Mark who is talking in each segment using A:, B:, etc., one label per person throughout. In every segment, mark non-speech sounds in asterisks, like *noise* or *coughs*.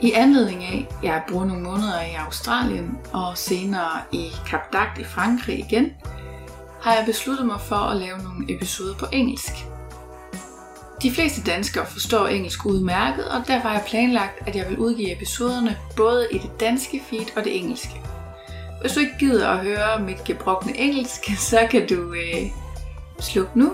A: I anledning af, at jeg bruger nogle måneder i Australien og senere i Cap d'Agde i Frankrig igen, har jeg besluttet mig for at lave nogle episoder på engelsk. De fleste danskere forstår engelsk udmærket, og derfor har jeg planlagt, at jeg vil udgive episoderne både i det danske feed og det engelske. Hvis du ikke gider at høre mit gebrokne engelsk, *laughs* så kan du øh, slukke nu.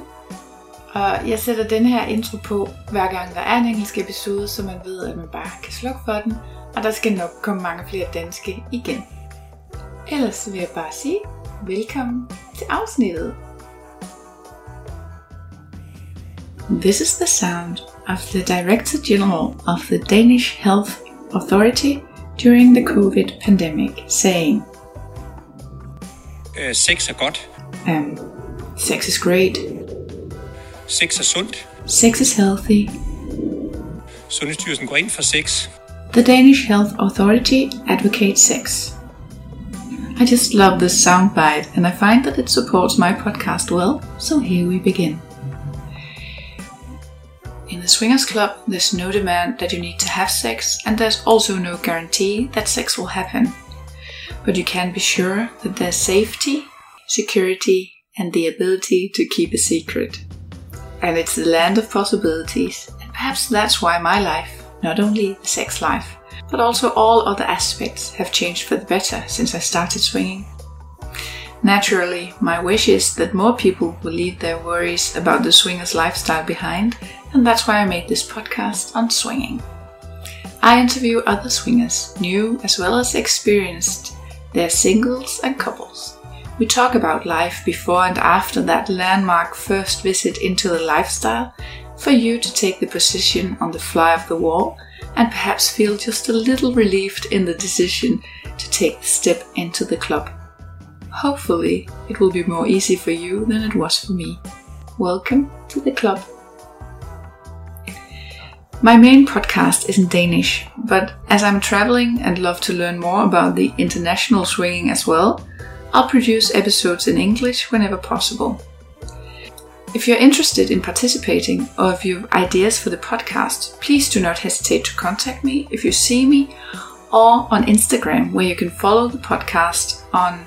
A: Og jeg sætter den her intro på, hver gang der er en engelsk episode, så man ved, at man bare kan slukke for den. Og der skal nok komme mange flere danske igen. Ellers vil jeg bare sige velkommen til afsnittet. This is the sound of the Director General of the Danish Health Authority during the COVID pandemic saying,
B: Øh, sex er godt.
A: um, sex is great,
B: Sex er sundt.
A: sex is healthy,
B: Sundhedsstyrelsen går ind for sex.
A: The Danish Health Authority advocates sex. I just love this soundbite and I find that it supports my podcast well, so here we begin. In the swingers club, there's no demand that you need to have sex, and there's also no guarantee that sex will happen. But you can be sure that there's safety, security, and the ability to keep a secret and it's the land of possibilities. And perhaps that's why my life, not only the sex life, but also all other aspects, have changed for the better since I started swinging. Naturally, my wish is that more people will leave their worries about the swinger's lifestyle behind, and that's why I made this podcast on swinging. I interview other swingers, new as well as experienced. They're singles and couples. We talk about life before and after that landmark first visit into the lifestyle for you to take the position on the fly of the wall and perhaps feel just a little relieved in the decision to take the step into the club. Hopefully, it will be more easy for you than it was for me. Welcome to the club. My main podcast is in Danish, but as I'm traveling and love to learn more about the international swinging as well, I'll produce episodes in English whenever possible. If you're interested in participating or if you have ideas for the podcast, please do not hesitate to contact me if you see me or on Instagram, where you can follow the podcast on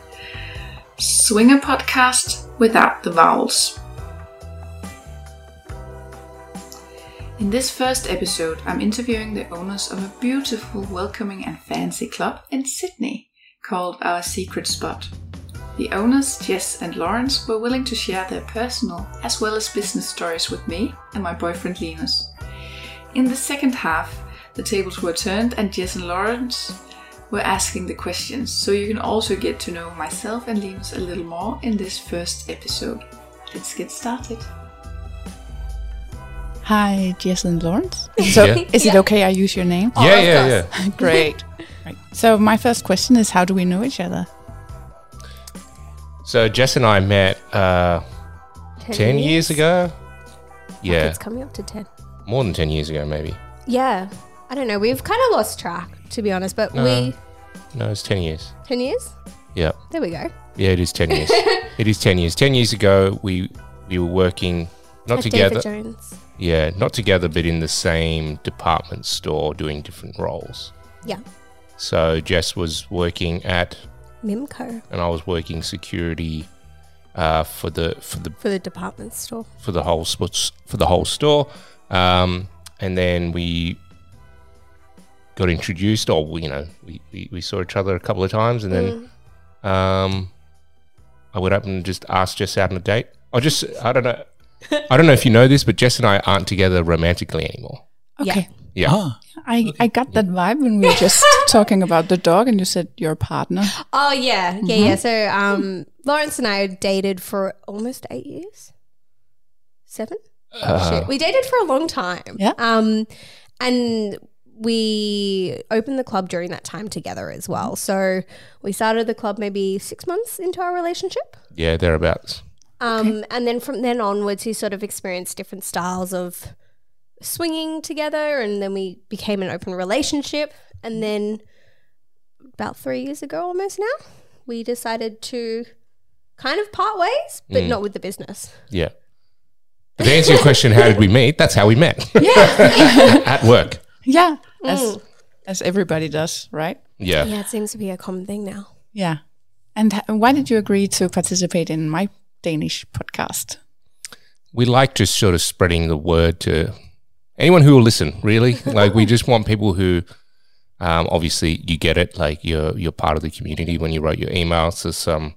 A: Swinger Podcast without the vowels. In this first episode, I'm interviewing the owners of a beautiful, welcoming, and fancy club in Sydney called Our Secret Spot. The owners, Jess and Lawrence, were willing to share their personal as well as business stories with me and my boyfriend Linus. In the second half, the tables were turned, and Jess and Lawrence were asking the questions, so you can also get to know myself and Linus a little more in this first episode. Let's get started. Hi, Jess and Lawrence. So,
C: Yeah.
A: is it okay I use your name?
C: yeah, yeah, yeah.
A: *laughs* Great. So my first question is, how do we know each other?
C: So Jess and I met uh,
D: 10,
C: ten years ago. Yeah,
D: It's coming up to 10.
C: more than ten years ago, maybe.
D: Yeah. I don't know. We've kind of lost track, to be honest, but we.
C: Uh-huh. No, it's ten years.
D: 10 years?
C: Yeah,
D: There we go.
C: yeah, it is ten years. it is ten years. Ten years ago, we we were working not
D: At
C: together.
D: David Jones.
C: Yeah, not together, but in the same department store, doing different roles.
D: Yeah.
C: So Jess was working at,
D: Mimco
C: and I was working security uh, for the for the
D: for the department store.
C: for the whole sp- for the whole store, um, and then we got introduced, or we, you know, we, we, we saw each other a couple of times, and then um, I went up and just asked Jess out on a date. I just I don't know, I don't know if you know this, but Jess and I aren't together romantically anymore.
E: Okay.
C: Yeah,
E: I, I got that vibe when we were
C: *laughs*
E: just talking about the dog and you said your partner.
D: Oh, yeah. Yeah, yeah.
E: Mm-hmm.
D: So um, Lawrence and I dated for almost eight years. Seven?
C: Uh,
D: Shit. We dated for a long time.
E: Yeah.
D: Um, and we opened the club during that time together as well. So we started the club maybe six months into our relationship.
C: yeah, thereabouts.
D: Um, And then from then onwards, he sort of experienced different styles of swinging together. And then we became an open relationship. And then about three years ago, almost now, we decided to kind of part ways, but not with the business.
C: Yeah. But to *laughs* answer your question, how did we meet? That's how we met. Yeah, Mm. at work.
E: Yeah. As as everybody does, right?
C: Yeah.
D: Yeah, it seems to be a common thing now.
E: Yeah. And h- why did you agree to participate in my Danish podcast?
C: We like just sort of spreading the word to anyone who will listen,
E: *laughs*
C: really. like, we just want people who, um, obviously, you get it. Like, you're, you're part of the community when you write your emails. There's, um,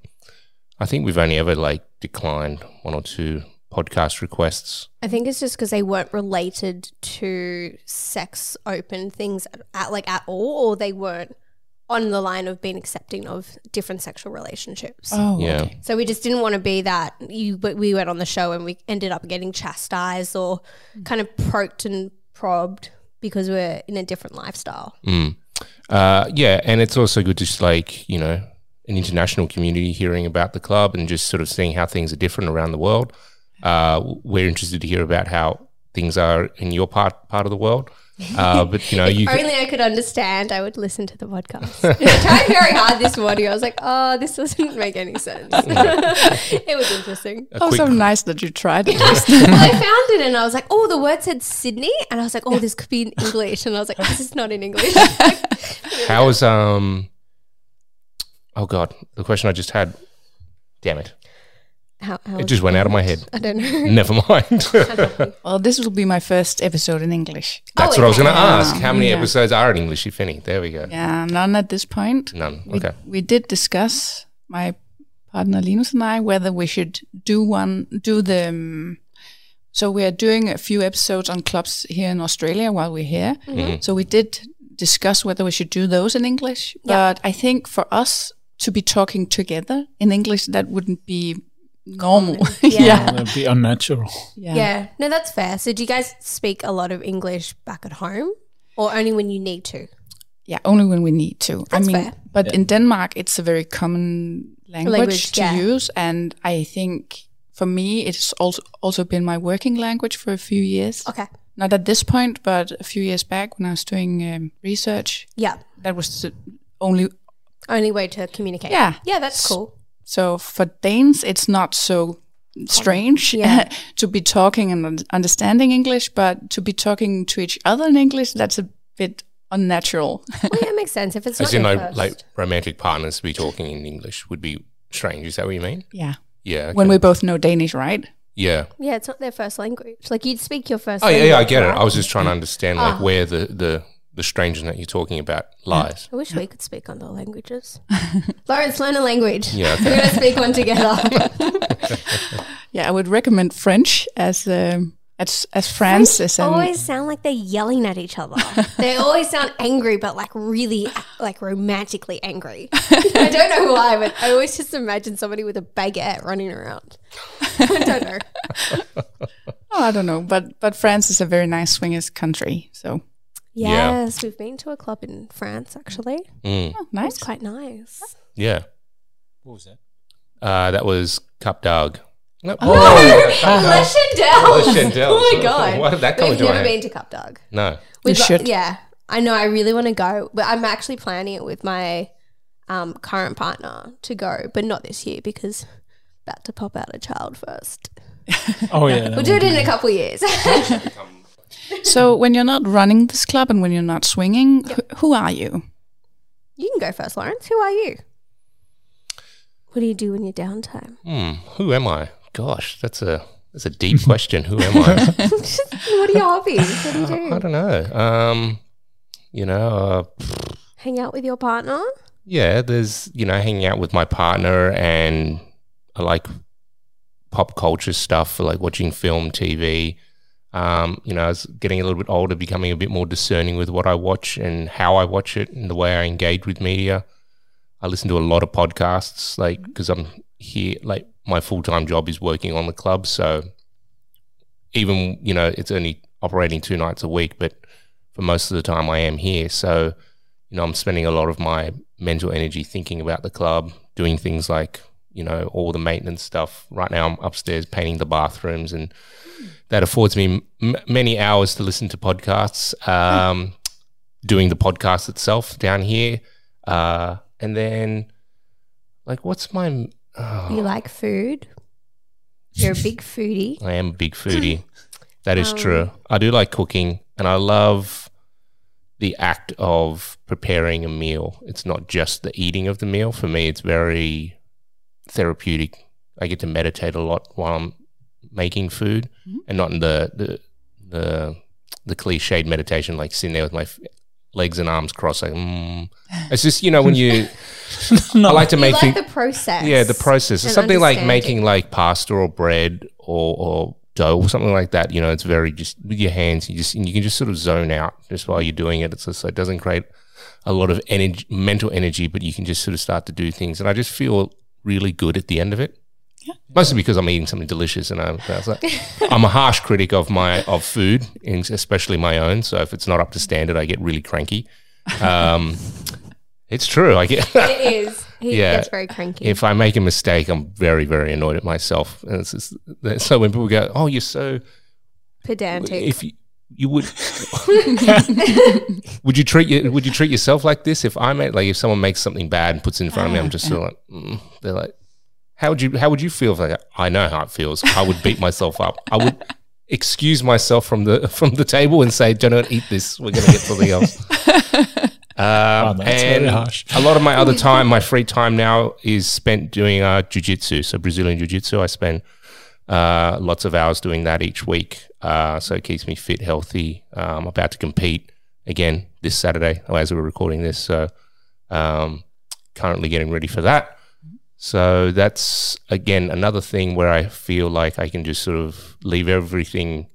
C: I think we've only ever, like, declined one or two podcast requests.
D: I think it's just because they weren't related to sex open things at, at like at all, or they weren't on the line of being accepting of different sexual relationships.
E: Oh,
C: yeah.
E: okay.
D: So we just didn't want to be that you but we went on the show and we ended up getting chastised or kind of poked and probed because we're in a different lifestyle.
C: Mm. Uh, yeah, and it's also good just like, you know, an international community hearing about the club and just sort of seeing how things are different around the world. Uh, we're interested to hear about how things are in your part part of the
E: *laughs*
C: world. Uh, but you know, you
D: Only I could understand, I would listen to the
C: *laughs*
D: podcast. I tried very hard this morning. I was like, oh, this doesn't make
C: *laughs*
D: any sense. it was interesting.
C: a
E: Oh,
C: quick,
E: so nice that you tried it.
D: well, I found it and I was like, oh, the word said Sydney. And I was like, oh, this could be in English. And I was like, this is not
C: *laughs*
D: in English.
C: how is um oh god, the question I just had. Damn
E: *laughs*
C: it.
D: How, how
C: It
D: was
C: just went out of my head.
D: I don't know.
C: Never
E: *laughs*
C: mind.
E: Oh, well, this will be my first episode in English.
C: *laughs* That's what I was
D: okay.
C: gonna ask. How many
E: Yeah.
C: episodes are in English, if any? There we go.
E: Yeah, none Um, at this point.
C: None.
E: We,
C: Okay.
E: we did discuss my partner Linus and I whether we should do one, do the. um, so we are doing a few episodes on clubs here in Australia while we're here.
C: Mm-hmm.
E: So we did discuss whether we should do those in English,
D: Yeah.
E: but I think for us to be talking together in English that wouldn't be normal.
D: Yeah.
F: That'd be unnatural.
E: yeah.
D: yeah. No, that's fair. So, do you guys speak a lot of English back at home or only when you need to?
E: *laughs* Yeah, only when we need to.
D: That's
E: I mean,
D: fair.
E: but in Denmark, it's a very common language,
D: Language,
E: to
D: yeah.
E: use, and I think for me, it's also also been my working language for a few years.
D: Okay.
E: Not at this point, but a few years back when I was doing um, research,
D: Yeah.
E: that was the only.
D: Only way to communicate.
E: Yeah.
D: Yeah, that's
E: *laughs*
D: cool.
E: So for Danes, it's not so strange
D: Yeah.
E: *laughs* to be talking and un- understanding English, but to be talking to each other in English, that's a bit unnatural.
D: Well, Oh, yeah, it makes sense. If it's
C: As
D: not
C: in,
D: your
C: like,
D: first.
C: like romantic partners to be talking in English would be strange. Is that what you mean?
E: yeah.
C: Yeah.
E: *laughs* When
C: okay.
E: we both know Danish, right?
C: yeah.
D: yeah, it's not their first language. Like, you'd speak your first
C: Oh yeah,
D: language.
C: yeah, I get it.
D: right?
C: I was just trying to understand like
D: Ah.
C: where the the the strangeness that you're talking about lies.
D: I wish we could speak other
E: *laughs*
D: languages. Lawrence, learn a language.
C: Yeah, okay.
D: We're going to speak one together.
C: *laughs*
E: Yeah, I would recommend French as um, as as France is an
D: always sound like they're yelling at each other. they always sound angry, but like really, like romantically angry. I don't know why, but I always just imagine somebody with a baguette running around. *laughs* I don't know.
E: oh, I don't know, but but France is a very nice swingers country. So
C: Yeah.
D: Yes, we've been to a club in France actually. It
C: Mm,
E: oh, nice.
D: was quite nice.
C: yeah.
F: What was that?
C: Uh, that was Cup Dog. No,
D: *laughs* La
C: oh.
D: Chandelle.
C: La Chandelle.
D: Oh my god.
C: Why did that come
D: We've
C: into my
D: never
C: head?
D: been to Cup Dog.
C: *laughs* no.
E: You
D: We'd lo-
E: should.
D: yeah, I know. I really want to go, but I'm actually planning it with my um, current partner to go, but not this year because about to pop out a child first.
F: Oh yeah. that
D: We'll do
F: one. *laughs*
D: it in a couple of years. *laughs*
E: so when you're not running this club and when you're not swinging, wh- who are you?
D: you can go first, Lawrence. Who are you? What do you do in
C: *laughs*
D: your downtime? *laughs*
C: Hmm. Who am I? Gosh, that's a that's a deep question. Who am I?
D: what are your hobbies? What do
C: I, *laughs*
D: you do?
C: don't know. Um, you know, uh,
D: Hang out with your partner?
C: yeah. There's you know hanging out with my partner and I like pop culture stuff, like watching film, TV. Um, you know, I was getting a little bit older, becoming a bit more discerning with what I watch and how I watch it and the way I engage with media. I listen to a lot of podcasts, like, because I'm here, like, my full time job is working on the club. So even, you know, it's only operating two nights a week, but for most of the time I am here. So, you know, I'm spending a lot of my mental energy thinking about the club, doing things like, you know, all the maintenance stuff. Right now, I'm upstairs painting the bathrooms, and that affords me m- many hours to listen to podcasts, um, doing the podcast itself down here. Uh, and then, like, what's my. Oh,
D: You like food? You're a big foodie.
C: I am
D: *clears throat*
C: a big foodie. that is
D: Um,
C: true. I do like cooking, and I love the act of preparing a meal. It's not just the eating of the meal. For me, it's very therapeutic. I get to meditate a lot while I'm making food,
D: Mm-hmm.
C: and not in the the the, the cliched meditation, like sitting there with my f- legs and arms crossed. Like, mm. It's just you know when
D: *laughs*
C: you. I like to
D: You
C: make
D: like
C: things.
D: the process.
C: Yeah, the process.
D: and
C: It's something like
D: understanding.
C: making like pasta or bread or, or dough or something like that. You know, it's very just with your hands. You just and you can just sort of zone out just while you're doing it. It's just it doesn't create a lot of energy, mental energy, but you can just sort of start to do things. And I just feel really good at the end of it. Mostly because I'm eating something delicious, and I'm, I was like, I'm a harsh critic of my of food, and especially my own. So if it's not up to standard, I get really cranky. Um, it's true. I get *laughs*
D: It is. He
C: Yeah.
D: gets very cranky.
C: if I make a mistake, I'm very, very annoyed at myself. And it's just, that- so when people go, "Oh, you're so,"
D: pedantic.
C: if you, you would, *laughs* would you treat your, would you treat yourself like this? If I made like if someone makes something bad and puts it in front of me, I'm just sort of like, mm. they're like, "How would you? How would you feel?" If I, go, I know how it feels. I would beat myself up. I would excuse myself from the *laughs* from the table and say, "Don't eat this. We're gonna get something else."
F: *laughs*
C: Um,
F: that's
C: and
F: very harsh.
C: a lot of my other time, my free time now is spent doing uh, jiu-jitsu. So Brazilian jiu-jitsu, I spend uh, lots of hours doing that each week. Uh, so it keeps me fit, healthy. Uh, I'm about to compete again this Saturday oh, as we're recording this. So um, currently getting ready for that. So that's again another thing where I feel like I can just sort of leave everything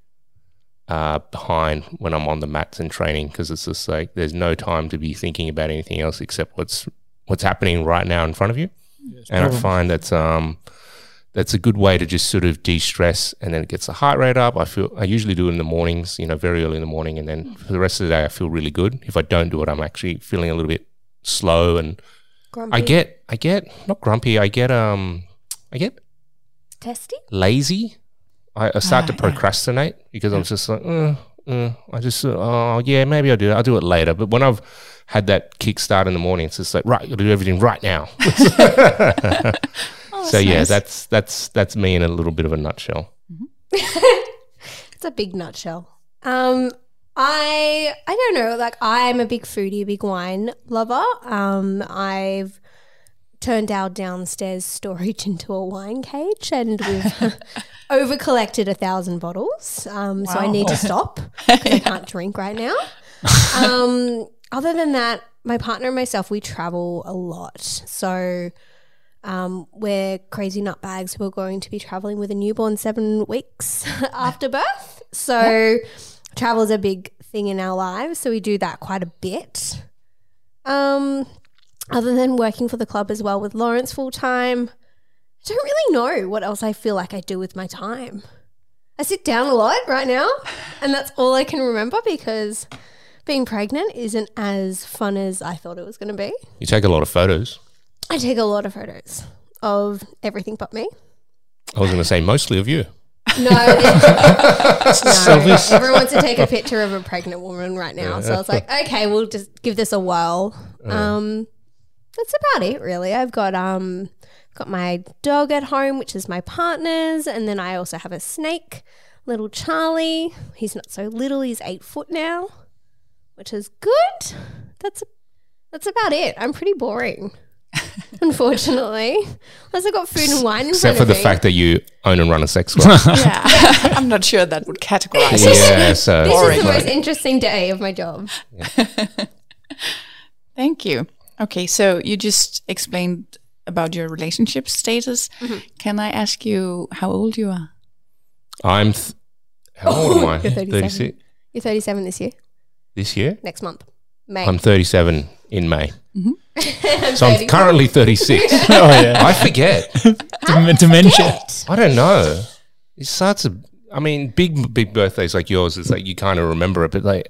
C: uh, behind when I'm on the mats and training because it's just like there's no time to be thinking about anything else except what's what's happening right now in front of you. and I find that's um that's a good way to just sort of de-stress, and then it gets the heart rate up. I feel I usually do it in the mornings, you know, very early in the morning, and then for the rest of the day I feel really good. If I don't do it, I'm actually feeling a little bit slow, and
D: Grumpy.
C: I get I get not grumpy, I get um I get
D: testy.
C: lazy. I, I start to
D: Ah,
C: procrastinate because I'm just like, uh, uh, I just, uh, oh yeah, maybe I'll do it. I'll do it later. But when I've had that kickstart in the morning, it's just like, right, you'll do everything right
D: *laughs*
C: now. *laughs*
D: Oh,
C: so yeah, that's that's that's me in a little bit of a nutshell.
D: It's a big nutshell. Um, I I don't know. Like I'm a big foodie, big wine lover. Um, I've turned our downstairs storage *laughs* into a wine cage, and we've overcollected a thousand bottles. Um, so I need to stop. 'cause I can't drink right now. Um, other than that, my partner and myself we travel a lot. So. Um, we're crazy nutbags who are going to be traveling with a newborn seven weeks *laughs* after birth. So, travel is a big thing in our lives. So, we do that quite a bit. Um, other than working for the club as well with Lawrence full time, I don't really know what else I feel like I do with my time. I sit down a lot right now, and that's all I can remember because being pregnant isn't as fun as I thought it was going to be.
C: You take a lot of photos.
D: I take a lot of photos of everything but me.
C: I was going to say mostly of you.
D: No, no. everyone wants to take a picture of a pregnant woman right now. So I was like, okay, we'll just give this a whirl. Um, that's about it, really. I've got um, got my dog at home, which is my partner's, and then I also have a snake, little Charlie. He's not so little; he's eight foot now, which is good. That's that's about it. I'm pretty boring. Unfortunately, unless I've got food and wine in
C: Except
D: front
C: for
D: of
C: the
D: me.
C: fact that you own and run a
D: *laughs*
C: sex club.
E: *laughs* I'm not sure that would categorize.
C: yeah, so it's
D: This is the
C: like-
D: most interesting day of my job.
E: Thank you. Okay, so you just explained about your relationship status. Can I ask you how old you are?
C: I'm th- how old am I?
D: Oh, You're 37.
C: 36
D: You're 37 this year,
C: this year.
D: next month, May.
C: I'm 37 in May.
D: *laughs* I'm
C: So I'm
D: 30.
C: currently 36.
F: Mm-hmm. *laughs* Oh
C: *laughs*
F: yeah.
C: I forget.
F: Dem- dementia. *laughs*
D: Shit.
C: I don't know. It starts. A, I mean, big big birthdays like yours. It's like you kind of remember it, but like,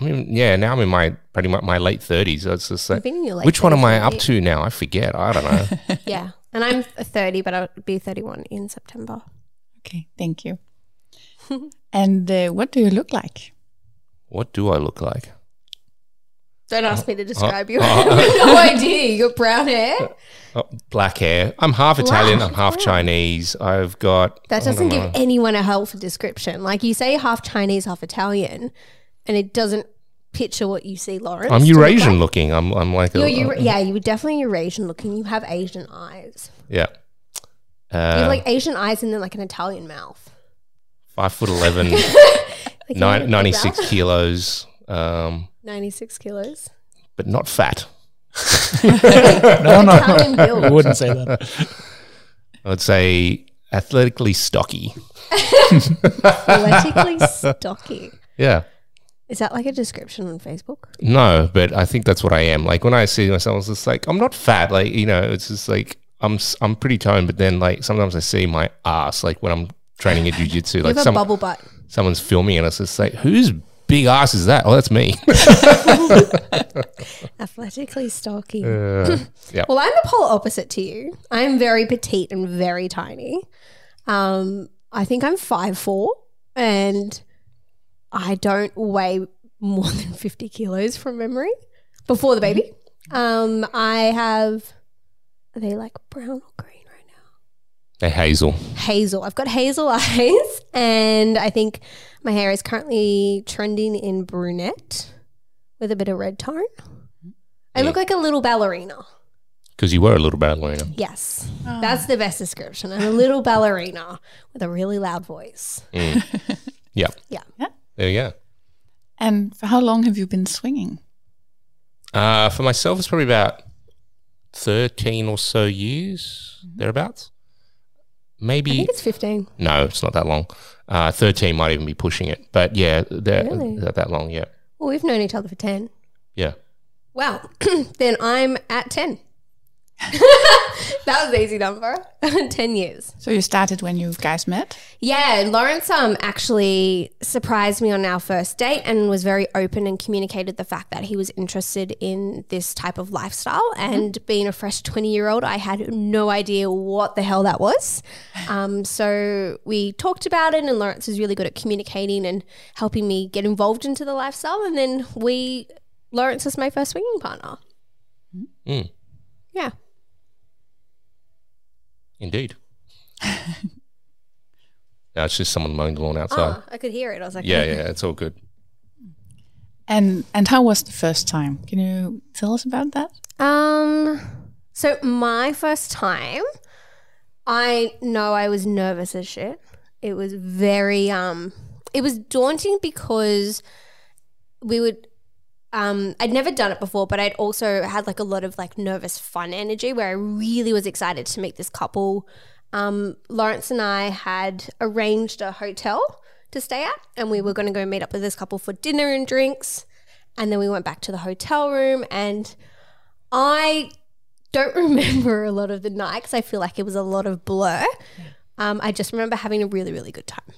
C: I mean, yeah. Now I'm in my pretty much my late thirties. So it's just like,
D: been in your late
C: which one am
D: 30s,
C: I up
D: right?
C: to now? I forget. I don't
D: *laughs*
C: know.
D: Yeah. And I'm 30, but I'll be 31 in September.
E: Okay, thank you. *laughs* and uh, what do you look like?
C: what do I look like?
D: Don't ask
C: Uh,
D: me to describe you. *laughs* I have no idea. You got brown hair.
C: Oh, black hair. I'm half Italian. I'm half Chinese. I've got.
D: That doesn't
C: Uh.
D: give anyone a helpful description. Like you say half Chinese, half Italian, and it doesn't picture what you see, Lawrence.
C: I'm
D: to look
C: Eurasian uh.
D: like.
C: looking. I'm, I'm like a,
D: You're, Eura-
C: a-
D: yeah, you were definitely Eurasian looking. You have Asian eyes.
C: yeah.
D: You
C: Uh,
D: have like Asian eyes and then like an Italian mouth.
C: five foot
D: *laughs*
C: eleven,
D: Like
C: nine,
D: nine ninety six.
C: 96 kilos, um,
D: 96 kilos.
C: but not fat. Oh,
F: No, no,
D: Italian
F: I
D: build.
F: wouldn't say that.
C: I'd say athletically stocky. *laughs*
D: Athletically stocky.
C: Yeah.
D: Is that like a description on Facebook?
C: No, but I think that's what I am. Like when I see myself, it's just like I'm not fat. Like you know, it's just like I'm s- I'm pretty toned. But then like sometimes I see my ass. Like when I'm training at jujitsu,
D: *laughs* you
C: like
D: have a
C: some,
D: bubble butt.
C: someone's filming and it's just like whose big ass is that? Oh, that's
D: *laughs*
C: me.
D: Athletically stocky.
C: Uh, yeah.
D: Well, I'm the polar opposite to you. I'm very petite and very tiny. Um, I think I'm five four, and I don't weigh more than fifty kilos from memory before the baby.
C: Mm-hmm.
D: Um, I have. Are they like brown or green right now?
C: They're hazel.
D: Hazel. I've got hazel *laughs* eyes, and I think my hair is currently trending in brunette with a bit of red tone. I look like a little ballerina.
C: Because you were a little ballerina.
D: Yes. That's the best description. I'm a little ballerina with a really loud voice.
C: Mm.
D: *laughs*
C: Yeah.
D: Yeah.
C: There you go.
E: And for how long have you been swinging?
C: Uh, for myself, it's probably about 13 or so years, thereabouts.
D: Mm-hmm. I
C: Maybe,
D: think it's 15.
C: no, it's not that long. Uh, 13 might even be pushing it. But yeah, that,
D: Really?
C: that, that long, yeah.
D: Well, we've known each other for 10.
C: Yeah.
D: Wow. *clears throat* then I'm at 10. *laughs* that was easy number. *laughs* 10 years.
E: So you started when you guys met?
D: Yeah, Lawrence um actually surprised me on our first date and was very open and communicated the fact that he was interested in this type of lifestyle. And being a fresh twenty year old, I had no idea what the hell that *sighs* was. Um, so we talked about it, and Lawrence was really good at communicating and helping me get involved into the lifestyle. And then we, Lawrence was my first swinging partner. Mm-hmm.
C: Mm.
D: Yeah, *laughs*
C: Indeed. no, it's just someone mowing the lawn outside.
D: ah, I could hear it. I was like, *laughs*
C: Yeah, yeah, it's all good.
E: And and how was the first time? Can you tell us about that?
D: Um, so my first time, I know I was nervous as shit. It was very um, it was daunting because we would um, I'd never done it before, but I'd also had like a lot of like nervous fun energy where I really was excited to meet this couple. Um, Lawrence and I had arranged a hotel to stay at, and we were going to go meet up with this couple for dinner and drinks. And then we went back to the hotel room, and I don't *laughs* remember a lot of the night because I feel like it was a lot of blur. Um, I just remember having a really, really good time.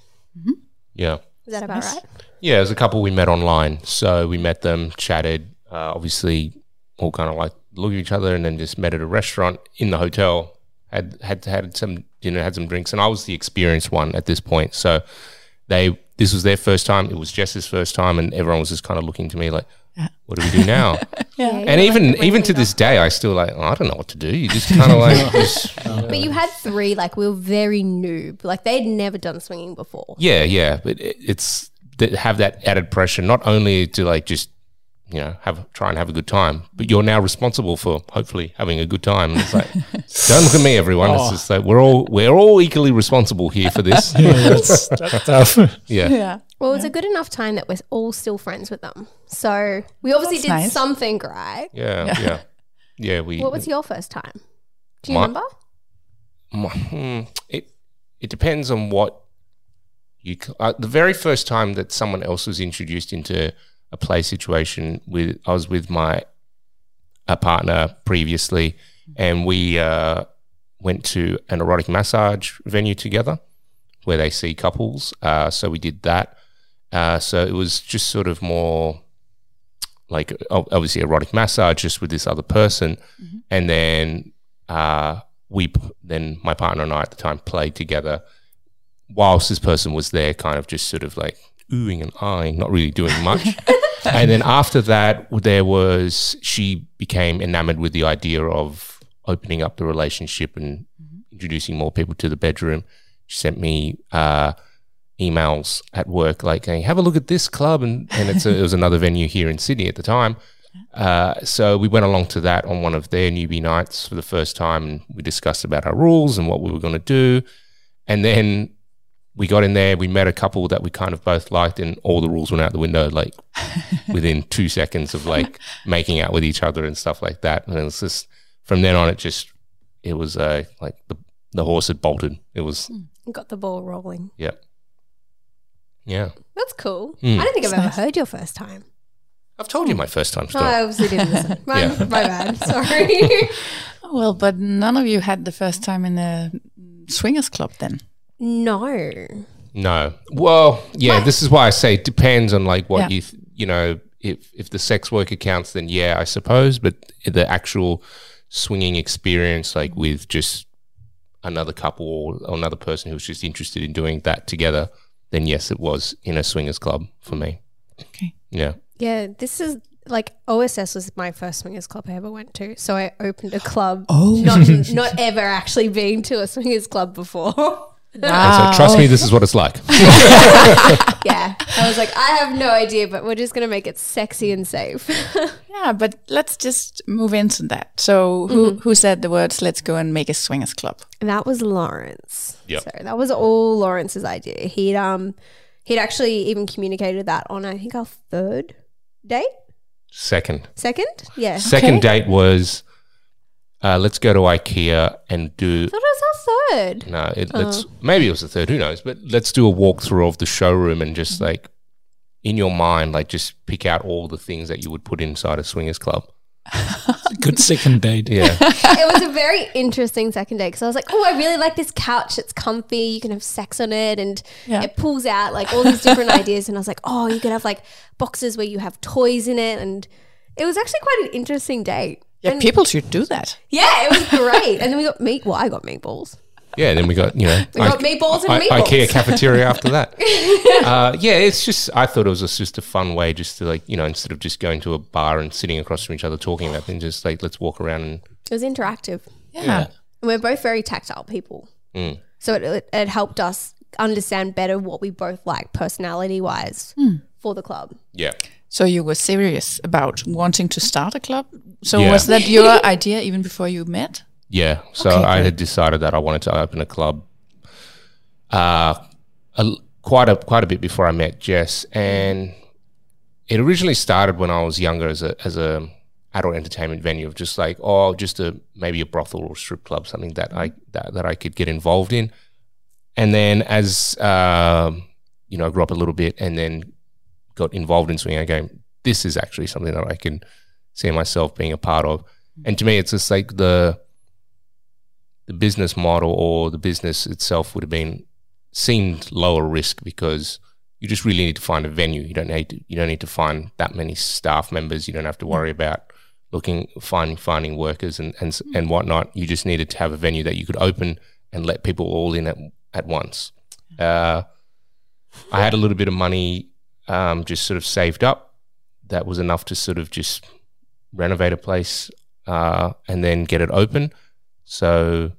C: Yeah.
D: Is that about right?
C: Yeah, there's a couple we met online. So we met them, chatted, uh, obviously all kind of like look at each other and then just met at a restaurant in the hotel, had had had some dinner, had some drinks, and I was the experienced one at this point. So they this was their first time, it was Jess's first time and everyone was just kind of looking to me like, What do we do now?
D: Uh. *laughs* Yeah,
C: and
D: you're
C: even
D: like the
C: even to
D: ringleader.
C: this day I still like, "Oh, I don't know what to do. You just kinda like just
D: But you had three, like, we were very noob. Like, they'd never done swinging before.
C: Yeah, yeah, but it, it's that have that added pressure not only to like just you know have try and have a good time, but you're now responsible for hopefully having a good time. And it's like, don't look at me, everyone. It's just like we're all we're all equally responsible here for this.
F: Yeah, *laughs* that's, that's tough.
C: yeah,
E: Yeah.
D: Well, it was a good enough time that we're all still friends with them. So we obviously did
E: nice.
D: something right.
C: yeah, yeah, yeah. We
D: What was your first time? Do you
C: My-
D: remember?
C: Mm, hmm, it it depends on what you c- uh, the very first time that someone else was introduced into a play situation with I was with my a partner previously and we uh, went to an erotic massage venue together where they see couples uh, so we did that uh, so it was just sort of more like o- obviously erotic massage just with this other person and then uh, we p- then my partner and I at the time played together whilst this person was there kind of just sort of like oohing and eyeing not really doing much and then after that there was she became enamored with the idea of opening up the relationship and introducing more people to the bedroom she sent me uh, emails at work, like going, "Have a look at this club," and and it's a, it was another venue here in Sydney at the time. Uh, so we went along to that on one of their newbie nights for the first time, and we discussed about our rules and what we were going to do. And then we got in there, we met a couple that we kind of both liked, and all the rules went out the window like within two seconds of like making out with each other and stuff like that. And it was just from then on, it just it was uh, like the the horse had bolted. It was
D: Got the ball rolling.
C: yeah, yeah.
D: That's cool.
C: Mm.
D: I don't think I've
E: It's
D: ever
E: nice.
D: heard your first time.
C: I've told you my first time
D: No,
C: story.
D: I obviously didn't listen.
C: *laughs*
D: My,
C: Yeah.
D: my bad. *laughs* Sorry.
E: Oh, Well, but none of you had the first time in a swingers club *laughs* then.
D: no.
C: No, well, yeah. This is why I say it depends on like what
E: Yeah.
C: you th- you know. If if the sex worker counts, then yeah, I suppose. But the actual swinging experience, like with just another couple or, or another person who was just interested in doing that together, then yes, it was in a swingers club for me.
E: Okay.
C: Yeah.
D: Yeah, this is like OSS was my first swingers club I ever went to. So I opened a club.
E: Oh.
D: Not, not ever actually been to a swingers club before. *laughs*
C: And
E: Uh,
C: so
E: oh,
C: trust me, this is
E: *laughs*
C: what it's like.
D: yeah. I was like, I have no idea, but we're just going to make it sexy and safe. *laughs*
E: Yeah, but let's just move into that. So, who who said the words "Let's go and make a swingers club"?
D: And that was Lawrence.
C: Yep.
D: So that was all Lawrence's idea. He'd um he'd actually even communicated that on I think our third date?
C: Second.
D: Second? Yeah.
C: Second date was uh, let's go to IKEA and do
D: thought it was our third.
C: No, it,
D: Oh.
C: let's maybe it was the third. Who knows? But let's do a walkthrough of the showroom and just
D: Mm-hmm.
C: like in your mind, like just pick out all the things that you would put inside a swingers club.
F: Good second date.
C: Yeah,
D: it was a very interesting second date because I was like, oh, I really like this couch. It's comfy. You can have sex on it. And
E: Yeah.
D: it pulls out like all these different *laughs* ideas. And I was like, oh, you could have like boxes where you have toys in it. And it was actually quite an interesting date.
E: Yeah,
D: And-
E: people should do that.
D: Yeah, it was great. and then we got meat. Well, I got meatballs.
C: yeah. And then we got you know
D: *laughs* We got meatballs and
C: I-
D: meatballs.
C: IKEA cafeteria after
D: *laughs*
C: that. uh, yeah, it's just I thought it was just- just a fun way, just to like you know instead of just going to a bar and sitting across from each other talking about things, just like let's walk around and
D: It was interactive.
E: Yeah.
D: And we're both very tactile people.
C: Mm.
D: So it, it, it helped us understand better what we both like personality wise
C: Hmm.
D: for the club.
C: yeah.
E: So you were serious about wanting to start a club. So
C: Yeah.
E: was that your *laughs* idea even before you met?
C: Yeah. So I had decided that I wanted to open a club uh, a, quite a quite a bit before I met Jess, and it originally started when I was younger as a as a adult entertainment venue of just like oh just a maybe a brothel or strip club something that I that, that I could get involved in, and then as um, you know I grew up a little bit and then got involved in swinging game. This is actually something that I can see myself being a part of, and to me it's just like the the business model or the business itself would have been seemed lower risk because you just really need to find a venue. You don't need to, you don't need to find that many staff members. You don't have to worry about looking finding finding workers and and, s and whatnot. You just needed to have a venue that you could open and let people all in at at once. Uh, I had a little bit of money um, just sort of saved up. That was enough to sort of just renovate a place uh, and then get it open. So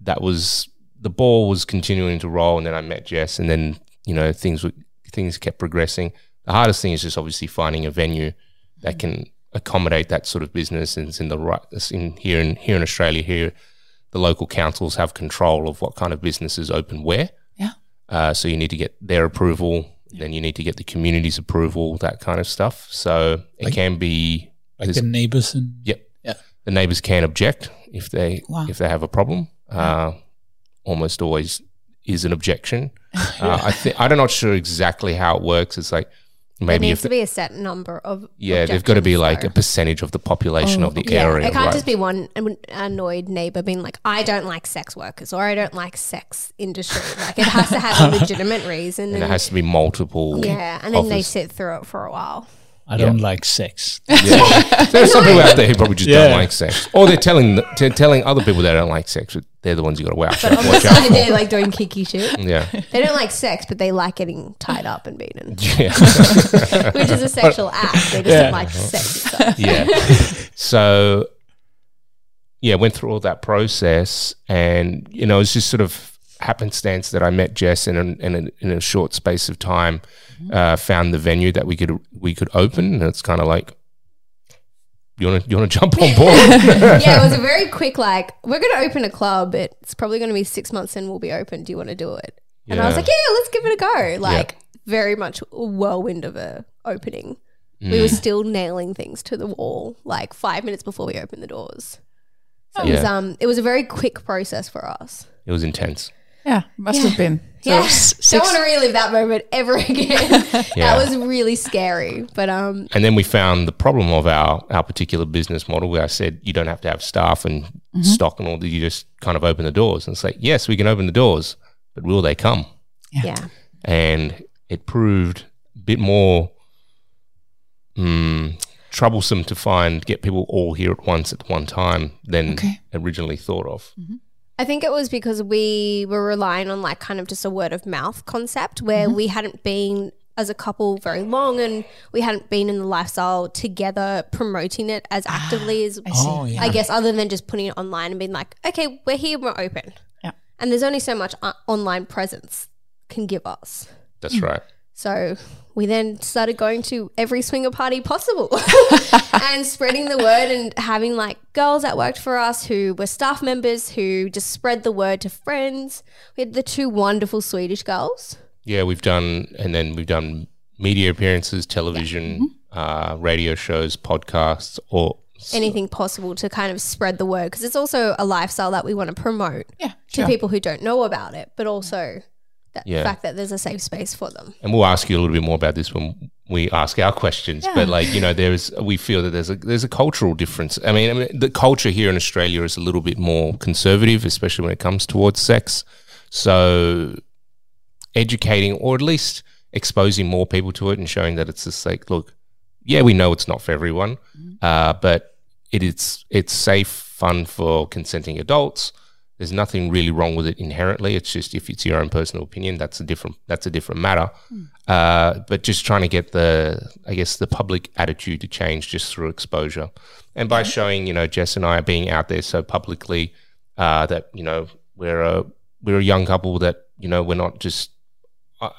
C: that was the ball was continuing to roll, and then I met Jess, and then you know things were things kept progressing. The hardest thing is just obviously finding a venue that can accommodate that sort of business, and it's in the right it's in here in here in Australia here. The local councils have control of what kind of businesses open where.
E: Yeah.
C: Uh, so you need to get their approval, then you need to get the community's approval, that kind of stuff. So it can be
F: *laughs* Like
C: this-
F: the neighbors and
C: Yep.
F: Yeah.
C: The neighbors can object if they
E: Wow.
C: if they have a problem. Uh, almost always is an
D: *laughs*
C: objection. Uh, I think I'm not sure exactly how it works. It's like
D: There
C: maybe
D: needs
C: if
D: to
C: the-
D: be a set number of.
C: yeah, they've got to be like a
D: objections,
C: percentage of the population of the
D: so-
C: area.
D: Oh, it can't
C: right?
D: just be one an- annoyed neighbor being like, "I don't like sex workers" or "I don't like sex industry." Like it has to have a
C: *laughs*
D: legitimate reason.
C: and it
D: and-
C: has to be multiple.
D: yeah, and then they
C: offers.
D: sit through it for a while.
F: I don't like sex.
C: Yeah. There's some people out *laughs* there who probably just
F: Yeah.
C: don't like sex, or they're telling the- they're telling other people they don't like sex. But they're the ones you got to watch out. Watch out. Mm.
D: So they're like doing kinky shit.
C: Yeah,
D: They don't like sex, but they like getting tied up and beaten,
C: *laughs*
D: *laughs*
C: yeah.
D: which is a sexual act. They just
F: Yeah.
D: don't like sex. itself.
C: yeah. so yeah, went through all that process and you know, it's just sort of happenstance that I met Jess and in, in, a, in a short space of time, uh, found the venue that we could we could open, and it's kind of like. You want to you want to *laughs* jump on *laughs* board?
D: yeah, it was a very quick like, we're going to open a club. It's probably going to be six months and we'll be open. Do you want to do it? And I was
C: Yeah.
D: like, yeah, let's give it a go. Like, very much a whirlwind of a opening. We
C: Mm.
D: were still nailing things to the wall like five minutes before we opened the doors. So it was
C: Yeah.
D: um, it was a very quick process for us.
C: it was intense.
E: Yeah, must have been. So
D: yeah,
E: s-
D: *laughs* don't
E: six,
D: want to relive that moment ever *laughs* again.
C: *laughs* Yeah.
D: That was really scary, but um,
C: And then we found the problem of our, our particular business model where I said you don't have to have staff and stock and all that. You just kind of open the doors and say, yes, we can open the doors, but will they come?
D: yeah,
C: And it proved a bit more mm, troublesome to find, get people all here at once at one time than
E: Okay.
C: originally thought of.
D: I think it was because we were relying on like kind of just a word of mouth concept where
E: Mm-hmm.
D: we hadn't been as a couple very long and we hadn't been in the lifestyle together promoting it as actively as
E: Ah, I see.
F: Oh,
D: *laughs*
F: yeah.
D: I guess other than just putting it online and being like, okay, we're here, we're open.
E: Yeah.
D: And there's only so much uh, online presence can give us.
C: That's right.
D: So we then started going to every swinger
C: *laughs*
D: party possible and spreading the word and having like girls that worked for us who were staff members who just spread the word to friends. We had the two wonderful Swedish girls.
C: Yeah, we've done, and then we've done media appearances, television, uh, radio shows, podcasts, or
D: Anything possible to kind of spread the word because it's also a lifestyle that we want to promote
E: Yeah,
D: to
E: sure.
D: people who don't know about it, but also that
C: Yeah.
D: fact that there's a safe space for them.
C: and we'll ask you a little bit more about this when we ask our questions. But like you know, there is we feel that there's a there's a cultural difference. I mean, I mean, the culture here in Australia is a little bit more conservative, especially when it comes towards sex. So educating or at least exposing more people to it and showing that it's just like, look, yeah, we know it's not for everyone, uh, but it is it's safe fun for consenting adults. There's nothing really wrong with it inherently. It's just if it's your own personal opinion, that's a different that's a different matter. Uh, but just trying to get the I guess the public attitude to change just through exposure, and by showing you know Jess and I being out there so publicly uh, that you know we're a we're a young couple that you know we're not just uh,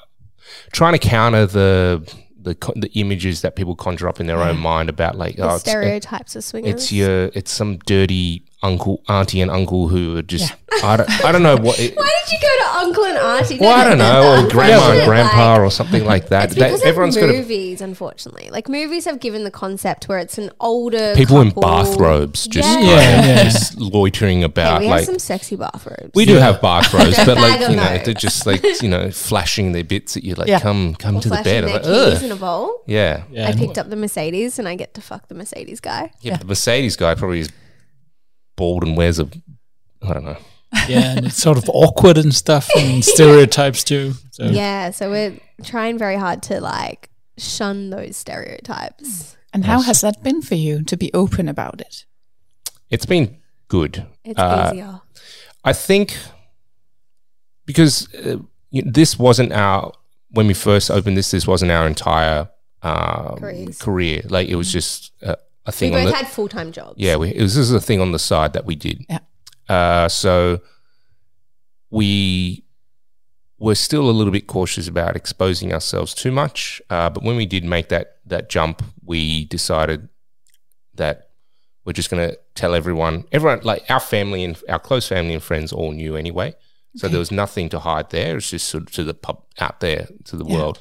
C: trying to counter the the co- the images that people conjure up in their own mind about like
D: The
C: oh it's,
D: stereotypes of swingers.
C: it's your it's some dirty uncle auntie and uncle who are just I, don't, I don't know what it,
D: *laughs* Why did you go to uncle and auntie?
C: well I don't know or grandma and
D: Unfortunate,
C: grandpa
D: like,
C: or something like that.
D: It's
C: That-
D: because
C: everyone's
D: of
C: got a,
D: movies, unfortunately. Like movies have given the concept where it's an older
C: people in
D: couple.
C: bathrobes just
D: Yeah.
C: kind of
F: Yeah, yeah.
C: just loitering
D: Hey,
C: about
D: we have
C: like
D: some sexy bathrobes.
C: we do have bathrobes,
D: Don't *laughs*
C: but like
D: bag 'em
C: you know
D: though.
C: they're just
D: *laughs*
C: like you know flashing their bits at you like
E: Yeah.
C: come come
D: Or
C: to the
D: flashing
C: bed. I'm
D: their
C: like,
D: keys in
C: Ugh.
D: a bowl.
C: Yeah.
F: Yeah,
D: I
F: and-
D: picked up the Mercedes and I get to fuck the Mercedes guy.
C: Yeah, but the Mercedes guy probably is bald and wears a, I don't know.
F: yeah, and it's sort of awkward and stuff, and stereotypes too. So
D: Yeah, so we're trying very hard to like shun those stereotypes.
E: And how has that been for you to be open about it?
C: It's been good.
D: It's
C: Uh,
D: easier.
C: I think because uh, you know, this wasn't our when we first opened this. This wasn't our entire um,
D: Careers.
C: career. Like it was just a, a
D: We
C: thing. on
D: both
C: the,
D: had full time jobs.
C: Yeah, we, it was, this is a thing on the side that we did.
E: Yeah.
C: Uh, so we were still a little bit cautious about exposing ourselves too much. Uh, but when we did make that that jump, we decided that we're just going to tell everyone. Everyone, like our family and our close family and friends, all knew anyway. So there was nothing to hide there. It's just sort of to the pub out there to the world.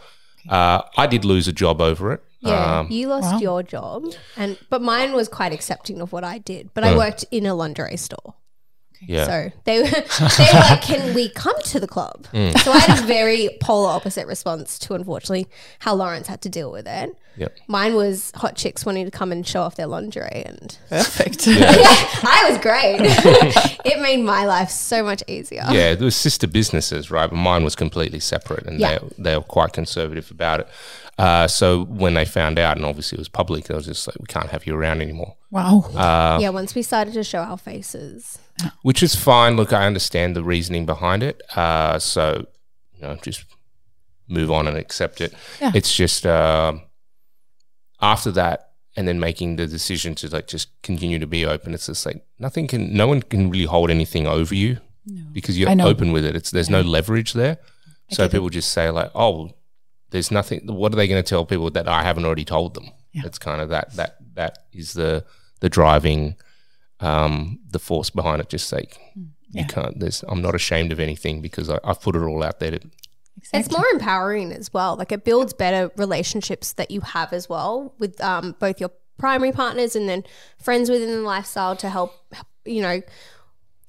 C: Uh, I did lose a job over it.
D: Yeah,
C: Um,
D: you lost your job, and but mine was quite accepting of what I did. But I
C: Mm.
D: worked in a lingerie store,
C: yeah.
D: so they were, they were like, "Can we come to the club?" So I had a very polar opposite response to, unfortunately, how Lawrence had to deal with it.
C: Yep.
D: Mine was hot chicks wanting to come and show off their lingerie, and *laughs*
E: Perfect.
D: I was great. *laughs* it made my life so much easier.
C: Yeah, there were sister businesses, right? But mine was completely separate, and
D: Yeah.
C: they they were quite conservative about it. Uh, so when they found out, and obviously it was public, they was just like, "We can't have you around anymore,"
E: *laughs* Wow.
D: yeah, once we started to show our faces,
C: which is fine. Look, I understand the reasoning behind it. Uh, so you know, just move on and accept it.
E: Yeah.
C: It's just um after that, and then making the decision to like just continue to be open. It's just like nothing can, no one can really hold anything over you. because
E: I
C: you're
E: know.
C: open with it. It's there's no leverage there, so
E: get it.
C: people just say like, "Oh, there's nothing." What are they going to tell people that I haven't already told them?
E: Yeah.
C: It's kind of that that that is the the driving, um, the force behind it. Just say
E: Hmm. yeah.
C: you can't. There's I'm not ashamed of anything because I, I've put it all out there. To,
D: It's more empowering as well. Like it builds better relationships that you have as well with um, both your primary partners and then friends within the lifestyle to help, you know,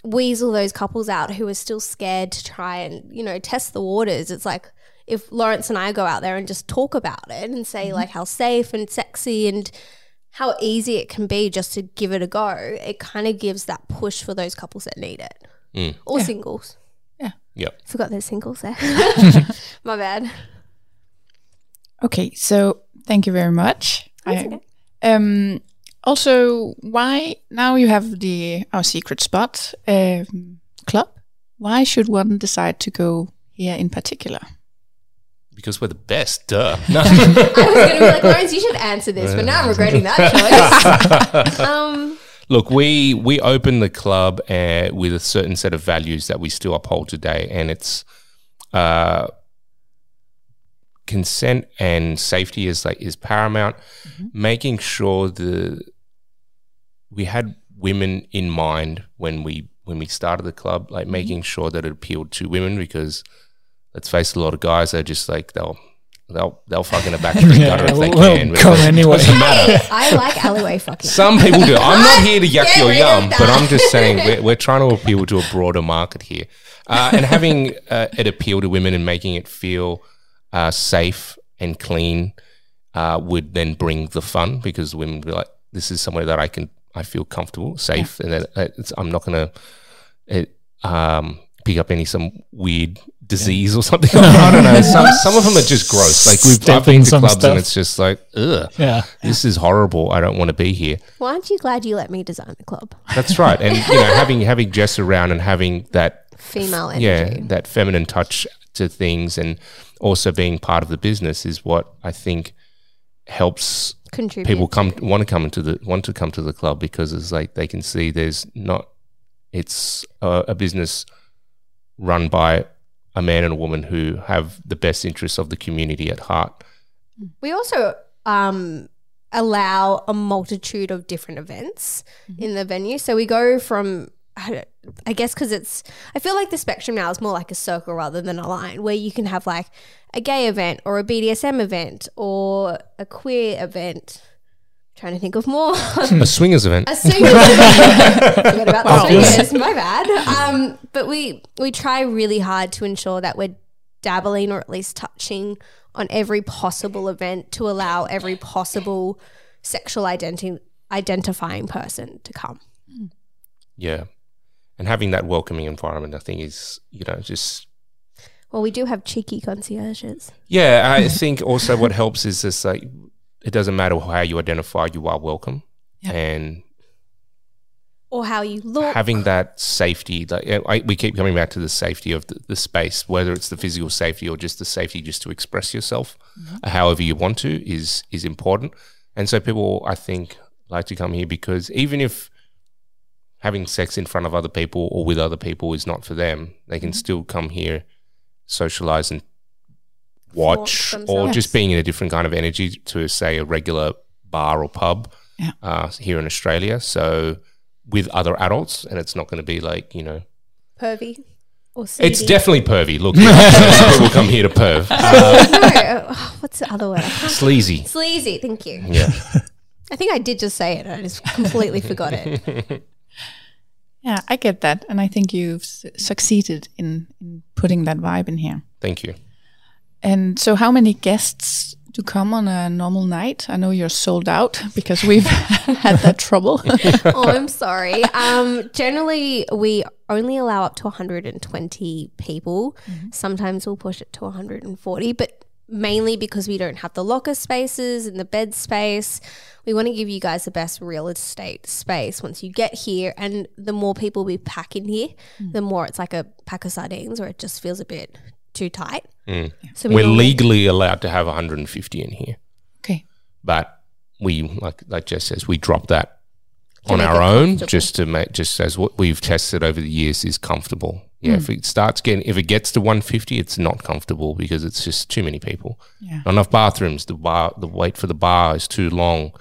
D: weasel those couples out who are still scared to try and, you know, test the waters. It's like if Lawrence and I go out there and just talk about it and say like how safe and sexy and how easy it can be just to give it a go, it kind of gives that push for those couples that need it
C: Mm.
D: or singles.
C: yep.
D: Forgot there's singles there. My bad.
E: Okay, so thank you very much. I- um, also, why now you have the our secret spot um, club? Why should one decide to go here in particular?
C: Because we're the best. Duh. *laughs* No.
D: I was going to be like, Lawrence, you should answer this, but now I'm regretting that choice. um,
C: Look, we we opened the club uh, with a certain set of values that we still uphold today, and it's uh, consent and safety is like is paramount.
F: Mm-hmm.
C: Making sure the we had women in mind when we when we started the club,
F: Mm-hmm.
C: like making sure that it appealed to women because let's face it, a lot of guys are just like they'll they'll they'll fuck in a back
F: *laughs*
C: street gutter if they
F: we'll
C: can.
F: come anyway. *laughs*
D: I like alleyway fucking.
C: Some people do. I'm not here to yuck your
D: rid of
C: yum, but
D: that.
C: I'm just saying we're, we're trying to appeal to a broader market here. Uh, and having uh, it appeal to women and making it feel uh, safe and clean uh, would then bring the fun because women would be like, this is somewhere that I can, I feel comfortable, safe, and that that it's, I'm not going to um, pick up any some weird disease or something. *laughs* I don't know. Some, some of them are just gross. Like we've I've
F: Stepping
C: been to
F: some
C: clubs
F: stuff.
C: and it's just like, ugh,
F: Yeah.
C: this is horrible. I don't want to be here.
D: Why aren't you glad you let me design the club?
C: That's right, and you know, having having Jess around and having that
D: Female
C: yeah
D: energy.
C: that feminine touch to things, and also being part of the business is what I think helps
D: Contribute.
C: people come want to come into the want to come to the club because it's like they can see there's not it's a, a business run by a man and a woman who have the best interests of the community at heart.
D: We also um, allow a multitude of different events in the venue. So we go from, I don't- I guess, because it's, I feel like the spectrum now is more like a circle rather than a line where you can have like a gay event or a BDSM event or a queer event. trying to think of more. *laughs*
C: A swingers event.
D: A swingers. Forgot about the
F: Obvious.
D: swingers. My bad. Um, but we we try really hard to ensure that we're dabbling or at least touching on every possible event to allow every possible sexual identi- identifying person to come.
C: Yeah. And having that welcoming environment, I think, is, you know, just
D: Well, we do have cheeky concierges.
C: Yeah, I think also what helps is this like it doesn't matter how you identify, you are welcome,
E: Yeah.
C: and
D: Or how you look.
C: having that safety. Like yeah, I, we keep coming back to the safety of the, the space, whether it's the physical safety or just the safety just to express yourself,
D: Mm-hmm.
C: however you want to, is is important. And so people, I think, like to come here because even if having sex in front of other people or with other people is not for them, they can
D: Mm-hmm.
C: still come here, socialize, and watch, or
D: themselves.
C: just being in a different kind of energy to say a regular bar or pub
E: Yeah.
C: uh, here in Australia. So with other adults, and it's not going to be like you know.
D: pervy. Or
C: It's
D: seedy.
C: definitely pervy. Look, people come here to perv. Uh,
D: no. oh, What's the other word?
C: *laughs* sleazy.
D: Sleazy. Thank you.
C: Yeah.
D: I think I did just say it. I just completely forgot it.
E: Yeah, I get that, and I think you've s- succeeded in, in putting that vibe in here.
C: Thank you.
E: And so, how many guests do come on a normal night? I know you're sold out *laughs* because we've had that trouble. *laughs*
D: oh, I'm sorry. Um, generally, we only allow up to 120 people. Sometimes we'll push it to 140, but mainly because we don't have the locker spaces and the bed space. We want to give you guys the best real estate space once you get here. And the more people we pack in here, the more it's like a pack of sardines where it just feels a bit too tight. So we
C: We're
D: normally-
C: legally allowed to have 150 in here,
E: okay.
C: but we like like Jess says, we drop that on
D: make
C: our
D: it
C: own
D: comfortable.
C: just to make just as what we've tested over the years is comfortable. Yeah, if it starts getting, if it gets to 150, it's not comfortable because it's just too many people.
E: Yeah.
C: Not enough bathrooms. The bar, the wait for the bar is too long.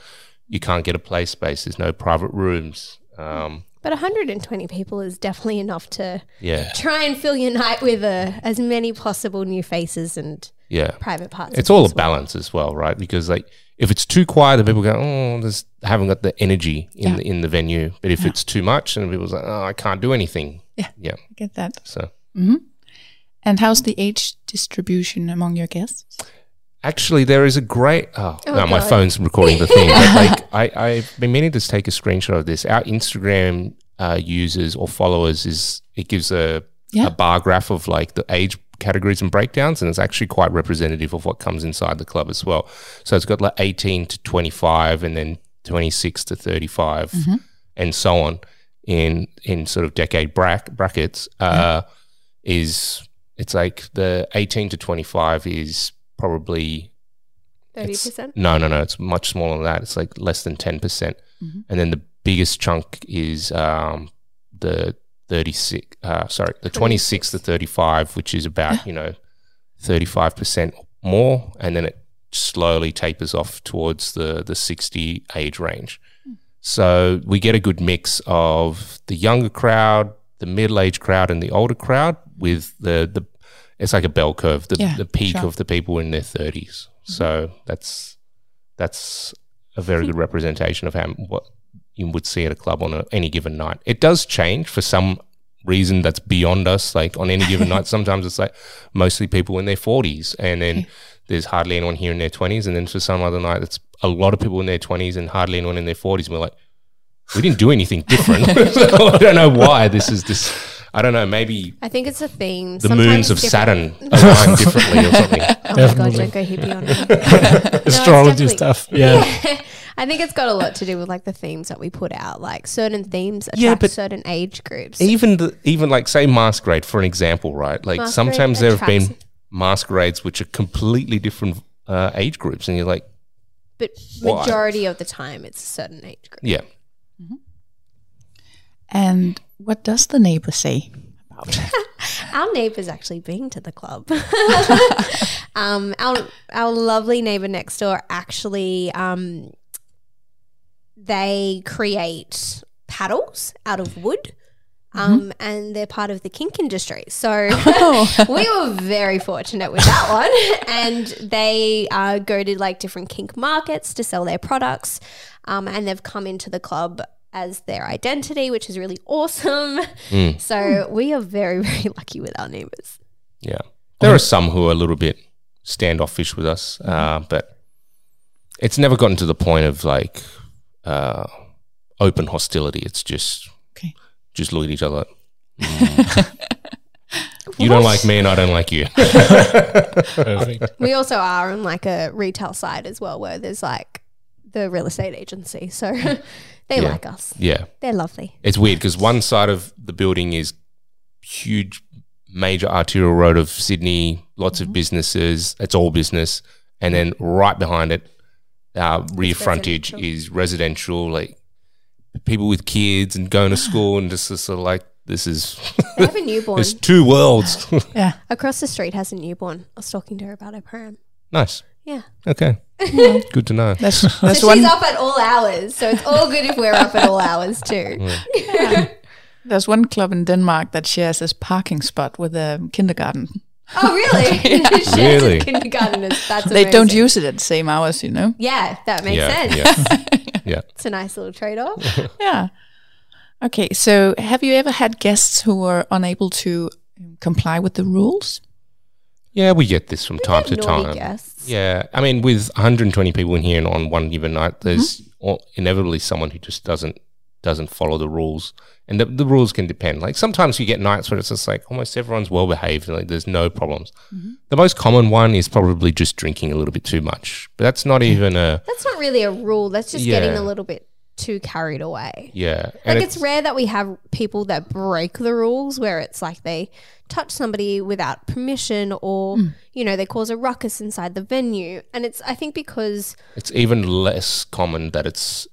C: You can't get a play space. There's no private rooms. Um,
D: But 120 people is definitely enough to
C: yeah,
D: try and fill your night with uh, as many possible new faces and
C: yeah.
D: private parts. of
C: It's
D: it
C: all
D: as
C: a balance as well, right? Because like if it's too quiet, then people go, "Oh, this haven't got the energy in
E: Yeah.
C: the, in the venue." But if it's too much, and people's like, "Oh, I can't do anything."
E: Yeah.
C: yeah.
E: I get that.
C: So
E: And how's the age distribution among your guests?
C: Actually, there is a great. Oh,
D: Oh,
C: no, my
D: God.
C: phone's recording the thing. but
D: *laughs*
C: like, I, I've been meaning to take a screenshot of this. Our Instagram uh, users or followers is it gives a,
E: Yeah.
C: a bar graph of like the age categories and breakdowns, and it's actually quite representative of what comes inside the club as well. So it's got like eighteen to twenty five, and then twenty six to thirty
D: Mm-hmm.
C: and so on in in sort of decade brack, brackets. Uh, Is it's like the eighteen to twenty five is probably
D: well.
C: it's-
D: 30%.
C: No, no, no. It's much smaller than that. It's like less than 10%. percent And then the biggest chunk is um, the 36, uh, sorry, the 26 to 35, which is about, you know, 35% more. And then it slowly tapers off towards the, the 60 age range. So we get a good mix of the younger crowd, the middle aged crowd, and the older crowd with the, the it's like a bell curve, the,
E: Yeah,
C: the peak
E: sure. Mm-hmm.
C: of the people in their 30s. So that's that's a very good representation of how what you would see at a club on a, any given night. It does change for some reason that's beyond us. Like on any given
D: *laughs*
C: night, sometimes it's like mostly people in their forties, and then there's hardly anyone here in their twenties, and then for some other night, it's a lot of people in their twenties and hardly anyone in their forties. And we're like, we didn't do anything
D: *laughs*
C: different. *laughs* so I don't know why this is this. I don't know. Maybe
D: I think it's a theme.
C: the
D: Sometimes
C: moons of
D: different- *laughs*
C: Saturn align differently or something.
D: Oh my god,
F: Definitely.
D: don't go hippie
C: *laughs*
D: on me.
F: Astrology
D: definitely-
F: stuff. Yeah.
D: I think it's got a lot to do with like the themes that we put out. Like certain themes attract
C: Yeah, but
D: certain age groups.
C: even the, even like say masquerade for an example, right? Like
D: Masquerade
C: sometimes there have been
D: attracts-
C: masquerades which are completely different uh, age groups, and you're like,
D: but
C: Why?
D: majority of the time, it's a certain age group.
C: yeah,
E: And what does the neighbor say
D: *laughs*
E: about it?
D: Our neighbour's actually been to the club. um, our our lovely neighbour next door actually um, they create paddles out of wood. Um, and they're part of the kink industry. So *laughs* we were very fortunate with that one. And they uh, go to like different kink markets to sell their products. Um, and they've come into the club as their identity, which is really awesome. So we are very, *laughs* very lucky with our neighbors.
C: yeah. There are some who are a little bit standoffish with us, uh, but it's never gotten to the point of like uh, open hostility. It's just
E: Okay.
C: just look at each other. like, "Mm." you don't like me, and I don't like you.
F: *laughs* Perfect.
D: We also are on like a retail side as well, where there's like the real estate agency. So *laughs* they
C: Yeah.
D: like us.
C: yeah.
D: They're lovely.
C: It's weird because one side of the building is huge, major arterial road of Sydney, lots of businesses. It's all business, and then right behind it, uh, rear frontage
D: residential.
C: is residential, like people with kids and going to school, and just sort of like this is *laughs*
D: They have a newborn.
C: there's two worlds. *laughs*
E: Yeah.
D: Across the street has a newborn. I was talking to her about her pram.
C: nice.
D: Yeah.
C: Okay. Good to know.
E: That's,
D: So
E: that's
D: she's
E: one
D: up at all hours. So it's all good if we're up at all hours
C: *laughs*
D: too.
E: There's one club in Denmark that shares this parking spot with a kindergarten.
C: *laughs*
D: Oh, really? *laughs* Shares
C: Really?
D: with Kindergarteners. That's
E: They don't
D: amazing.
E: use it at the same hours, you know?
D: Yeah, that makes
C: yeah,
D: sense.
C: yeah.
D: It's a nice little trade off.
E: Yeah. Okay, so have you ever had guests who were unable to um, comply with the rules?
C: Yeah, we get this from time to time.
D: Guests.
C: Yeah, I mean, with 120 people in here and on one given night, there's
D: Mm-hmm.
C: al- inevitably someone who just doesn't doesn't follow the rules, and the, the rules can depend. Like sometimes you get nights where it's just like almost everyone's well behaved and like there's no problems.
D: Mm-hmm.
C: The most common one is probably just drinking a little bit too much, but that's not even a
D: That's not really a rule. That's just
C: Yeah.
D: getting a little bit too carried away.
C: yeah.
D: like it's, rare that we have people that break the rules where it's like they touch somebody without permission or you know they cause a ruckus inside the venue and it's i think because
C: it's even less common that it's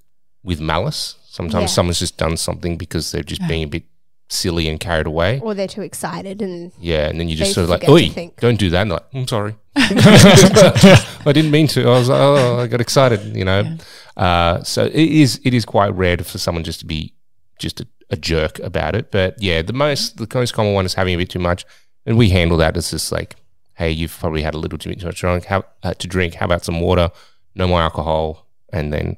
C: with malice. Sometimes
D: Yeah.
C: someone's just done something because they're just being a bit silly and carried away.
D: or they're too excited
C: *laughs*
D: and
C: Yeah, and then you just
D: They
C: sort of like,
D: forget to
C: oi,
D: think.
C: don't do that. And they're like, I'm
D: *laughs*
C: sorry. *laughs* I didn't mean to. I was like, oh, I got excited, you know. Uh, so it is it is quite rare for someone just to be just a, a jerk about it. But yeah, the most the most common one is having a bit too much, and we handle that. It's just like, hey, you've probably had a little too much drunk how, uh, to drink. How about some water? No more alcohol, and then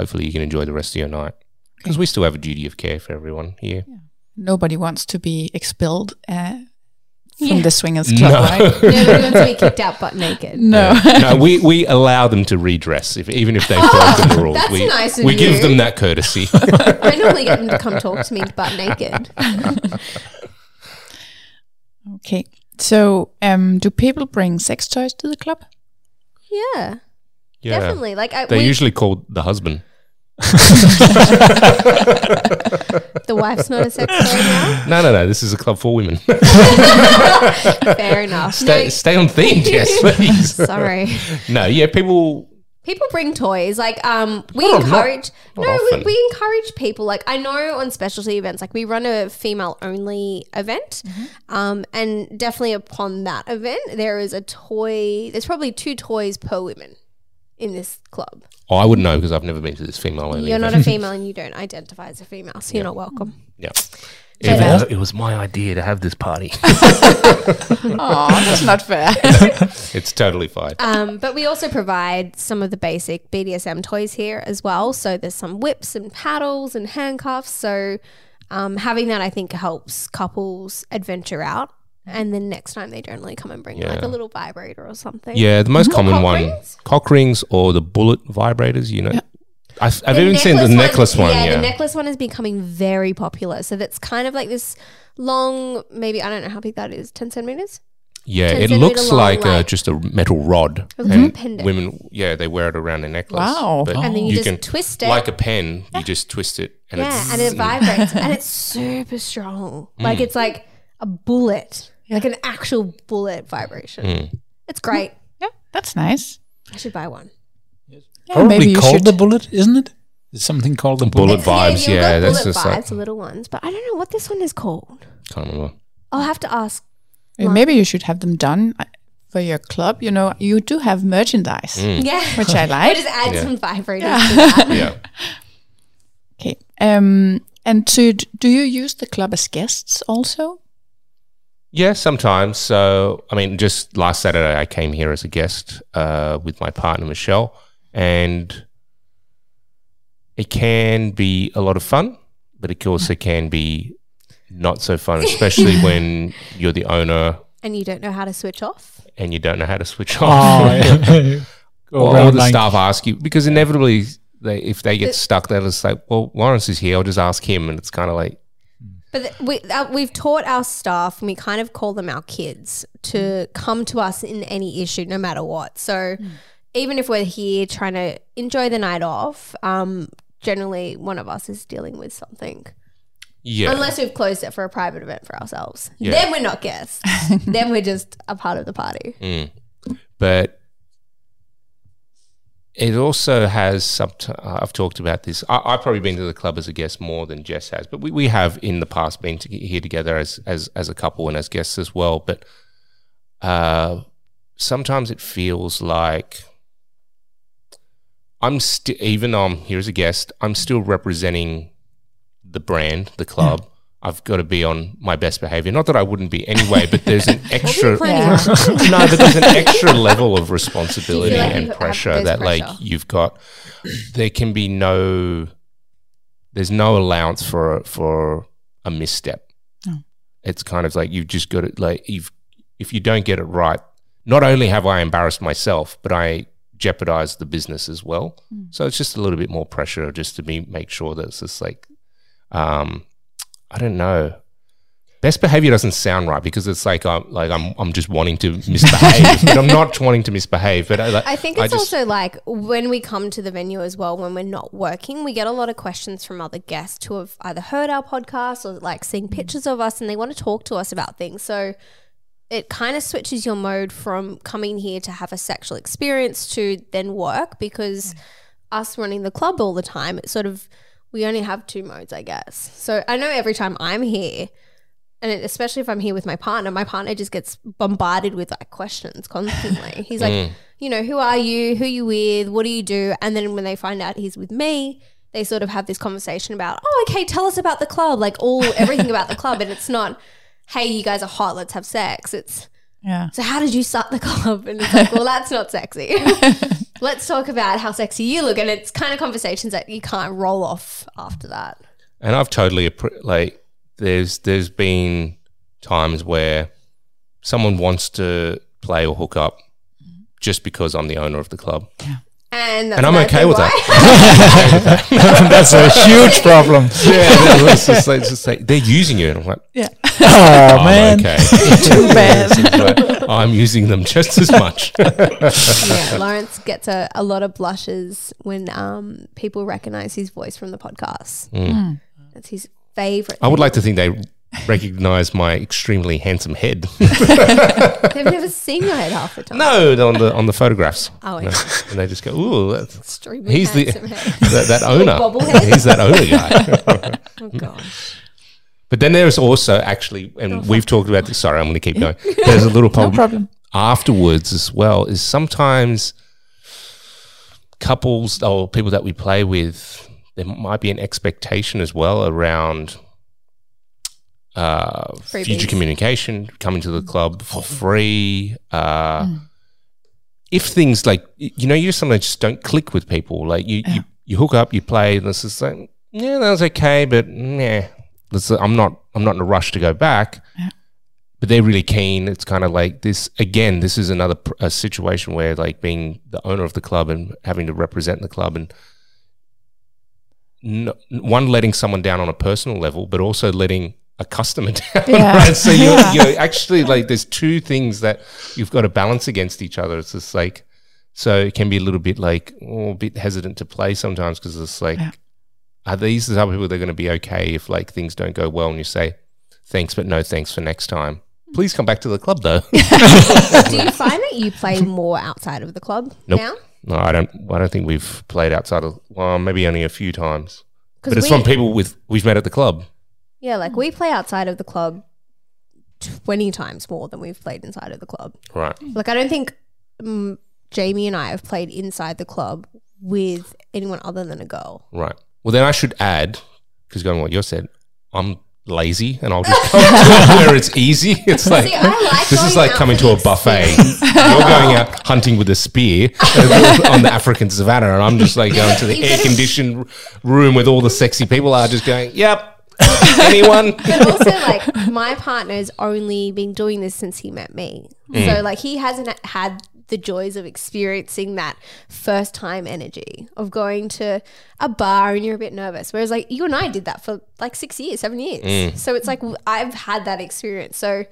C: hopefully you can enjoy the rest of your night because we still have a duty of care for everyone here.
E: Nobody wants to be expelled uh, from
D: Yeah.
E: the swingers club, right?
D: nobody wants to be kicked out butt naked.
E: No.
C: no, we, we allow them to redress if, even if they've broken
D: *laughs*
C: the rules.
D: that's
C: we
D: nice of
C: we
D: you.
C: give them that
D: *laughs*
C: courtesy.
D: I normally get them to come talk to me butt naked.
E: Okay. So, um, do people bring sex toys to the club?
D: Yeah,
C: yeah.
D: definitely. Like I,
C: They're
D: we,
C: usually called the husband.
D: the wife's not a sex toy now.
C: No, no, no. This is a club for women. *laughs*
D: Fair enough.
C: stay,
D: No,
C: stay on
D: *laughs*
C: theme, Jess, please.
D: sorry.
C: *laughs* No, yeah, people.
D: People bring toys. Like um, we
C: Not a lot-
D: encourage.
C: not
D: no, we,
C: often.
D: we encourage people. Like I know on specialty events, like we run a female only event, um, and definitely upon that event, there is a toy. There's probably two toys per woman in this club.
C: Oh, I wouldn't know because I've never been to this female only.
D: You're not a female and you don't identify as a female, so you're not welcome.
C: Yeah.
D: Even
F: Yeah.
C: it was my idea to have this
D: *laughs*
C: party. *laughs*
E: Oh, that's not fair.
C: it's totally fine.
D: Um, but we also provide some of the basic BDSM toys here as well. So there's some whips and paddles and handcuffs. So um, having that, I think, helps couples adventure out. And then next time they generally come and bring like
C: Yeah.
D: a little vibrator or something.
C: Yeah, the most common
D: Cock
C: one,
D: rings?
C: cock rings or the bullet vibrators. You know, I've, I've
D: The
C: even seen the necklace one. Yeah,
D: the necklace one is becoming very popular. So that's kind of like this long, maybe I don't know how big that is, ten centimeters.
C: Yeah,
D: Ten
C: it
D: centimeter
C: looks
D: long,
C: like, uh,
D: like-
C: just a metal rod.
D: It looks like a pendant.
C: Women, yeah, they wear it around their necklace.
E: Wow.
C: But
D: And then you just twist it.
C: like a pen. You just twist it, and
D: yeah,
C: it's mm,
D: and
C: *laughs*
D: it vibrates, and it's super strong. Like it's like a bullet, like an actual bullet vibration.
C: Mm.
D: It's great.
E: *laughs* yeah, that's nice.
D: I should buy one.
E: Yeah, maybe
F: Probably
E: you
F: called
E: should.
F: the bullet, isn't it? There's something called the bullet.
C: bullet vibes. Yeah,
D: you've got
C: that's
D: bullet
C: just
D: vibes,
C: like
D: the little ones. But I don't know what this one is called.
C: can't remember.
D: I'll have to ask.
E: Uh, Maybe you should have them done uh, for your club. You know, you do have merchandise,
D: Yeah, *laughs*
E: which *laughs* I
D: I
E: like.
D: just add
C: Mm. Yeah.
D: some vibrators. to that. *laughs*
C: Yeah,
E: Okay. Um, and to do you use the club as guests also?
C: yeah. Sometimes. So I mean, just last Saturday, I came here as a guest uh, with my partner Michelle, and it can be a lot of fun, but it also can be not so fun,
D: *laughs*
C: especially when you're the owner
D: And you don't know how to switch off.
C: and you don't know how to switch off.
F: *laughs* Oh, yeah. *laughs* Go
C: or,
F: around
C: the
F: like-
C: staff ask you because inevitably they, if they get stuck they're just like well lawrence is here i'll just ask him and it's kind of like
D: But th- we, uh, we've taught our staff, and we kind of call them our kids, to
C: Mm.
D: come to us in any issue, no matter what. So even if we're here trying to enjoy the night off, um, generally one of us is dealing with something.
C: yeah
D: Unless we've closed it for a private event for ourselves.
C: Yeah.
D: Then we're not
C: *laughs*
D: guests. then we're just a part of the party.
C: but it also has some i've talked about this I, i've probably been to the club as a guest more than jess has but we, we have in the past been to, here together as, as as a couple and as guests as well but uh sometimes it feels like i'm still even though i'm here as a guest i'm still representing the brand the club I've got to be on my best behavior. Not that I wouldn't be anyway, but there's an extra
D: Planning
C: *laughs*
D: on-
C: no, but there's an extra level of responsibility
D: You feel like
C: and
D: you have-
C: pressure
D: there's
C: that, like,
D: pressure.
C: you've got. There can be no. There's no allowance for for a misstep. It's kind of like you've just got to like you've if you don't get it right. Not only have I embarrassed myself, but I jeopardized the business as well.
D: Hmm.
C: So it's just a little bit more pressure just to be make sure that it's just like, um, I don't know. Best behavior doesn't sound right because it's like I'm like I'm I'm just wanting
D: *laughs*
C: to misbehave, but I'm not wanting to misbehave. But I, like,
D: I think it's
C: just-
D: also like when we come to the venue as well, when we're not working, we get a lot of questions from other guests who have either heard our podcast or like
C: Mm.
D: seeing pictures of us and they want to talk to us about things. So it kind of switches your mode from coming here to have a sexual
C: Mm.
D: experience to then work because us running the club all the time, it sort of we only have two modes, I guess. So I know every time I'm here, and it, especially if I'm here with my partner, my partner just gets bombarded with like
C: *laughs*
D: questions constantly. He's
C: Mm.
D: like, you know, who are you? Who you with? What do you do? And then when they find out he's with me, they sort of have this conversation about, oh, okay, tell us about the club, like all everything about the club. And it's not, hey, you guys are hot, let's have sex. It's
E: Yeah.
D: so how did you start the club? And it's
C: *laughs*
D: like, well, that's not sexy. Let's talk about how sexy you look. And it's kind of conversations that you can't roll off after that.
C: And I've totally appre- like there's there's been times where someone wants to play or hook up
D: Mm-hmm.
C: just because I'm the owner of the club,
D: And, that's
C: and I'm
D: another
C: okay
D: thing
C: with
D: why-
C: that.
F: *laughs* That's a huge problem.
C: yeah,
D: *laughs*
C: no, it's just like, it's just like they're using you, and I'm like,
E: Yeah.
F: *laughs* Oh,
C: I'm
F: man.
C: okay. *laughs*
E: *laughs* Too bad.
C: But I'm using them just as much. *laughs*
D: yeah, Lawrence gets a, a lot of blushes when um, people recognize his voice from the podcast. That's his favorite.
C: Mm. I would like to think they recognize my extremely handsome head. *laughs*
D: They've never seen your head half the time.
C: no, on the on the photographs,
D: Oh,
C: No.
D: yeah.
C: and they just go, "Ooh, that's
D: Extremely
C: He's the
D: handsome
C: *laughs*
D: head.
C: that, that owner. *laughs*
D: bobblehead.
C: He's that owner guy.
D: Oh, gosh.
C: but then there's also actually, and we've talked about this. Sorry, I'm going to
D: *laughs*
C: keep going. There's a little problem,
E: problem.
C: afterwards as well. Is sometimes couples or people that we play with, there might be an expectation as well around uh, future
D: Freebies.
C: communication coming to the club for free. Uh, If things like y- you know, you just sometimes just don't click with people. Like you, you, you hook up, you play, and it's just like, yeah, that was okay, but yeah, I'm not, I'm not in a rush to go back. But they're really keen. It's kind of like this again. This is another pr- a situation where like being the owner of the club and having to represent the club and no, one letting someone down on a personal level, but also letting a customer *laughs* down.
E: Yeah.
C: Right? So you're,
E: Yeah.
C: you're actually like there's two things that you've got to balance against each other. It's just like so it can be a little bit like oh, a bit hesitant to play sometimes because it's like
E: Yeah.
C: are these the type of people that are going to be okay if like things don't go well and you say thanks but no thanks for next time. Please come back to the club
D: *laughs*
C: though.
D: Do you find that you play more outside of the club
C: Nope.
D: now?
C: no, I don't. I don't think we've played outside of well, maybe only a few times. But it's
D: we-
C: from people with we've met at the club.
D: Yeah, like we play outside of the club 20 times more than we've played inside of the club.
C: Right.
D: Like, I don't think um, Jamie and I have played inside the club with anyone other than a girl.
C: Right. Well, then I should add, because going on what you said, I'm lazy and I'll just come to it where it's easy. *laughs* It's like,
D: See, I like
C: this is
D: going
C: like
D: out
C: coming
D: for the
C: to a buffet. *laughs* You're going out hunting with a
D: *laughs*
C: spear on the African savannah, and I'm just like going to the
D: You
C: air
D: gotta-
C: conditioned room with all the sexy people are just going, yep, *laughs*
D: *laughs*
C: anyone?
D: But also, like, my partner's only been doing this since he met me. So, like, he hasn't had the joys of experiencing that first time energy of going to a bar and you're a bit nervous. Whereas, like, you and I did that for like six years, seven years. So, it's like, w- I've had that experience. So,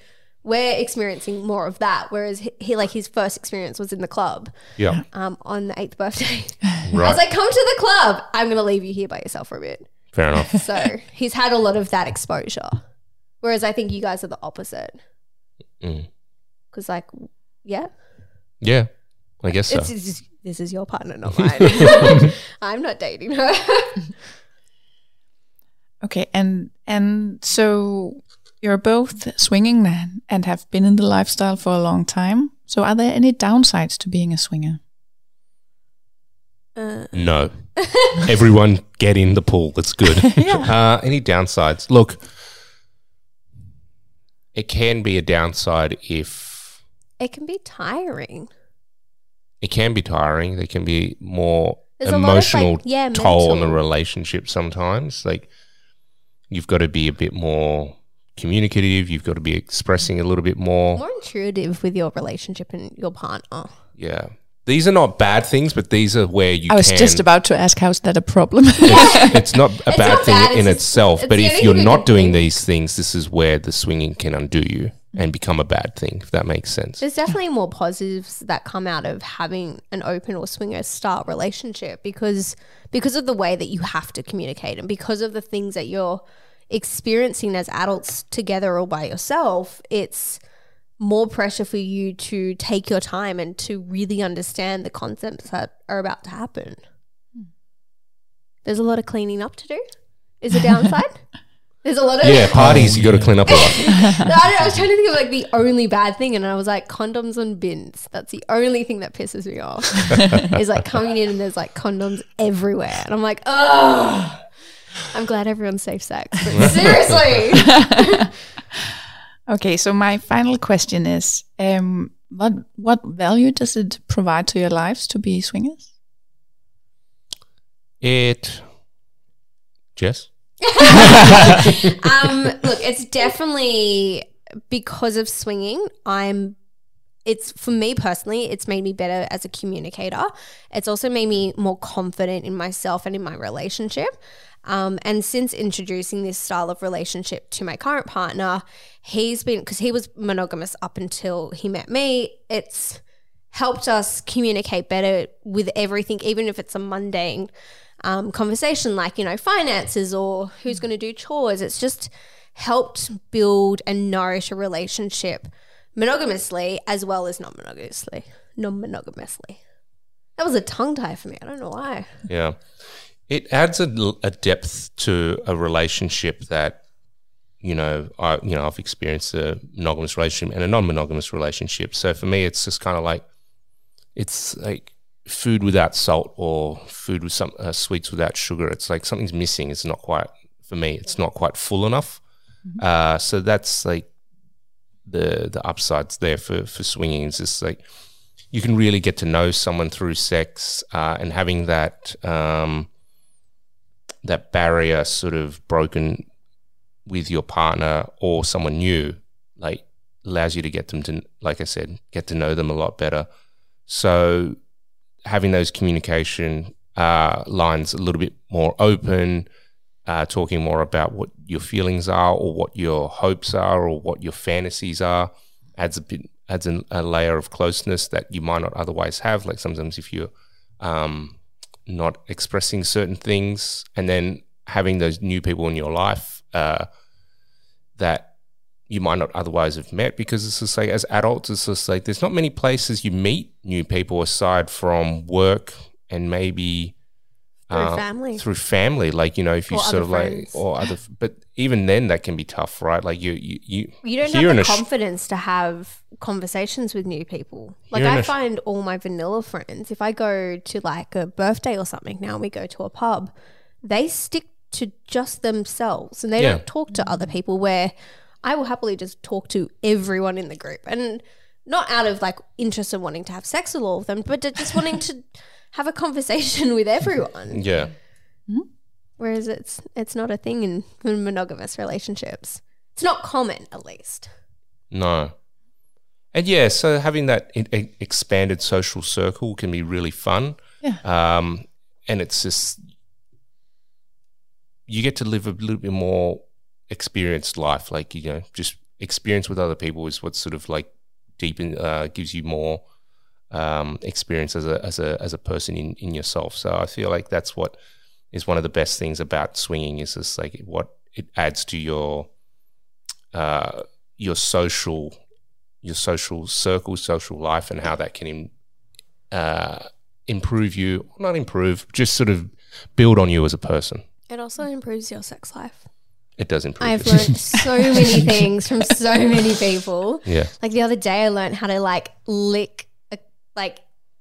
D: we're experiencing more of that. Whereas, he, he like, his first experience was in the club
C: Yeah.
D: um, on the eighth birthday. *laughs* I
C: Right.
D: was like, come to the club. I'm going to leave you here by yourself for a bit.
C: Fair enough.
D: So he's had a lot of that exposure. Whereas I think you guys are the opposite.
C: Mm.
D: Because, like, yeah,
C: Yeah. I guess so.
D: it's, it's- this is your
C: *laughs*
D: partner, not mine. *laughs* I'm not dating her. *laughs*
E: Okay, and and so you're both swinging men and have been in the lifestyle for a long time. So are there any downsides to being a swinger? Uh.
D: *laughs*
C: No. Everyone get in the pool. It's good. uh, any downsides? Look, it can be a downside if
D: it can be tiring.
C: it can be tiring. There can be more
D: There's a lot of,
C: emotional
D: like, yeah,
C: toll on the
D: mental.
C: relationship sometimes. Like you've got to be a bit more communicative. You've got to be expressing a little bit more.
D: More intuitive with your relationship and your partner.
C: Yeah. These are not bad things, but these are where you
E: I was
C: can-
E: just about to ask, how's that
C: *laughs*
E: a
D: *laughs*
E: problem? *laughs*
C: it's, it's not a
D: It's
C: bad
D: not
C: thing
D: bad,
C: in
D: it's just-
C: itself,
D: it's
C: but
D: the
C: if
D: only
C: you're
D: thing we
C: not
D: can
C: doing
D: do.
C: these things, this is where the swinging can undo you and become a bad thing, if that makes sense.
D: There's definitely more positives that come out of having an open or swinger style relationship because because of the way that you have to communicate and because of the things that you're experiencing as adults together or by yourself, it's more pressure for you to take your time and to really understand the concepts that are about to happen. There's a lot of cleaning up to do. Is a downside? There's a lot of. *laughs*
C: Yeah, parties you got to clean up a lot.
D: I, don't know, I was trying to think of like the only bad thing, and I was like condoms and bins. That's the only thing that pisses me off. is like coming in and there's like condoms everywhere, and I'm like, oh. I'm glad everyone's safe sex, but seriously,
E: Okay, so my final question is um, what what value does it provide to your lives to be swingers?
C: It. Jess?
D: um, look, it's definitely because of swinging. I'm. It's for me personally. It's made me better as a communicator. It's also made me more confident in myself and in my relationship. Um, and since introducing this style of relationship to my current partner, he's been because he was monogamous up until he met me. It's helped us communicate better with everything, even if it's a mundane um, conversation like, you know, finances or who's going to do chores. It's just helped build and nourish a relationship monogamously as well as non monogamously. Non monogamously. That was a tongue tie for me. I don't know why.
C: Yeah. It adds a, l- a depth to a relationship that, you know, I you know, I've experienced a monogamous relationship and a non-monogamous relationship. So for me, it's just kind of like it's like food without salt or food with some uh, sweets without sugar. It's like something's missing. It's not quite for me. It's not quite full enough. Uh, so that's like the the upsides there for for swinging. It's just like you can really get to know someone through sex uh, and having that um, that barrier sort of broken with your partner or someone new like allows you to get them to like i said get to know them a lot better so having those communication uh, lines a little bit more open uh, talking more about what your feelings are or what your hopes are or what your fantasies are adds a bit adds an, a layer of closeness that you might not otherwise have like sometimes if you're um, not expressing certain things and then having those new people in your life uh, that you might not otherwise have met because it's just like as adults it's just like there's not many places you meet new people aside from work and maybe
D: Through
C: uh,
D: family.
C: through family like you know if you
D: Or
C: sort
D: other
C: of
D: friends.
C: like or other f- but even then that can be tough right like you you, you
D: You don't
C: here
D: have
C: in
D: the
C: Aus-
D: confidence to have conversations with new people. Like
C: Here in
D: I
C: Aus-
D: find all my vanilla friends, if I go to like a birthday or something now and we go to a pub, they stick to just themselves and they
C: Yeah.
D: don't talk to other people where I will happily just talk to everyone in the group and not out of like interest in wanting to have sex with all of them, but just
C: *laughs*
D: wanting to have a conversation with everyone.
C: yeah
D: Whereas it's it's not a thing in monogamous relationships. It's not common at least.
C: No. And yeah, so having that in, e- expanded social circle can be really fun.
E: Yeah.
C: Um, and it's just, you get to live a little bit more experienced life. Like, you know, just experience with other people is what sort of like deepen, uh, gives you more um, experience as a, as a, as a person in, in yourself. So I feel like that's what is one of the best things about swinging is just like what it adds to your, uh, your social your social circle, social life, and how that can im- uh, improve you, not improve, just sort of build on you as a person.
D: It also improves your sex life.
C: It does improve.
D: I've
C: you.
D: learned so many things from so many people.
C: *laughs* yeah,
D: Like the other day, I learned how to like lick, a, like,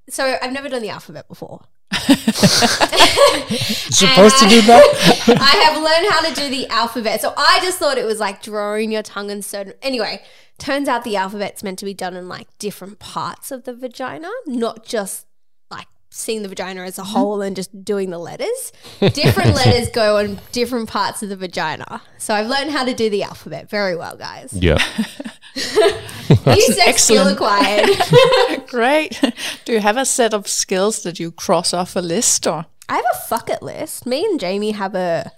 D: so I've never done the alphabet before.
F: Supposed to do that?
D: I have learned how to do the alphabet. So I just thought it was like drawing your tongue in certain. Anyway, turns out the alphabet's meant to be done in like different parts of the vagina, not just like seeing the vagina as a whole and just doing the letters. Different letters go on different parts of the vagina. So I've learned how to do the alphabet very well, guys.
C: *laughs* yeah.
D: New sex skill
E: excellent.
D: acquired.
E: Great. *laughs* Do you have a set of skills that you cross off a list or?
D: I have a fuck it list. Me and Jamie have a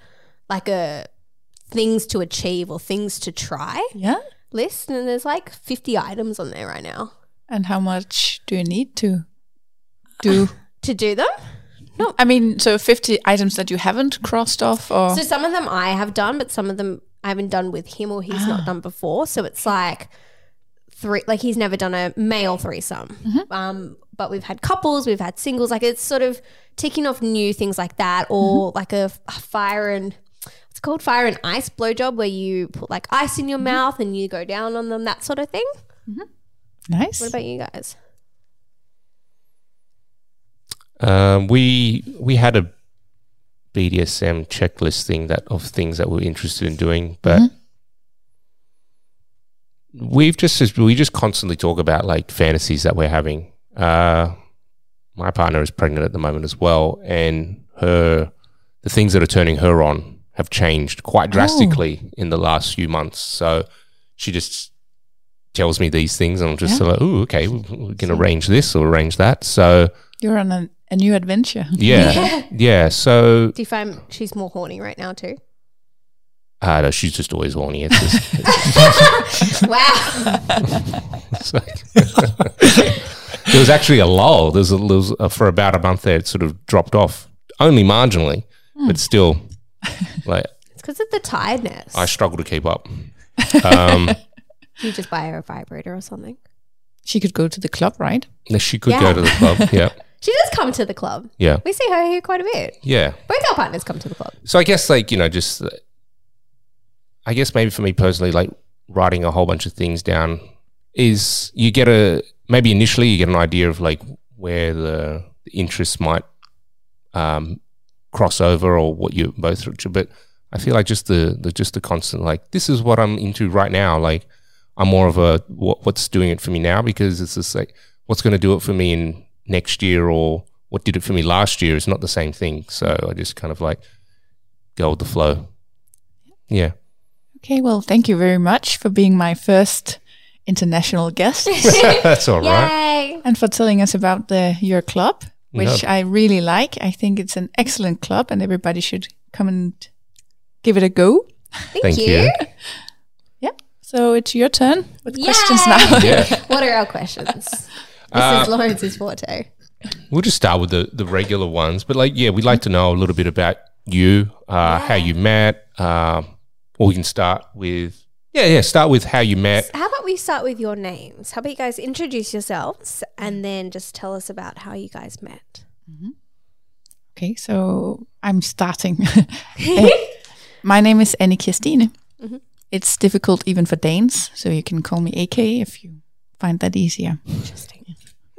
D: like a things to achieve or things to try.
E: Yeah.
D: list and there's like 50 items on there right now
E: And how much do you need to do?
D: to do them.
E: *laughs* no, I mean, so 50 items that you haven't crossed off or?
D: So some of them *gasps* I have done, but some of them I haven't done with him or he's not done before. So it's like three, like he's never done a male threesome. Um, but we've had couples, we've had singles. Like it's sort of ticking off new things like that, or like a, f- a fire and it's called fire and ice blowjob, where you put like ice in your mouth and you go down on them, that sort of thing.
E: Nice.
D: What about you guys?
C: Um, we we had a BDSM checklist thing that of things that we're interested in doing, but we've just we just constantly talk about like fantasies that we're having. Uh, my partner is pregnant at the moment as well, and her the things that are turning her on have changed quite drastically in the last few months. So she just tells me these things, and I'm just like, "Ooh, okay, we, we can arrange this or arrange that." So.
E: You're on a, a new adventure.
C: Yeah. yeah. So
D: Do you find she's more horny right now too?
C: uh, no, she's just always horny. It's just,
D: Wow. *laughs*
C: it's like- *laughs* there was actually a lull. There was, a, there was a, for about a month there. It sort of dropped off, only marginally, but still, like
D: it's because of the tiredness.
C: I struggle to keep up. Um,
D: you just buy her a vibrator or something.
E: She could go to the club, right?
C: She could
D: Yeah.
C: go to the club. Yeah.
D: She does come to the club.
C: Yeah.
D: We see her here quite a bit.
C: Yeah.
D: Both our partners come to the club.
C: So I guess like you know just uh, I guess maybe for me personally like writing a whole bunch of things down is you get a maybe initially you get an idea of like where the, the interests might um, cross over or what you both are- but I feel like just the, the just the constant like this is what I'm into right now like I'm more of a what, what's doing it for me now because it's just like what's going to do it for me in next year or what did it for me last year is not the same thing so I just kind of like go with the flow. Yeah.
E: Okay, well, thank you very much for being my first international guest
C: That's all right.
D: Yay.
E: and for telling us about the your club, which
C: No.
E: I really like. I think it's an excellent club and everybody should come and give it a go.
D: Thank,
C: Thank
D: you.
C: you.
E: Yeah. So it's your turn with questions
D: Yay!
E: now. *laughs*
C: Yeah.
D: *laughs* What are our questions? this
E: Uh,
D: is Lawrence's forte.
C: We'll just start with the, the regular ones. But like, yeah, we'd like to know a little bit about you, uh, how you met. Um, or we can start with, yeah, yeah, start with how you met.
D: How about we start with your names? How about you guys introduce yourselves and then just tell us about how you guys met?
E: Okay, so I'm starting. Eh, My name is Annie Kirstine. It's difficult even for Danes, so you can call me AK if you find that easier.
D: Interesting.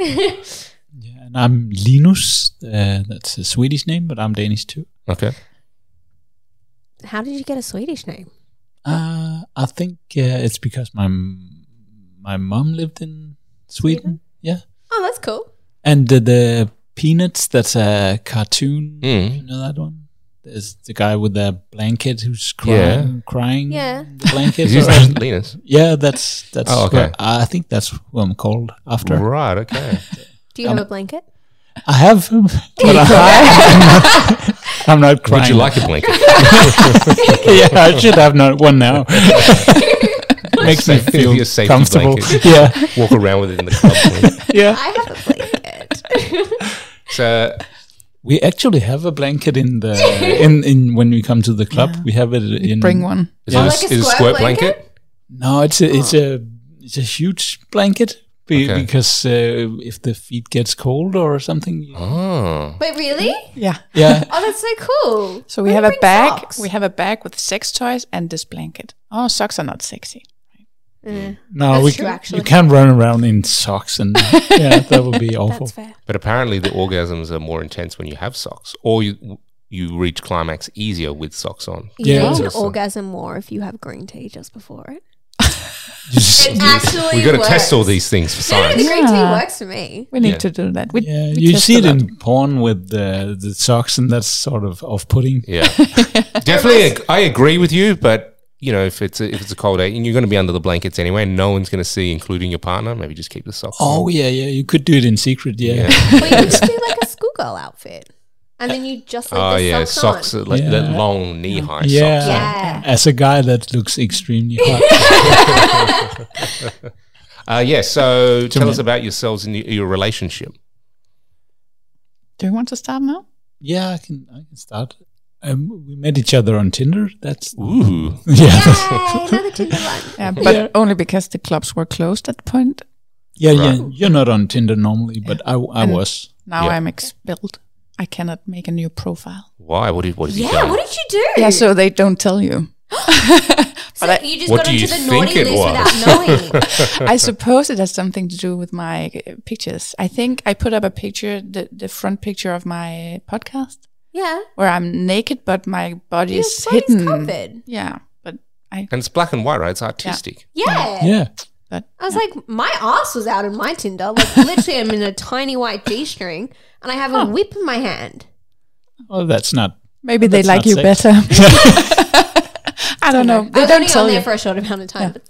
F: Yeah, and I'm Linus. Uh, that's a Swedish name, but I'm Danish too.
C: Okay.
D: How did you get a Swedish name?
F: Uh, I think uh, it's because my m- my mom lived in Sweden. Yeah,
D: Oh, that's cool.
F: and the, the Peanuts. That's a cartoon.
C: Mm.
F: You know that one? There's the guy with the blanket who's crying,
C: Yeah.
F: crying.
D: Yeah.
F: The
C: *laughs*
F: blanket.
C: Is your
F: or-
C: name Linus?
F: yeah, that's that's.
C: Oh, okay.
F: what- I think that's who I'm called after.
C: Right.
F: *laughs*
C: Okay.
D: Do you
E: Um,
D: have a blanket?
F: I have him, but *laughs* I, I'm not crying.
C: Would you
F: *laughs*
C: like a blanket?
F: yeah, I should have not one now. Makes me
C: Safe-
F: feel
C: your safety
F: comfortable.
C: blanket. *laughs*
F: Yeah,
C: Walk around with it in the club. please.
F: yeah.
D: I have a blanket.
C: So,
F: We actually have a blanket in the in, in when we come to the club. We have it in.
E: Bring one.
C: is, it, a,
F: Yeah. Like
D: a
C: is it a
D: squirt
C: squirt
D: blanket?
C: blanket?
F: No, it's a, it's a it's a huge blanket be,
C: Okay.
F: because uh, if the feet gets cold or something, you-
C: Oh.
D: *laughs* Wait, really?
E: Yeah.
C: *laughs*
F: yeah,
D: Oh, that's so cool.
E: So we
D: Who
E: have a
D: brings
E: bag.
D: socks?
E: We have a bag with sex toys and this blanket. Oh, socks are not sexy.
D: Mm,
F: no,
D: That's
F: we
D: true,
F: can,
D: actually.
F: you can't run around in socks and yeah, that would be awful.
D: that's fair.
C: But apparently, the orgasms are more intense when you have socks, or you you reach climax easier with socks on.
D: You
F: Yeah.
D: get an
C: Awesome.
D: orgasm more if you have green tea just before it.
F: You just-
D: actually
C: We've got to test all these things for
D: No, no, the
C: science.
D: green tea
E: Yeah.
D: works for me.
E: We need
C: Yeah.
E: to do that. We,
F: yeah,
E: we
F: you
E: test
F: see
E: a
F: it
E: lot.
F: in porn with the the socks, and that's sort of off-putting.
D: *laughs*
C: Yeah, definitely. ag- I agree with you, but you know, if it's a, if it's a cold day and you're going to be under the blankets anyway, and no one's going to see, including your partner, maybe just keep the socks.
F: Oh yeah, yeah, you could do it in secret. Yeah,
C: yeah.
D: *laughs* But you just do like a schoolgirl outfit, and then you just leave
C: Oh
D: the
C: yeah,
D: socks,
C: socks
D: on.
C: are like that
F: Yeah.
C: long knee high
F: Yeah.
C: socks.
D: Yeah.
F: *laughs* as a guy that looks extremely hot.
C: Uh, yeah. So tell
F: me.
C: us about yourselves and your, your relationship.
E: Do you want to start now?
F: yeah, I can I can start. Um, we met each other on Tinder. That's *laughs*
C: Ooh.
F: yeah, that's-
D: Yay, another Tinder one.
E: Yeah, but only because the clubs were closed at the point.
F: yeah, yeah.
C: Right.
F: You're not on Tinder normally, but I, I
E: And-
F: was.
E: Now
C: Yeah.
E: I'm expelled. I cannot make a new profile.
C: Why? What did, what did you
D: Yeah,
C: done?
D: what did you do?
E: Yeah, so they don't tell you.
D: So you just
C: What
D: got
C: do
D: onto
C: you
D: the
C: think
D: naughty
C: it
D: list
C: was?
D: without knowing.
E: *laughs* I suppose it has something to do with my uh, pictures. I think I put up a picture, the, the front picture of my podcast,
D: yeah.
E: where I'm naked, but my body
D: Your
E: is
D: body's
E: hidden.
D: covered.
E: Yeah, but I,
C: and it's black and white, right? It's artistic.
D: Yeah.
F: Yeah,
E: but
D: I was like, my ass was out in my Tinder. Like, literally, I'm in a tiny white G string and I have a whip in my hand.
F: oh, that's not.
E: maybe they like
F: That's not
E: you *laughs*
F: sex.
E: better. *laughs* I don't know. They
D: I was
E: don't
D: only
E: tell
D: on there
E: you.
D: for a short amount of time. but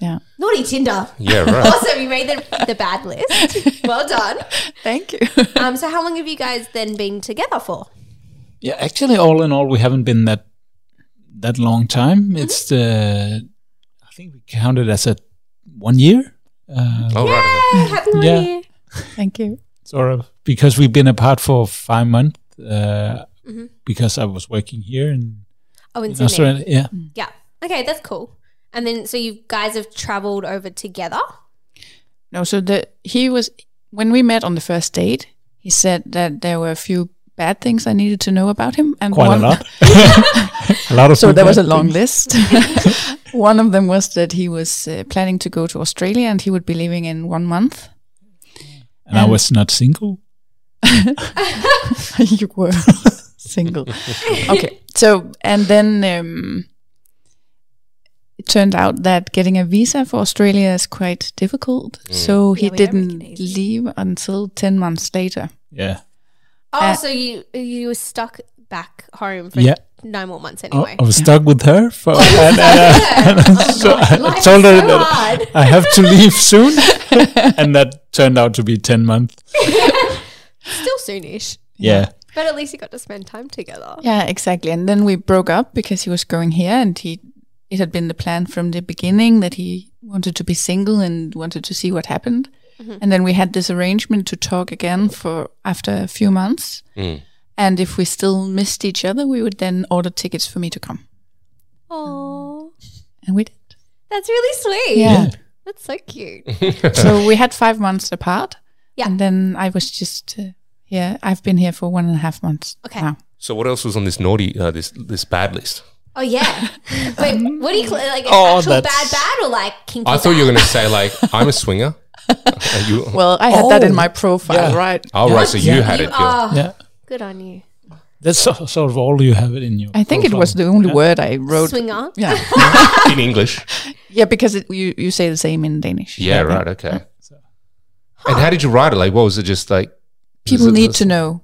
E: Yeah.
D: Naughty Tinder.
C: Yeah, right.
D: Awesome, you made the, the bad list. Well done. *laughs*
E: Thank you. *laughs*
D: Um, so, how long have you guys then been together for?
F: Yeah, actually, all in all, we haven't been that that long
E: Mm-hmm.
F: time. It's the I think we counted as a one year. Uh,
C: oh, right.
D: Hey, happy one
F: Yeah.
D: year.
E: Thank you.
F: sort of because we've been apart for five months uh,
E: Mm-hmm.
F: because I was working here in,
D: Oh, in
F: in
D: Sydney.
F: Australia. Yeah,
D: Yeah. Okay, that's cool. And then, so you guys have traveled over together.
E: No, so the he was when we met on the first date. He said that there were a few bad things I needed to know about him, and
F: quite
E: one,
F: a
E: *laughs*
F: lot. *laughs* a lot of.
E: So there was a
F: feedback.
E: long list. *laughs* one of them was that he was uh, planning to go to Australia and he would be leaving in one month.
F: and I was not single.
E: you were *laughs* single. okay. So and then um, it turned out that getting a visa for Australia is quite difficult. So he
D: Yeah, we don't make
E: didn't
D: it easy.
E: leave until ten months later.
F: Yeah.
D: Oh,
E: Uh,
D: so you you were stuck back home for
F: Yeah. Oh,
D: nine more months
F: I-
D: anyway.
F: I was stuck with her for. and, and, and *laughs* so I
D: *laughs* Life is
F: told her
D: so
F: that
D: hard.
F: *laughs* I have to leave soon, and that turned out to be ten months.
D: Still soonish.
F: Yeah.
D: But at least you got to spend time together.
E: Yeah, exactly. And then we broke up because he was going here and he it had been the plan from the beginning that he wanted to be single and wanted to see what happened.
D: Mm-hmm.
E: And then we had this arrangement to talk again for after a few months.
C: Mm.
E: And if we still missed each other, we would then order tickets for me to come.
D: Oh,
E: And we did.
D: that's really sweet.
E: Yeah.
D: That's so cute.
E: so we had five months apart.
D: Yeah.
E: And then I was just uh, here. I've been here for one and a half months.
D: Okay.
E: Now.
C: So what else was on this naughty, uh, this this bad list?
D: Oh
F: *laughs*
D: yeah. Wait, what do you call it? Like
F: Oh,
D: actual bad
F: that's-
D: bad or like kinky?
C: I thought you
D: bad?
C: were going to say like, I'm a swinger. *laughs* Are you,
E: Well, I had that in
F: Oh.
E: my profile,
F: Yeah.
E: right?
C: oh, right. So you
F: Yeah.
C: had
D: You
C: it. yeah.
D: are
F: Yeah.
D: Oh, good on you,
F: That's so, sort of all you have it in your.
E: I think it
F: profile.
E: was the only word I wrote.
D: swinger. *laughs*
E: Yeah.
C: *laughs* In English.
E: Yeah, because it, you you say the same in Danish.
C: *laughs* Yeah, right. Okay. And how did you write it? Like, what was it just like?
E: People
C: was it
E: need
C: this-
E: to know.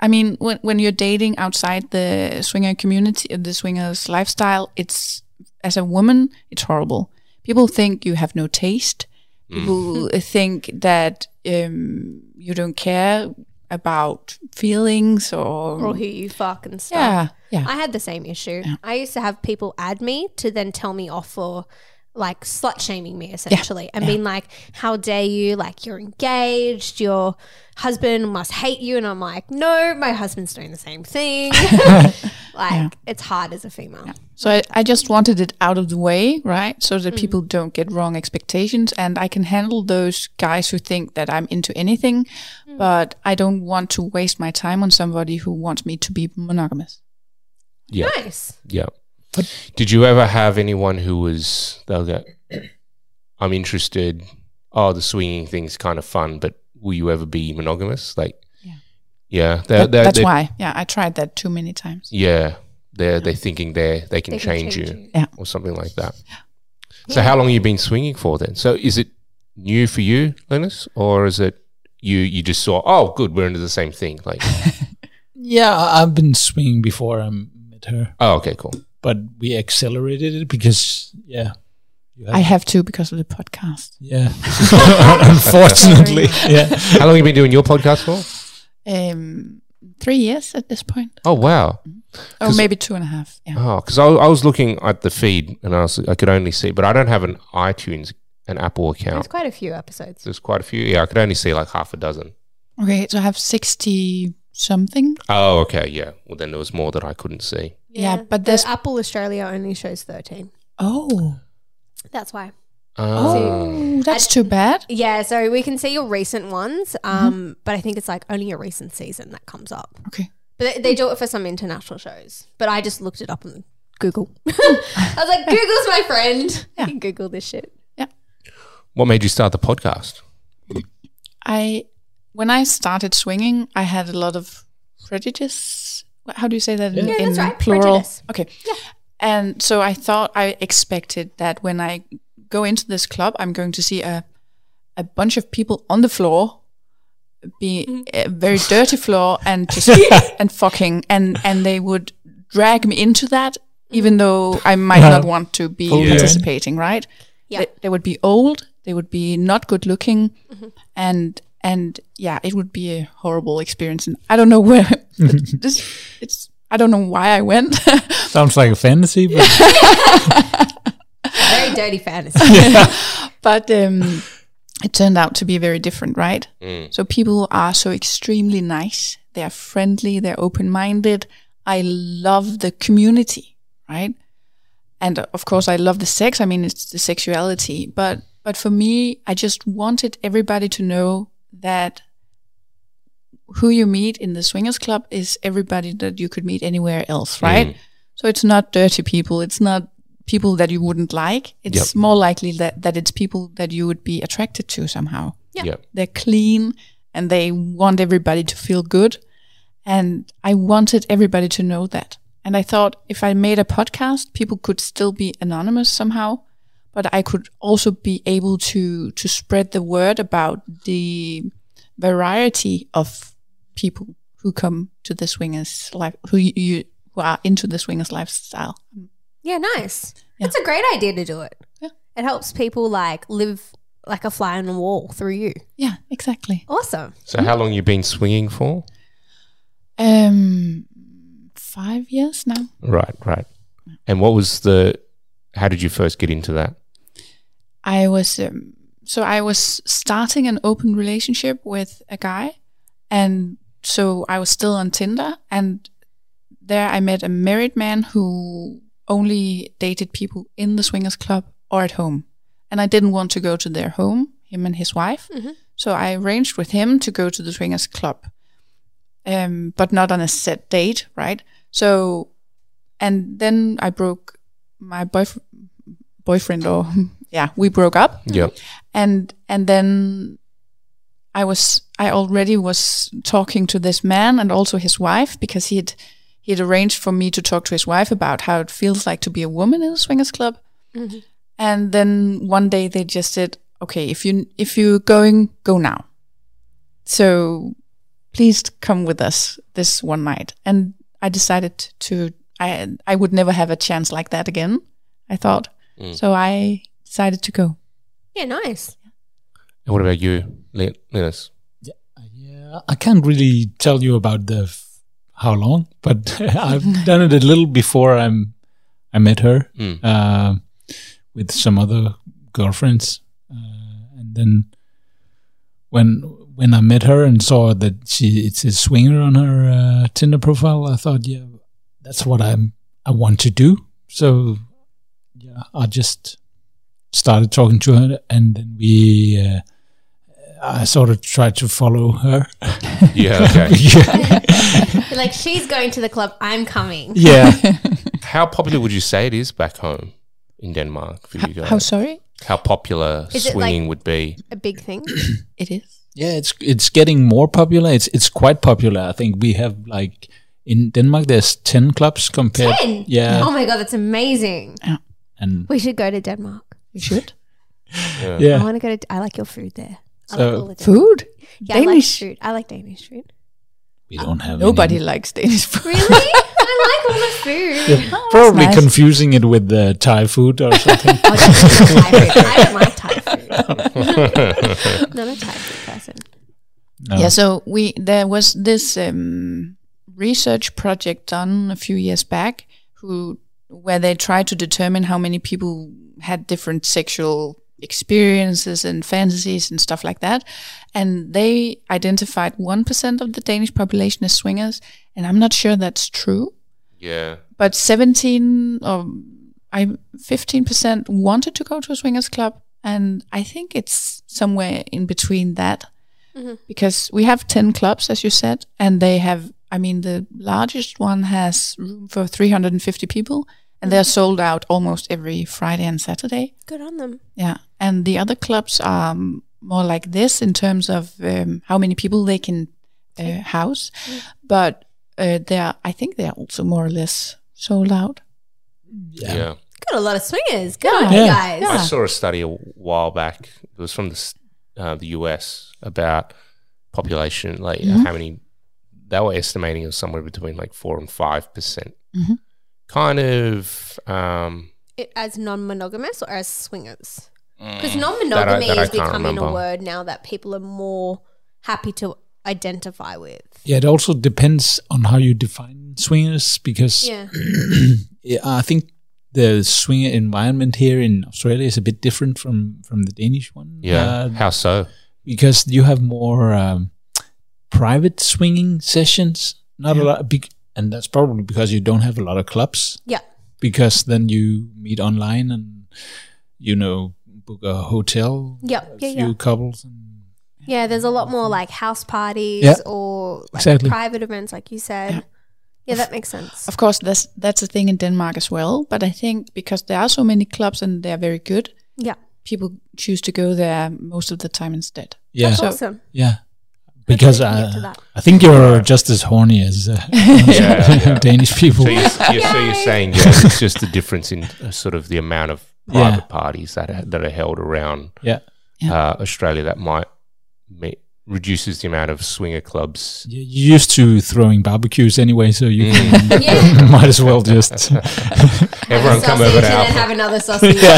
E: I mean, when when you're dating outside the swinger community, uh, the swingers lifestyle, it's as a woman, it's horrible. People think you have no taste. People
C: Mm.
E: think that um, you don't care about feelings or,
D: Or who you fuck and stuff.
E: yeah, yeah.
D: I had the same issue. I used to have people add me to then tell me off for like slut shaming me essentially and being like, How dare you? Like, you're engaged, your husband must hate you. And I'm like, No, my husband's doing the same thing.
E: *laughs*
D: *laughs* like, it's hard as a female.
E: So I, I just wanted it out of the way, right? So that people don't get wrong expectations. And I can handle those guys who think that I'm into anything, but I don't want to waste my time on somebody who wants me to be monogamous.
C: Yeah.
D: Nice.
C: Yeah. did you ever have anyone who was they'll go, I'm interested. Oh, the swinging thing's kind of fun, but will you ever be monogamous? Like, yeah, yeah. They're,
E: That-
C: they're,
E: that's
C: they're-
E: why. Yeah, I tried that too many times.
C: Yeah, they're they're thinking they they can
D: They can
C: change,
D: change
C: you,
D: you.
E: Yeah.
C: or something like that. So, how long have you been swinging for then? So, is it new for you, Linus, or is it you? You just saw, oh, good, we're into the same thing. Like,
F: Yeah, I- I've been swinging before I met her,
C: oh, okay, cool.
F: but we accelerated it because yeah, you
E: I have to because of the podcast.
F: yeah. *laughs* Unfortunately, yeah.
C: How long have you been doing your podcast for?
E: Um, three years at this point.
C: Oh, wow.
E: Oh, maybe two and a half. Yeah.
C: Oh, because I, I was looking at the feed and I was I could only see, but I don't have an iTunes, an Apple
D: There's
C: account.
D: quite a few episodes.
C: There's quite a few. Yeah, I could only see like half a dozen.
E: Okay, so I have 60 something.
C: Oh, okay, yeah. Well, then there was more that I couldn't see.
E: Yeah, but
D: the
E: there's-
D: Apple Australia only shows 13.
E: Oh,
D: That's why.
C: Oh,
E: Ooh, that's too bad.
D: Yeah, so we can see your recent ones, um, but I think it's like only a recent season that comes up.
E: Okay.
D: But they, they do it for some international shows. But I just looked it up on Google. *laughs* I was like, Google's my friend. You can Google this shit.
C: what made you start the podcast?
E: I when I started swinging, I had a lot of prejudice. Wha- How do you say that in,
D: Yeah, that's
E: in
D: right,
E: plural?
D: prejudice.
E: Okay. And so I thought I expected that when I go into this club, I'm going to see a a bunch of people on the floor, be
D: Mm-hmm.
E: a
D: *laughs*
E: very dirty floor, and just and fucking and and they would drag me into that,
D: Mm.
E: even though I might
F: Yeah.
E: not want to be
F: Pull you in.
E: participating, right?
D: Yeah.
E: They, they would be old. They would be not good looking, and and yeah, it would be a horrible experience. And I don't know where this. It's I don't know why I went. *laughs*
F: Sounds like a fantasy, but
D: Very dirty fantasy.
E: but um, it turned out to be very different, right? So people are so extremely nice. They are friendly. They're open minded. I love the community, right? And uh, of course, I love the sex. I mean, it's the sexuality, but but for me, I just wanted everybody to know that who you meet in the swingers club is everybody that you could meet anywhere else, right? So it's not dirty people. It's not people that you wouldn't like. It's
C: Yep.
E: more likely that, that it's people that you would be attracted to somehow.
D: Yeah.
E: They're clean and they want everybody to feel good. And I wanted everybody to know that. And I thought if I made a podcast, people could still be anonymous somehow, but I could also be able to, to spread the word about the variety of people who come to the swingers life, who you, you who are into the swingers lifestyle.
D: yeah, nice. That's a great idea to do it.
E: Yeah.
D: It helps people like live like a fly on the wall through you.
E: Yeah, exactly.
D: Awesome.
C: So, how long you been swinging for?
E: Um, five years now.
C: Right, right. And what was the? How did you first get into that?
E: I was um, so I was starting an open relationship with a guy, and so I was still on Tinder, and there I met a married man who only dated people in the swingers club or at home, and I didn't want to go to their home, him and his wife. So I arranged with him to go to the swingers club, um, but not on a set date, right? So, and then I broke my boyf- boyfriend, or *laughs* yeah, we broke up
C: Yeah.
E: and and then I was I already was talking to this man and also his wife because he had he had arranged for me to talk to his wife about how it feels like to be a woman in a swingers club. And then one day they just said, "Okay, if you if you're going, go now. So please come with us this one night." And I decided to I I would never have a chance like that again. I thought. So I decided to go.
D: Yeah, nice.
C: And what about you, Lin- Linus?
F: yeah, I can't really tell you about the f- how long, but *laughs* I've done it a little before I'm I met her
C: Mm.
F: uh, with some other girlfriends, uh, and then when when I met her and saw that she it's a swinger on her uh, Tinder profile, I thought, yeah, that's what I'm I want to do. So yeah, I just started talking to her, and then we. Uh, I sort of tried to follow her.
C: *laughs* Yeah. Okay.
F: *laughs* yeah.
D: You're like, she's going to the club, I'm coming.
F: yeah.
C: how popular would you say it is back home in Denmark for you guys?
E: How sorry?
C: How popular
D: Is it
C: swinging
D: like-
C: would be?
D: A big thing.
E: It is.
F: Yeah, it's it's getting more popular. It's it's quite popular. I think we have like in Denmark there's 10 clubs compared
D: Ten?
F: yeah
D: Oh my god, that's amazing.
F: and
D: We should go to Denmark.
E: *laughs* You should.
D: I *laughs*
F: yeah.
D: want to go to. I like your food there. I
F: So-
D: like all the Danish.
E: Food?
D: Yeah, I
E: Danish.
D: like food. I like Danish food.
F: We don't have
E: Nobody
F: *laughs* any.
E: likes Danish food.
D: *laughs* Really? I like all the food.
F: probably
E: nice.
F: confusing it with the Thai food or something. *laughs*
D: I don't like Thai food. I don't like Thai *laughs* food. Not a Thai food person.
F: No.
E: Yeah, so we there was this um, research project done a few years back who where they tried to determine how many people had different sexual experiences and fantasies and stuff like that. And they identified 1% of the Danish population as swingers. And I'm not sure that's true,
C: Yeah.
E: but 17 or I 15% wanted to go to a swingers club. And I think it's somewhere in between that because we have 10 clubs, as you said, and they have, I mean, the largest one has room for 350 people. And they're sold out almost every Friday and Saturday.
D: Good on them.
E: Yeah, and the other clubs are m- more like this in terms of um, how many people they can uh, house, but uh, they are. I think they are also more or less sold out.
C: Yeah.
D: Got a lot of swingers. Good on
E: Yeah.
D: you
F: Yeah.
D: guys.
C: I saw a study a while back. It was from the, s- uh, the US about population, like how many they were estimating it was somewhere between like four and five percent.
E: Mhm.
C: Kind of um,
D: It, as non-monogamous or as swingers? Because
C: mm,
D: non-monogamy
C: that I
D: is
C: can't
D: becoming a
C: remember.
D: word now that people are more happy to identify with.
F: Yeah, it also depends on how you define swingers because
D: Yeah.
F: yeah, I think the swinger environment here in Australia is a bit different from from the Danish one.
C: Yeah.
F: Uh,
C: How so?
F: because you have more um, private swinging sessions. Not a lot, bec- and that's probably because you don't have a lot of clubs.
D: Yeah.
F: Because then you meet online and you know book a hotel.
D: Yeah,
F: a
D: yeah,
F: few
D: yeah.
F: couples. And,
D: Yeah, there's a lot more like house parties
F: Yeah.
D: or like
F: Exactly.
D: private events, like you said. Yeah, that makes sense.
E: Of course, that's that's a thing in Denmark as well. But I think because there are so many clubs and they are very good,
D: Yeah,
E: people choose to go there most of the time *laughs* instead.
F: yeah,
D: that's awesome.
F: yeah. Because
D: Let's get to
F: I,
D: that.
F: I think you're just as horny
D: *laughs*
F: as uh,
C: yeah.
F: Danish people.
C: So you're, you're, so you're saying yeah, it's just the difference in uh, sort of the amount of private
F: Yeah.
C: parties that are, that are held around
F: Yeah.
C: uh, Australia that might me reduces the amount of swinger clubs.
F: You're used to throwing barbecues anyway, so you
C: Mm.
F: can-
D: *laughs* Yeah.
F: *laughs* might as well just.
C: Everyone come over
D: and
C: to
D: then
C: Alpha.
D: have another sausage. *laughs*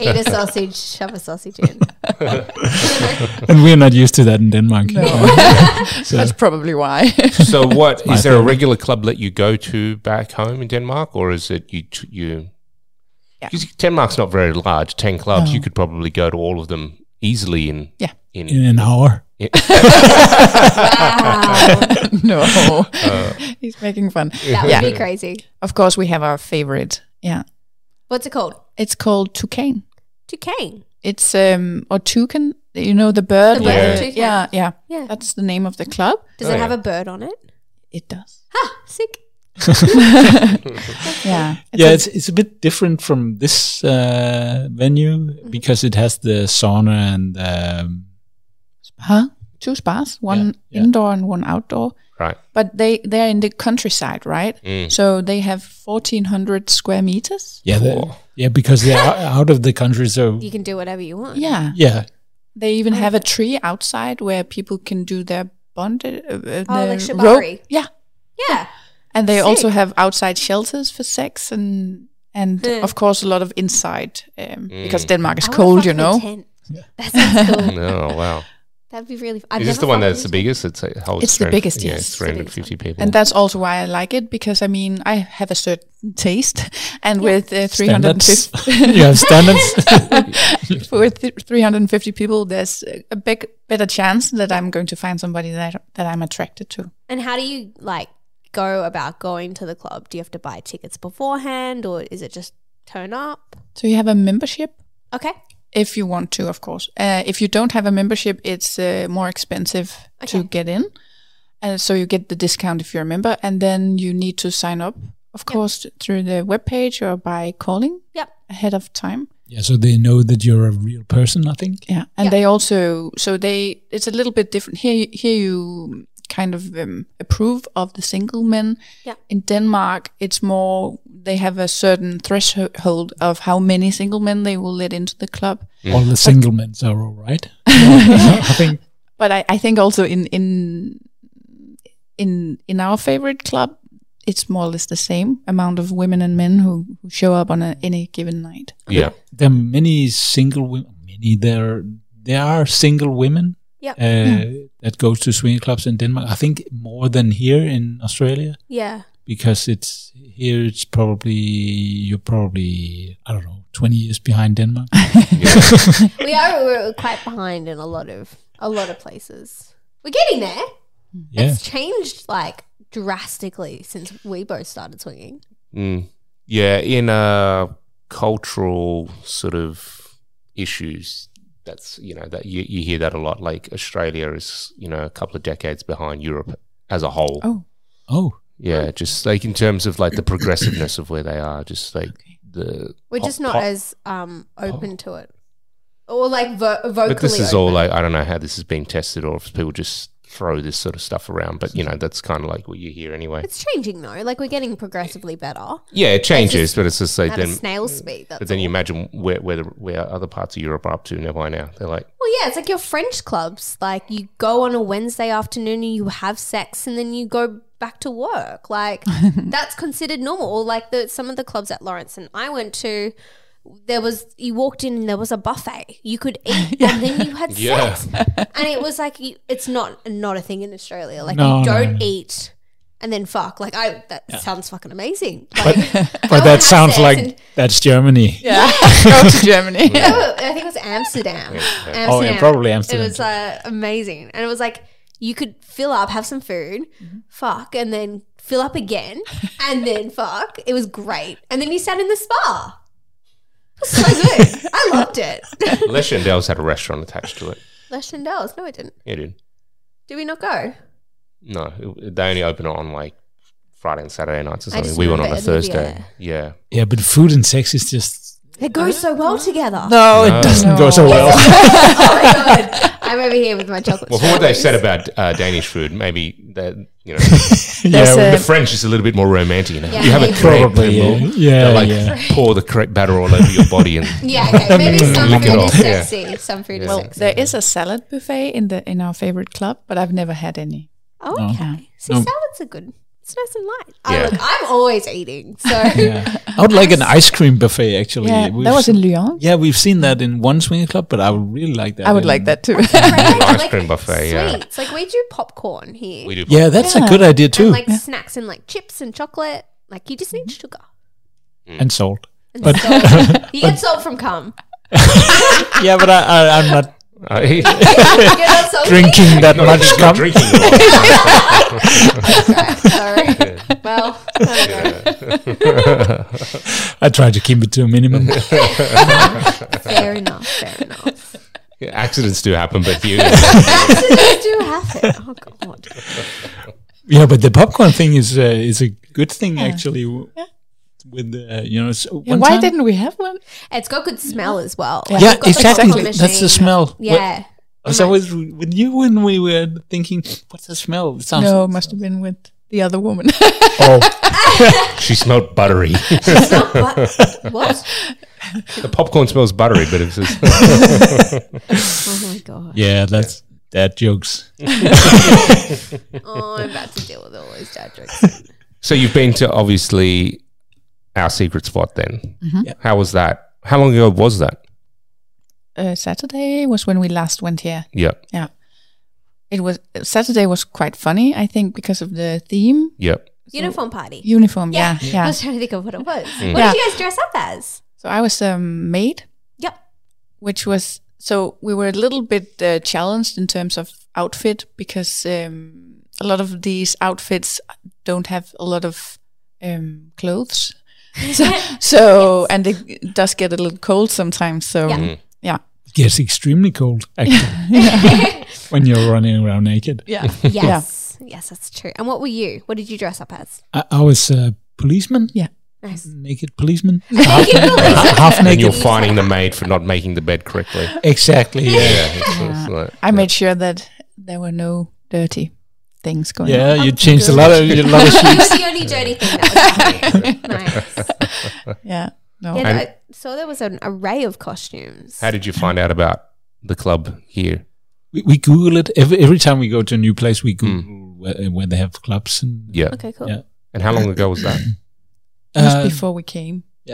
D: Eat a sausage, shove a sausage in.
F: and we're not used to that in Denmark.
E: That's probably why.
C: So what
F: my
C: is there a
F: opinion.
C: regular club that you go to back home in Denmark, or is it you t- you?
E: Yeah.
C: Because Denmark's not very large, ten clubs. You could probably go to all of them easily in
E: Yeah.
C: in,
F: in an hour.
D: Wow,
E: no, he's making fun.
D: that would
E: Yeah.
D: Ah, be crazy.
E: Of course, we have our favorite. Yeah,
D: What's it called?
E: it's called Toucan.
D: Toucan.
E: It's um or toucan, you know the bird.
D: The
E: with
C: bird,
E: the-
D: toucan.
E: yeah, yeah,
D: Yeah.
E: That's the name of the club.
D: Does
C: Oh,
D: it have
C: yeah.
D: a bird on it?
E: It does. *laughs*
D: Ha! Sick.
E: Yeah.
F: yeah, it's, it's a bit different from this uh, venue
D: Mm-hmm.
F: because it has the sauna and um,
E: huh? Two spas, one
F: yeah.
E: indoor and one outdoor.
C: right?
E: But they they're in the countryside, right? So they have fourteen hundred square meters.
F: yeah, the-
C: Cool.
F: yeah, because they're out, out of the country, so
D: You can do whatever you want.
E: Yeah.
F: yeah,
E: They
D: Oh.
E: even have a tree outside where people can do their bonded uh, uh,
D: Oh,
E: their
D: like
E: rope.
D: chivalry.
E: Yeah.
D: Yeah.
E: And they also
D: Sick.
E: have outside shelters for sex and and
D: Yeah.
E: of course a lot of inside um, because
C: Mm.
E: Denmark is
D: I wanna Oh,
E: cold,
D: fuck
E: you
D: in a
E: know.
D: tent. That sounds cool.
C: Oh wow!
D: That'd be really. I've
C: is this
D: never
C: the one
D: fucked
C: that's
D: in
C: the
D: a tent.
C: biggest? It's a whole
E: It's the biggest,
C: Yeah, it's
E: yes. It's the
C: three hundred
D: biggest
C: fifty people.
E: And that's also why I like it because I mean I have a certain taste, and with uh,
F: standards.
E: 350
F: *laughs* you have standards.
D: *laughs*
E: *laughs* with th- 350 people, there's a- a big better chance that I'm going to find somebody that that I'm attracted to.
D: And how do you like go about going to the club? Do you have to buy tickets beforehand, or is it just turn up?
E: So you have a membership
D: Okay.
E: if you want to, of course. Uh, if you don't have a membership, it's uh, more expensive to
D: Okay.
E: get in, and so you get the discount if you're a member, and then you need to sign up, of course, through the webpage or by calling
D: Yep.
E: ahead of time.
F: yeah, so they know that you're a real person. I think.
E: Yeah, and
D: Yeah.
E: they also so they it's a little bit different here. you- Here you kind of um, approve of the single men.
D: Yeah.
E: In Denmark, it's more they have a certain threshold of how many single men they will let into the club.
F: All the single men are all
D: *laughs*
F: right. I think.
E: But I, I think also in in in in our favorite club, it's more or less the same amount of women and men who, who show up on a, any given night.
C: yeah,
F: there are many single women. Many there there are single women
D: Yep.
F: uh, that goes to swinging clubs in Denmark. I think more than here in Australia.
D: Yeah.
F: because it's here. It's probably you're probably I don't know twenty years behind
E: *laughs*
F: Denmark.
D: *laughs* we are we're quite behind in a lot of a lot of places. We're getting there.
F: yeah,
D: It's changed like drastically since we both started swinging.
C: Mm. Yeah, in uh, cultural sort of issues, that's you know that you, you hear that a lot. Like Australia is you know a couple of decades behind Europe as a whole.
E: Oh,
F: oh
C: Yeah, just like in terms of like the progressiveness of where they are, just like the
D: We're
C: pop-
D: just not
C: pop-
D: as um open to it, or like vo- vocally.
C: But this is all
D: open.
C: like I don't know how this is being tested or if people just throw this sort of stuff around. But you know that's kind of like what you hear anyway.
D: It's changing though. Like we're getting progressively better
C: Yeah, it changes,
D: just
C: but it's just like
D: at a
C: then.
D: snail speed. That's
C: But then you imagine where where, the, where other parts of Europe are up to now by now. They're like.
D: Well, yeah, it's like your French clubs. Like you go on a Wednesday afternoon and you have sex, and then you go back to work.
F: *laughs*
D: Like that's considered normal. Or like the some of the clubs at Lawrence and I went to, there was you walked in and there was a buffet. You could
F: *laughs*
D: eat and then you had
C: Yeah.
D: sex, and it was like you, it's not not a thing in Australia. Like
F: No,
D: you
F: no,
D: don't
F: no.
D: eat. And then fuck, like I that sounds fucking amazing.
F: but *laughs*
D: Like, I
F: but
D: would have
F: that sounds
D: sex
F: like
D: and-
F: that's Germany.
E: yeah. *laughs* Go to Germany. *laughs*
D: Oh, I think it was Amsterdam. Amsterdam.
F: Oh, yeah, probably Amsterdam
D: It was
F: too.
D: uh, amazing, and it was like you could fill up, have some food,
F: Mm-hmm.
D: fuck, and then fill up again, and
F: *laughs*
D: then fuck. It was great, and then you sat in the spa. It was so good. I loved it. *laughs*
C: Les Chandelles had a restaurant attached to it.
D: Les Chandelles. No, it didn't.
C: It did.
D: Did we not go?
C: No, it- they only open it on like Friday and Saturday nights or
D: I
C: something.
D: just
C: We went on a
D: remember it being
C: Thursday.
D: there.
C: Yeah.
F: Yeah, but food and sex is just
D: It goes so well together.
F: no,
C: Oh, No.
F: Oh, it doesn't go so well.
D: Oh my god! I'm over here with my chocolate.
C: Well, from what they said
D: strawberries.
C: about uh, Danish food, maybe that you know
F: *laughs* yeah,
C: the
E: There's a-
C: French is a little bit more romantic. You, know?
D: Yeah,
C: you have a
D: maybe.
C: crepe
F: *laughs*
C: and
F: Probably, yeah.
C: they'll-
F: Yeah,
C: they'll, like
F: yeah.
C: pour the crepe batter all over your body,
F: *laughs*
C: and
D: Yeah, okay. Maybe some
C: Lick it
D: food
C: off.
D: is
C: Yeah.
D: sexy. Some food
C: Well,
D: is sexy.
E: There is a salad buffet in the in our favorite club, but I've never had any.
D: Oh, okay. See,
F: No.
D: salads are good. It's nice and light.
C: Yeah.
D: Oh, look, I'm always eating. So,
F: yeah. I would like an ice cream buffet actually.
E: Yeah,
F: We've
E: that was in
F: s-
E: Lyon.
F: Yeah, we've seen that in one swinger club, but I would really like that.
E: I would
F: in-
E: like that
D: *laughs*
E: too.
C: *laughs*
D: Right?
C: Ice cream buffet, yeah.
D: Sweets. Like, we do popcorn here.
C: we do.
F: Yeah, that's a
E: Yeah.
F: good idea
D: and,
F: too. Mm-hmm.
D: like, snacks and, like, chips and chocolate. Like, you just need sugar.
F: and salt.
D: And
F: *laughs*
D: salt. you get salt from cum.
F: yeah, but I, I, I'm not
C: Uh, *laughs* he-
D: You get that salt
F: drinking
C: *laughs*
F: that *laughs* much
C: he's not
F: cum.
C: drinking. a lot. *laughs*
D: Sorry. Well, I don't know.
F: I try to keep it to a
C: *laughs*
F: minimum.
D: fair enough. Fair enough.
C: Yeah, *laughs* Accidents do happen, but you.
F: *laughs*
D: Accidents do happen. Oh, God.
F: yeah, but the popcorn thing is uh, is a good thing actually. w- With uh, you know, so
E: Yeah,
F: one
E: why
F: time-
E: didn't we have one?
D: It's got good smell as well. Like,
F: Yeah,
D: you've got the
F: exactly.
D: popcorn
F: That's the
D: machine.
F: smell.
D: Yeah.
F: I was always with you when we were thinking, "What's the smell?" It sounds
E: No, it must have been with the other woman. *laughs*
F: oh,
C: *laughs* she smelled buttery.
D: It's not bu- what?
F: *laughs*
C: the popcorn smells buttery, but it's just, *laughs*
D: Oh, my God.
F: *laughs* yeah, that's that jokes.
D: Oh, I'm about to deal with all those dad *laughs* jokes.
C: So you've been to obviously our secret spot then. How was that? How long ago was that?
E: uh, Saturday was when we last went here.
C: Yeah,
E: Yeah, it was Saturday was quite funny. I think because of the theme
C: yeah.
D: Uniform party.
E: uniform. Yeah, yeah.
D: I was trying to think of what it *laughs* was. What
E: Yeah.
D: did you guys dress up as?
E: So I was a um, maid,
D: *laughs* Yep.
E: which was so we were a little bit uh, challenged in terms of outfit because um, a lot of these outfits don't have a lot of um, clothes. *laughs* So, so and it does get a little cold sometimes. So
D: Yeah.
E: yeah, yeah,
F: It gets extremely cold actually when you're running around naked.
C: *laughs*
E: yeah.
D: Yes. Yes, that's true. And what were you? What did you dress up as?
F: I, I was a policeman,
D: *laughs* Nice.
F: naked policeman,
D: *laughs* Naked police.
F: half
C: And
F: naked.
C: you're fining the maid for not making the bed correctly. *laughs*
F: Exactly. Yeah.
C: Yeah, it's- it's like-
E: I made sure that there were no dirty things going on.
F: Yeah, you changed a lot of
D: *laughs*
F: a lot of
D: That
F: sheets.
D: was the only dirty thing that was *laughs* happening. Nice.
E: Yeah. No.
D: Yeah,
C: And-
D: I saw there was an array of costumes.
C: How did you find out about the club here?
F: We, we Google it every, every time we go to a new place. We
C: Hmm.
F: Google where, uh, where they have clubs and
C: Yeah.
D: okay, cool.
F: yeah.
C: And how long ago was that?
E: Just
C: Um,
F: Uh,
E: before we came.
C: *clears throat*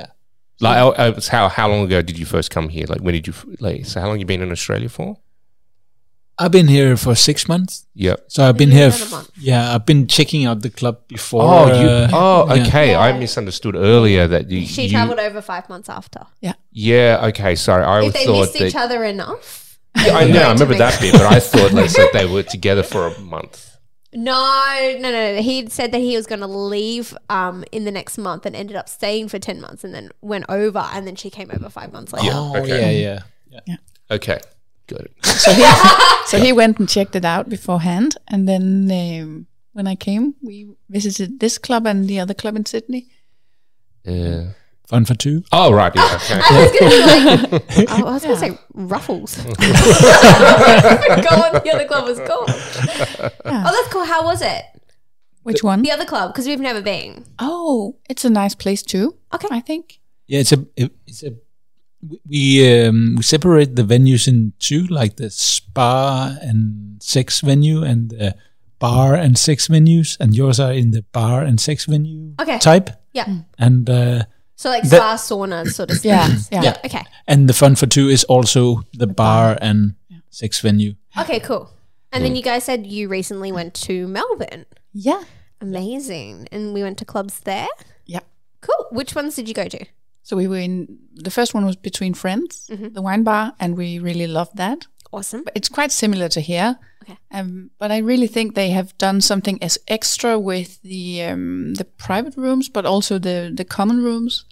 C: Like, oh, oh, it's how how long ago did you first come here? Like, when did you f- like? So, how long you been in Australia for?
F: I've been here for six months,
C: Yep.
F: so I've been
D: Yeah,
F: here.
D: about a
F: f-
D: month.
F: yeah, I've been checking out the club before.
C: Oh, you,
F: uh,
C: oh,
F: yeah.
C: okay. I
D: Yeah.
C: misunderstood earlier that you.
D: She
C: you-
D: traveled over five months after.
C: Yeah. Okay. Sorry. I
D: If they
C: thought
D: missed
C: that.
D: each other enough.
C: Yeah, I
D: they
C: know.
D: went
C: I
D: to
C: remember
D: make-
C: that bit, but I thought they said
D: *laughs*
C: they were together for a month.
D: No, no, no. no. He said that he was going to leave um, in the next month and ended up staying for 10 months and then went over and then she came over five months later.
F: Oh,
C: Okay.
F: yeah, yeah.
C: Okay. Got it.
E: So he, so he went and checked it out beforehand, and then um, when I came, we visited this club and the other club in Sydney.
C: Yeah.
F: Fun for two.
C: Oh right. Yeah. Okay.
D: *laughs* *laughs* I was going to be
E: *laughs*
D: like, oh, I was going to say Ruffles.
F: *laughs*
D: *laughs* gone. The other club was gone. Oh, that's cool. How was it?
E: Which one?
D: The other club, because we've never been.
E: Oh, it's a nice place too.
D: Okay.
E: I think.
F: Yeah, it's a it- it's a we- we um, we separate the venues in two, like the spa and sex venue and the bar and sex venues, and yours are in the bar and sex venue
D: Okay.
F: type,
D: Yeah.
F: and uh,
D: Mm. So like
F: The-
D: spa sauna sort of
E: Yeah,
D: things.
E: yeah.
D: Okay.
F: and the fun for two is also the bar and sex venue.
D: Okay, cool. And then you guys said you recently went to Melbourne.
E: Yeah.
D: Amazing. And we went to clubs there.
E: Yeah.
D: Cool. Which ones did you go to?
E: So we were in the first one was between friends, the wine bar, and we really loved that.
D: Awesome.
E: It's quite similar to here,
D: Okay.
E: um, but I really think they have done something as extra with the um, the private rooms, but also the the common rooms.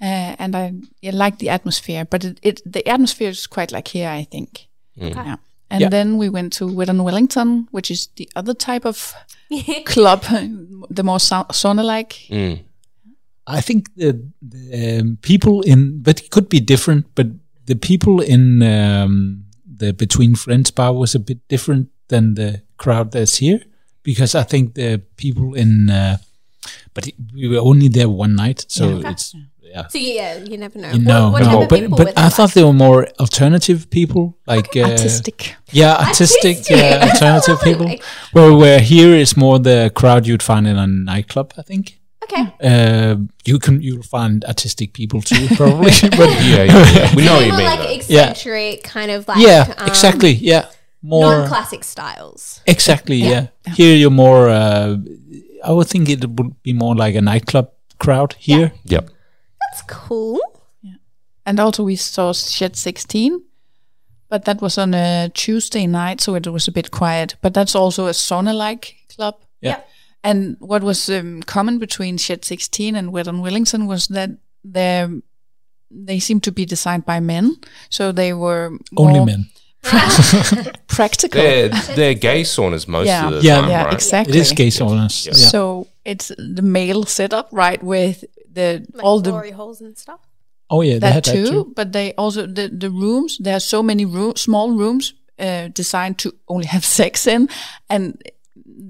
E: Uh, and I, I like the atmosphere, but it, it the atmosphere is quite like here, I think. Yeah. And
F: Yeah.
E: then we went to Whitton Wellington, which is the other type of club, *laughs* the more sa- sauna-like.
C: Mm.
F: I think the, the um, people in, but it could be different. But the people in um, the Between Friends bar was a bit different than the crowd that's here, because I think the people in, uh, but it- we were only there one night, so it's yeah.
D: So yeah, you never know.
F: You know,
D: what, what
F: no,
D: type of
F: but
D: people were
F: but
D: there
F: I thought
D: like?
F: they were more alternative people, like uh,
E: Artistic.
F: yeah, artistic,
D: Artistic.
E: *laughs*
F: yeah, alternative
D: Absolutely.
F: people. Where where here is more the crowd you'd find in a nightclub, I think
D: Okay.
F: uh, you can you'll find artistic people
E: *laughs*
F: too probably *laughs* but
C: Yeah, yeah, yeah. We know what you
D: People
C: mean.
D: like
C: though.
F: Yeah.
D: eccentric kind of like
F: yeah
D: um,
F: exactly yeah more
D: non-classic styles.
F: exactly yeah. here you're more uh, i would think it would be more like a nightclub crowd here
C: Yep.
D: That's
F: *laughs*
D: cool.
E: And also we saw Shed 16, but that was on a Tuesday night, so it was a bit quiet. But that's also a sauna-like club.
F: yeah
E: And what was um, common between Shed 16 and Wetton Willington was that their they seemed to be designed by men, so they were
F: only
E: more
F: men
E: practical.
C: They're they're gay saunas most
E: Yeah.
C: of the
F: Yeah,
C: time,
E: yeah,
C: right?
E: exactly.
F: it is gay saunas yeah.
E: So it's the male setup, right? With the
D: Like
E: all the
D: glory holes and stuff.
F: oh yeah they
E: that
F: had
E: too,
F: that too
E: but they also the, the rooms there are so many room, small rooms uh, designed to only have *laughs* sex in and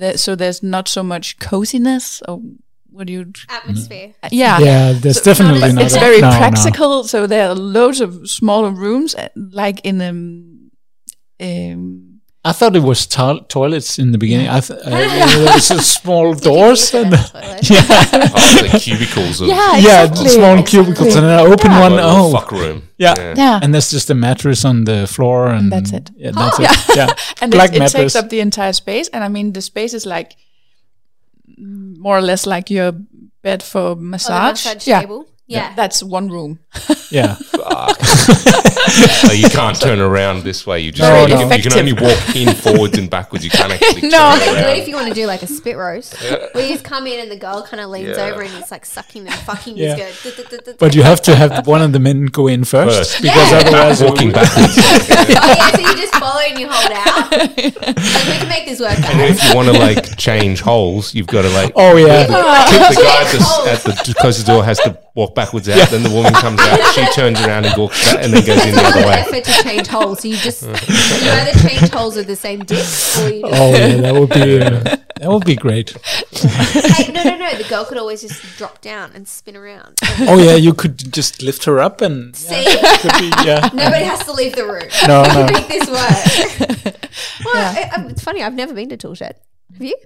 E: the, so there's not so much coziness or what do you
D: Atmosphere.
F: Mm.
E: yeah,
F: yeah there's definitely
D: it's-
F: not
E: it's
F: a-
E: very
F: no, no.
E: practical so there are loads of smaller rooms uh, like in um, um
F: i thought it was to- toilets in the beginning i
E: *laughs*
F: th- uh, there was a small doors and *laughs* yeah
C: Oh, the cubicles of
E: yeah
F: yeah
E: exactly.
F: small cubicles and then i open
C: like
F: one
C: the
F: oh
C: fuck room.
F: Yeah.
E: yeah
F: And there's just a mattress on the floor, and
E: that's it.
F: Yeah,
E: *laughs*
F: that's it. Yeah,
E: and
F: black
E: it, it
F: mattress.
E: takes up the entire space. And I mean, the space is like mm, more or less like your bed for
D: Oh, the
E: massage.
D: massage
E: yeah,
D: table. Yeah.
E: that's one room.
F: yeah,
C: So you can't turn around this way. You just
F: No,
C: you,
F: no.
C: Can, you can only walk in forwards and backwards. You
F: *laughs*
C: can't actually turn
E: No.
D: Like, what if
C: around.
D: you want to do like a spit roast? Where you just come in and the girl kind of leans
C: Yeah.
D: over and he's like sucking
F: *laughs*
D: and fucking
F: Yeah.
D: yeah. his good. *laughs*
F: but you have to have one of the men go in first,
C: First.
F: because
D: Yeah.
F: otherwise,
C: Walking backwards.
D: Oh, *laughs* yeah, so you just follow and you hold out. like, we can make this work.
C: And
D: guys.
C: if you want to like change holes, you've got to like
F: Oh yeah,
C: kick the guy at
D: holes.
C: the, at the closest door has to walk backwards out. Then the woman comes out, she turns around and walks back, and then goes in
D: It's
C: the
D: not
C: other
D: an
C: way.
D: effort to change holes. So you just you either change holes with the same dick or you just
F: oh yeah, that would
E: *laughs*
F: be uh, that would be great.
D: hey, no no no. The girl could always just drop down and spin around.
F: *laughs* Oh yeah, you could just lift her up and
D: See,
F: could be, *laughs*
E: *laughs*
F: yeah.
D: nobody has to leave the room.
F: *laughs* No,
D: We
F: no.
D: can make this work. Well, I- I- it's funny. I've never been to Tool Shed. Have you?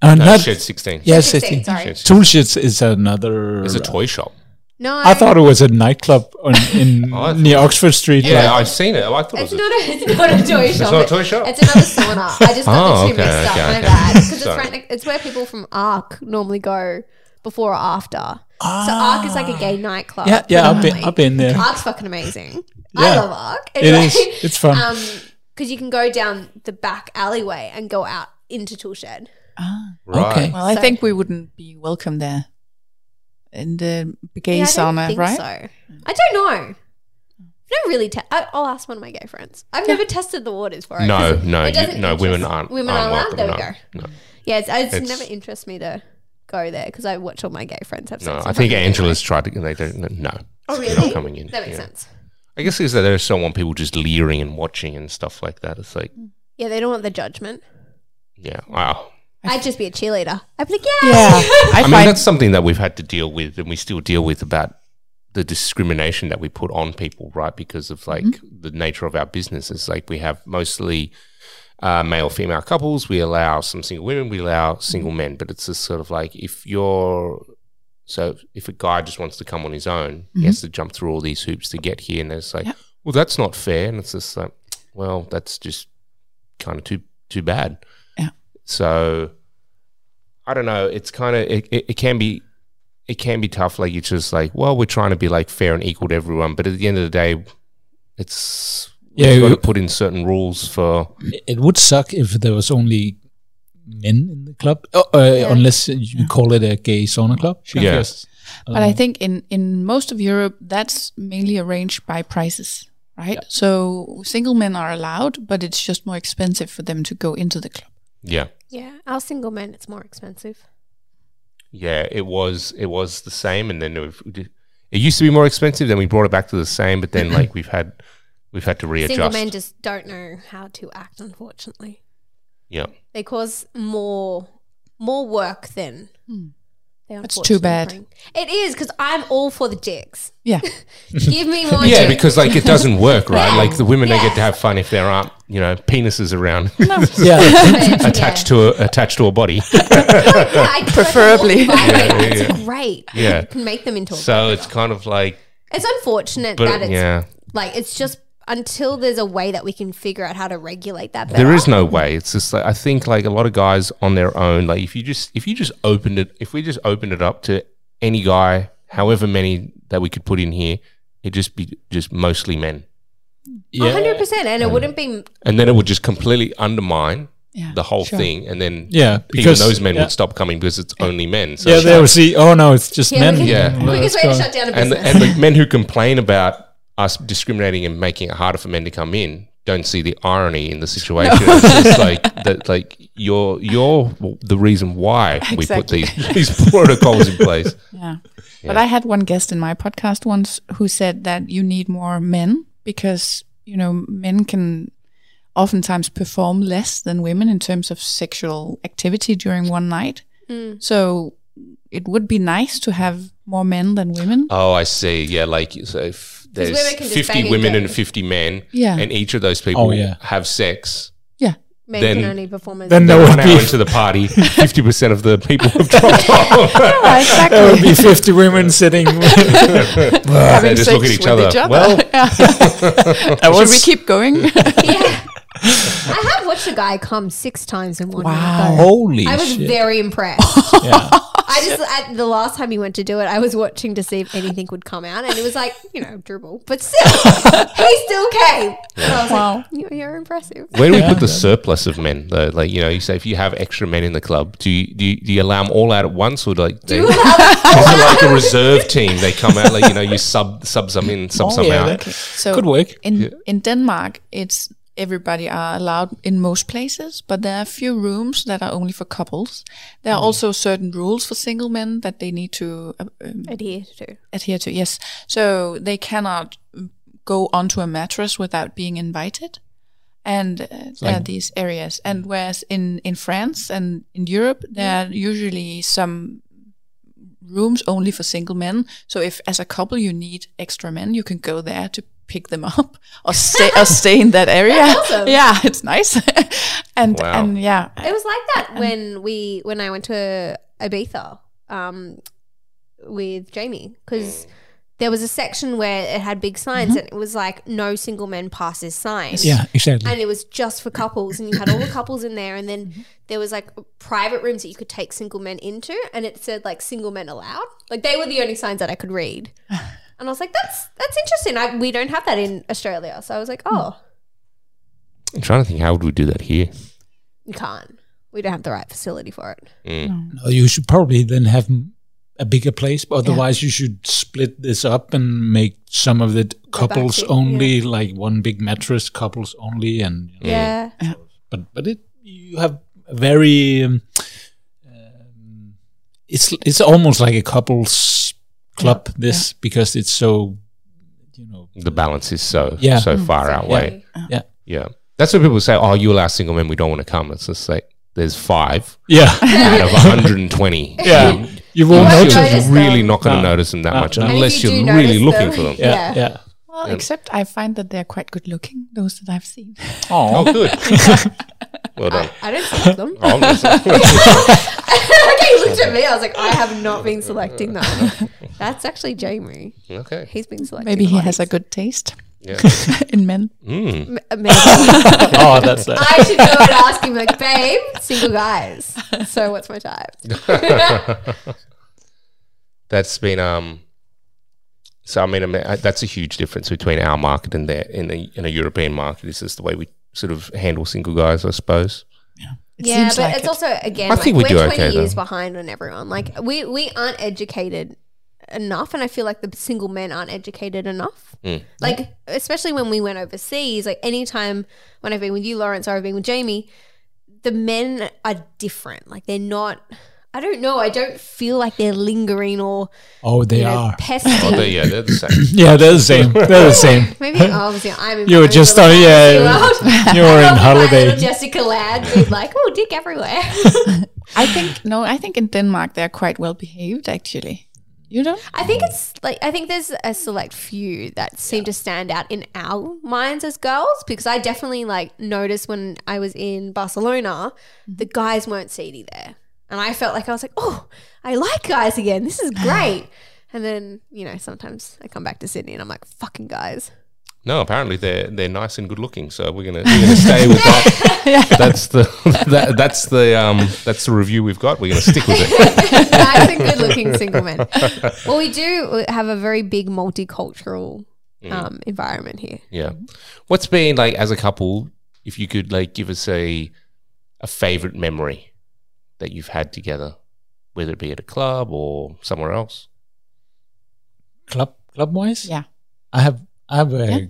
F: Uh,
C: No,
F: not
C: shed sixteen.
F: yes,
D: Sixteen,
F: it,
D: sorry.
C: Shed
F: tool sheds is another.
C: It's a toy shop.
D: No,
F: I thought it was a nightclub on,
C: *laughs*
F: in
C: Oh, I
F: near Oxford Street.
C: Yeah,
F: like-
C: I've seen it. I thought it
D: It's
C: was.
D: not,
C: A,
D: a, it's not a toy shop.
C: not a toy shop?
D: It's another sauna. I just got
C: Oh,
D: the two
C: okay,
D: mixed up.
C: okay,
D: my
C: okay.
D: bad. Because it's,
C: Sorry.
D: right next- it's where people from ARC normally go before or after. So ARC is like a
C: Ah.
D: gay nightclub.
F: yeah, yeah. I've been,
D: predominantly.
F: I've been there.
D: ARC's fucking
F: *laughs*
D: amazing. I
F: Yeah.
D: love ARC.
F: It is. It's fun.
D: Because you can go down the back alleyway and go out into Tool Shed.
C: right.
F: okay.
E: Well, I
D: So-
E: think we wouldn't be welcome there in the gay
D: Yeah, I don't
E: sauna,
D: think
E: right?
D: So. I don't know. I don't really. Te- I, I'll ask one of my gay friends. I've never tested the waters for it.
C: No,
D: 'cause
C: no, you-
D: it doesn't
C: no. Women
D: interest-
C: aren't.
D: Women
C: aren't
D: aren't allowed. There
C: welcome,
D: we go.
C: no, No.
D: Yeah, it's, it's,
C: It's-
D: never interests me to go there because I watch all my gay friends have
C: No,
D: sex.
C: I
D: in
C: think
D: front of me.
C: Angela's tried to. They don't. No,
D: Oh,
C: they're
D: really?
C: not coming in.
D: That makes
C: yeah.
D: sense.
C: I guess is that they just don't want people just leering and watching and stuff like that. It's like,
D: Yeah, they don't want the judgment.
C: yeah, wow.
D: I'd just be a cheerleader. I'd be like, yeah.
E: Yeah, I,
C: I mean,
E: find
C: that's something that we've had to deal with, and we still deal with about the discrimination that we put on people, right? Because of like
E: Mm-hmm.
C: the nature of our businesses, like we have mostly uh, male female couples. We allow some single women, we allow single men, but it's just sort of like if you're so if a guy just wants to come on his own, he has to jump through all these hoops to get here, and it's like, well, that's not fair, and it's just like, well, that's just kind of too too bad.
E: Yeah.
C: So I don't know. It's kind of it, it, it can be it can be tough. Like it's just like, well, we're trying to be like fair and equal to everyone, but at the end of the day, it's yeah,
F: Yeah,
C: we've got to
F: we-
C: put in certain rules for
F: It would suck if there was only men in the club, uh, uh, unless you call it a gay sauna club.
C: Yeah.
D: *laughs*
F: Because, uh,
E: but I think in in most of Europe, that's mainly arranged by prices, right? So single men are allowed, but it's just more expensive for them to go into the club.
C: yeah.
D: Yeah, our single men, it's more expensive.
C: Yeah, it was it was the same, and then we've, it used to be more expensive. Then we brought it back to the same, but then like we've had we've had to readjust.
D: Single men just don't know how to act, unfortunately.
C: yeah,
D: They cause more more work than. they
E: Hmm. That's too
D: unfortunately
E: bad.
D: bring. It is because I'm all for the dicks.
E: Yeah,
D: *laughs* Give
C: *laughs*
D: me more.
C: yeah,
D: dicks. *laughs*
C: because like it doesn't work, right?
D: Yeah.
C: Like the women, they
D: Yeah.
C: get to have fun if there aren't you know penises around *laughs*
F: yeah,
C: attached to a, attached to a body.
D: *laughs* Yeah,
E: *laughs*
D: I
E: Preferably.
D: It's
C: yeah,
D: great.
C: Yeah.
D: You can make them into. A
C: so it's kind of like,
D: it's unfortunate
C: but
D: that it's
C: yeah,
D: like it's just until there's a way that we can figure out how to regulate that.
C: there is no way. It's just like I think like a lot of guys on their own. Like if you just if you just opened it, if we just opened it up to any guy, however many that we could put in here, it'd just be just mostly men.
F: *laughs* yeah,
D: hundred percent, and it wouldn't be.
C: and then it would just completely undermine
E: yeah,
C: the whole
E: sure.
C: thing, and then
F: Yeah,
C: because
F: because-
C: even those men
F: yeah.
C: would stop coming because it's only men. So
F: yeah. They will see. Oh no, it's just
D: Yeah,
F: men.
D: we can,
C: Yeah.
F: Well,
D: quickest
F: that's
D: way to
F: fine.
D: shut down a
C: and the,
D: business.
C: and the men who complain about us discriminating and making it harder for men to come in don't see the irony in the situation. It's just like that, like you're you're the reason why we put
E: Exactly.
C: these these protocols in place.
E: Yeah. But I had one guest in my podcast once who said that you need more men because, you know, men can oftentimes perform less than women in terms of sexual activity during one night. So it would be nice to have more men than women.
C: Oh, I see. Yeah, like so if there's
D: women can just bang
C: fifty
D: and
C: women
D: go.
C: and fifty men,
E: Yeah.
C: and each of those people
F: Oh, yeah.
C: have sex.
E: yeah.
D: Men
C: then-
D: can only perform as
F: *laughs* Then
C: That
F: there
C: one hour
F: would be
C: into the
F: *laughs*
C: party, fifty percent of the people have dropped off. *laughs*
E: Yeah,
F: there would
E: exactly.
F: be fifty women
D: *laughs*
F: sitting. that
C: they
E: Having
C: just
E: sex
C: look at each
E: with
C: other.
E: *laughs*
C: Well, *laughs*
E: Should we
F: was
E: keep going?
D: yeah. I have watched a guy come six times in one wow.
F: *laughs* holy
D: I was
F: shit.
D: very impressed.
F: *laughs* yeah.
D: I just I, the last time he went to do it, I was watching to see if anything would come out, and it was like you know dribble, but still, *laughs* he still came. And I was
E: wow.
D: like, "You- you're impressive.
C: where do we put the surplus of men though? Like you know, you say if you have extra men in the club, do you do you, do you allow them all out at once, or like they, is *laughs* it like a reserve team? They come out like you know you sub sub some in, sub some
F: Oh, yeah,
C: out.
F: that
E: So
F: could work.
E: In in Denmark, it's everybody are allowed in most places, but there are a few rooms that are only for couples. There are
F: Mm.
E: also certain rules for single men that they need to uh, um,
D: Adhere to.
E: adhere to. Yes, so they cannot mm, go onto a mattress without being invited. And uh, there are these areas. And whereas in, in France and in Europe, there are usually some rooms only for single men. So if as a couple you need extra men, you can go there to pick them up *laughs* or stay or stay in that area. *laughs* Yeah, it's nice. *laughs* and
C: Wow.
E: and yeah.
D: It was like that when we when I went to Ibiza um, with Jamie because there was a section where it had big signs and it was like no single men pass this sign.
F: Yeah, exactly.
D: And it was just for couples, and you had all the couples in there, and then there was like private rooms that you could take single men into, and it said like single men allowed. Like they were the only signs that I could read, and I was like, that's that's interesting. I, we don't have that in Australia, so I was like, oh,
C: I'm trying to think how would we do that here?
D: you can't. We don't have the right facility for it.
F: No, you should probably then have m- a bigger place. but Otherwise, you should split this up and make some of it couples
D: to-
F: only, like one big mattress, couples only, and you know,
D: Yeah,
F: but but it you have a very. Um, um, it's it's almost like a couples club. This because it's so, you know,
C: The balance is so
F: Yeah.
C: so far
D: Mm-hmm.
C: outweighed.
E: Oh.
F: yeah,
C: Yeah. That's what people say. Oh, you allow single men. We don't want to come. It's just like there's five
F: yeah,
C: *laughs* out
D: *laughs*
C: of 120.
F: yeah. You won't
D: Well,
F: notice.
D: you notice
C: You're really
D: them.
C: not going to
F: No.
C: notice them that
F: No,
C: much
F: no.
D: And if
C: unless
D: you
C: you
D: do
C: are really
D: notice
C: looking
D: them-
C: for them.
F: Yeah,
D: Yeah.
F: yeah.
E: Well,
C: Yeah.
E: except I find that they're quite good looking, those that I've *laughs* seen.
C: Oh, good. well
D: *laughs*
C: done.
D: I don't select them.
C: Obviously.
D: *laughs* okay, he looked at me. I was like, I have not been selecting that. That's actually Jamie.
C: okay.
D: He's been selecting.
E: Maybe he has a
D: like-
E: good taste *laughs*
C: Yeah. *laughs*
E: in men.
C: Mm.
D: M- maybe.
F: *laughs* Oh, that's
E: *laughs*
F: that.
D: I should go and ask him, like, babe, single guys. So what's my type?
C: That's been um. So I mean, I mean, I- that's a huge difference between our market and their in the in a European market. Is just the way we sort of handle single guys, I suppose.
E: It
D: yeah,
E: seems
D: but
E: like
D: it's
E: it.
D: also again,
C: I
D: like,
C: think we
D: we're
C: do
D: twenty
C: okay, though.
D: years behind on everyone. Like we we aren't educated enough, and I feel like the single men aren't educated enough.
C: Mm.
D: Like especially when we went overseas, like anytime when I've been with you, Lawrence, or I've been with Jamie, the men are different. Like they're not. I don't know. I don't feel like they're lingering or
F: Oh, they
D: you know,
F: are.
D: pesty.
C: Oh, they, yeah, they're the same.
F: Yeah, they're the same. They're the same.
D: *laughs*
E: *laughs*
D: Maybe oh, obviously I'm. in
F: You were
D: my own
F: just
D: little
F: on- yeah,
D: fantasy world.
F: you
D: *laughs*
F: were
D: I
F: in
D: love my
F: holiday.
D: little Jessica Ladd, being like, oh, dick everywhere. *laughs*
E: I think no, I think in Denmark they're quite well behaved actually. You don't?
D: I think it's like I think there's a select few that seem to stand out in our minds as girls because I definitely like noticed when I was in Barcelona,
C: Mm-hmm.
D: the guys weren't seedy there, and I felt like I was like, oh, I like guys again. This
C: *laughs*
D: is great. And then you know sometimes I come back to Sydney and I'm like, fucking guys.
C: *coughs* *laughs* No, apparently they're they're nice and good looking, so we're gonna, we're gonna stay with *laughs* that. That's the that, that's the um that's the review we've got. We're gonna stick with it.
D: nice and good
C: *laughs*
D: looking single men. Well, we do have a very big multicultural
C: Mm.
D: um, environment
C: *laughs*
D: here.
C: Yeah.
F: Mm-hmm.
C: What's been like as a couple? If you could like give us a a favorite memory that you've had together, whether it be at a club or somewhere
F: *laughs*
C: else.
F: club club wise.
E: Yeah.
F: I have I have a
E: Yeah.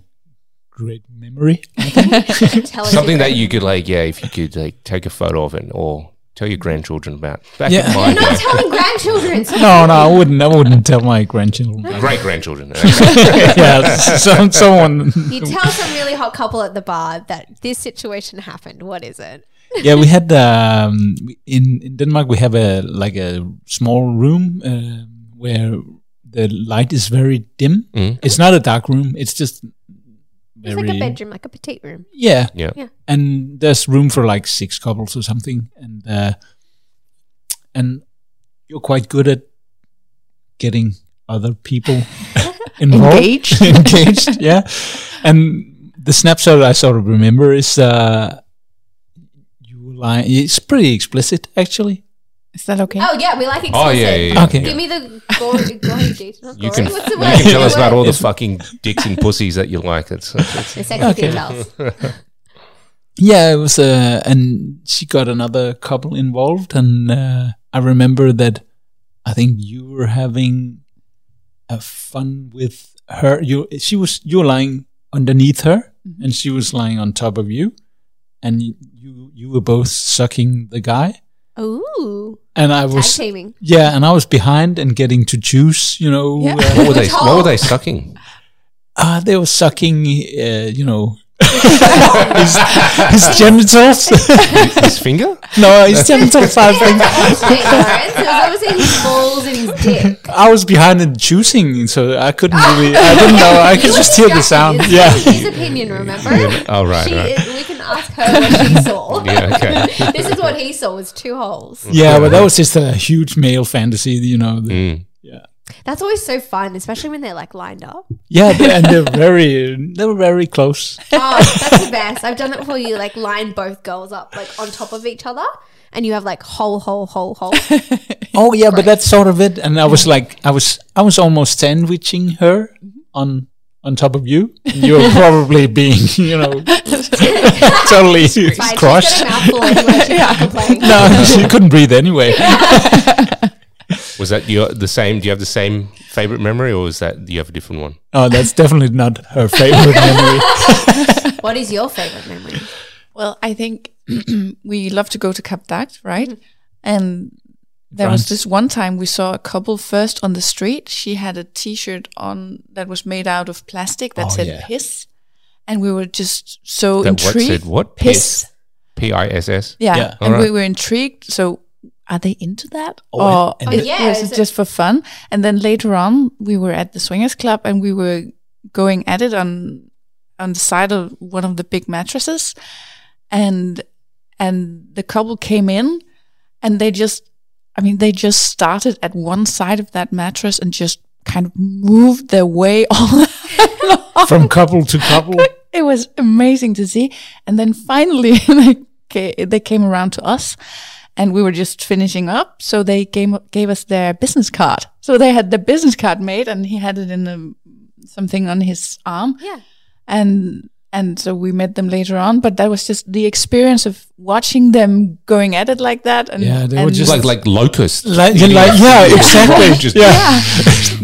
F: great memory. *laughs*
D: Tell us
C: Something
D: your-
C: that you could like, yeah, if you could like take a photo of it or tell your grandchildren about. Back in
F: Yeah. *laughs*
C: my
D: You're not
C: day,
D: telling
C: *laughs*
D: grandchildren. so-
F: no, no, I wouldn't. I wouldn't tell my grandchildren.
C: great grandchildren.
F: *laughs* yeah, some, someone.
D: You tell some really hot couple at the bar that this situation happened. What is it?
F: yeah, we had um, in in Denmark. We have a like a small room um where the light is very dim.
C: Mm.
F: It's not a dark room. It's just
D: It's
F: very
D: like a bedroom, like a petite room.
F: Yeah,
C: Yeah.
D: Yeah.
F: and there's room for like six couples or something, and uh, and you're quite good at getting other
D: *laughs*
F: people involved,
E: Engaged.
F: *laughs* engaged, yeah. And the snapshot I sort of remember is uh, you were lying. It's pretty explicit, actually.
E: Is that okay?
D: Oh yeah, we like
C: Oh
D: explicit.
C: yeah, yeah, yeah.
F: Okay.
C: yeah.
D: Give me the gory, gory details.
C: *laughs* You can,
D: What's the
C: you
D: word?
C: can tell
D: The
C: us about
D: word.
F: *laughs*
C: all the fucking dicks and pussies that you like. It's,
D: *laughs*
C: it's,
D: the sexy
F: Okay.
D: details.
F: Yeah, it was. Uh, and she got another couple involved, and uh, I remember that. I think you were having a fun with her. You, she was. You were lying underneath her, and she was lying on top of you, and y- you you were both sucking the guy,
D: Ooh,
F: and I
D: tag
F: was.
D: teaming.
F: Yeah, and I was behind and getting to choose, you know.
E: Yeah.
F: Uh,
C: what, were they,
D: Tall.
C: what were they
D: *laughs*
C: sucking?
F: ah, they were sucking, uh, you know, his, his genitals. *laughs*
C: His finger?
F: no, his genitals, I think.
D: Wait, Lawrence, it was obviously his balls and his dick.
F: I was behind and choosing, so I couldn't really. I didn't know. I could just
D: *laughs*
F: hear the sound.
D: It's
F: Yeah.
D: his opinion, remember?
C: Oh, right,
D: she,
C: right.
D: We can ask her what
C: *laughs*
D: she saw.
C: Yeah, okay.
D: *laughs* this is what he saw was two holes.
F: Yeah, but that was just a huge male fantasy, you know. the-
C: Mm.
D: That's always so fun, especially when they're like lined up.
F: Yeah, they- and they're very they were very close.
D: Oh, that's the best. I've done it for you, like line both girls up like on top of each other, and you have like hole, hole, hole,
F: *laughs*
D: hole.
F: Oh yeah, but that's sort of it. And I was like, I was I was almost sandwiching her on on top of you. And you were probably *laughs* being, you know,
D: Fine,
F: totally
D: she's
F: crushed.
D: got a mouthful anyway. She's
F: *laughs*
D: not complaining.
F: No, she couldn't breathe anyway.
C: Was that your the same? Do you have the same favorite memory, or is that do you have a different one?
F: Oh, that's definitely not her favorite memory.
D: What is your favorite memory?
E: Well, I think *clears throat* we love to go to Cap d'Agde, right?
D: Mm-hmm.
E: And there
F: France.
E: was this one time we saw a couple first on the street. She had a T-shirt on that was made out of plastic that
F: Oh,
E: said
F: yeah.
E: "piss," and we were just so
C: That what
E: intrigued.
C: said what?
E: Piss.
C: P I S S.
E: Yeah,
F: Yeah.
E: and we
C: Alright.
E: were intrigued. So, are they into that,
F: Oh,
E: or
F: and-
E: it-
D: Oh, yeah,
E: was
D: is
E: it
D: it-
E: just for fun? And then later on, we were at the swingers club, and we were going at it on on the side of one of the big mattresses, and and the couple came in, and they just, I mean, they just started at one side of that mattress and just kind of moved their way *laughs* all along.
F: From couple to couple.
E: It was amazing to see. And then finally, *laughs* they, ca- they came around to us and we were just finishing up. So they gave, gave us their business card. So they had the business card made and he had it in a, something on his arm.
D: Yeah.
E: And, and so we met them later on, but that was just the experience of watching them going at it like that. And,
F: Yeah, they were
E: and
F: just
C: Like like locust.
F: Like, yeah, like- yeah, *laughs* exactly.
C: Just-
F: yeah.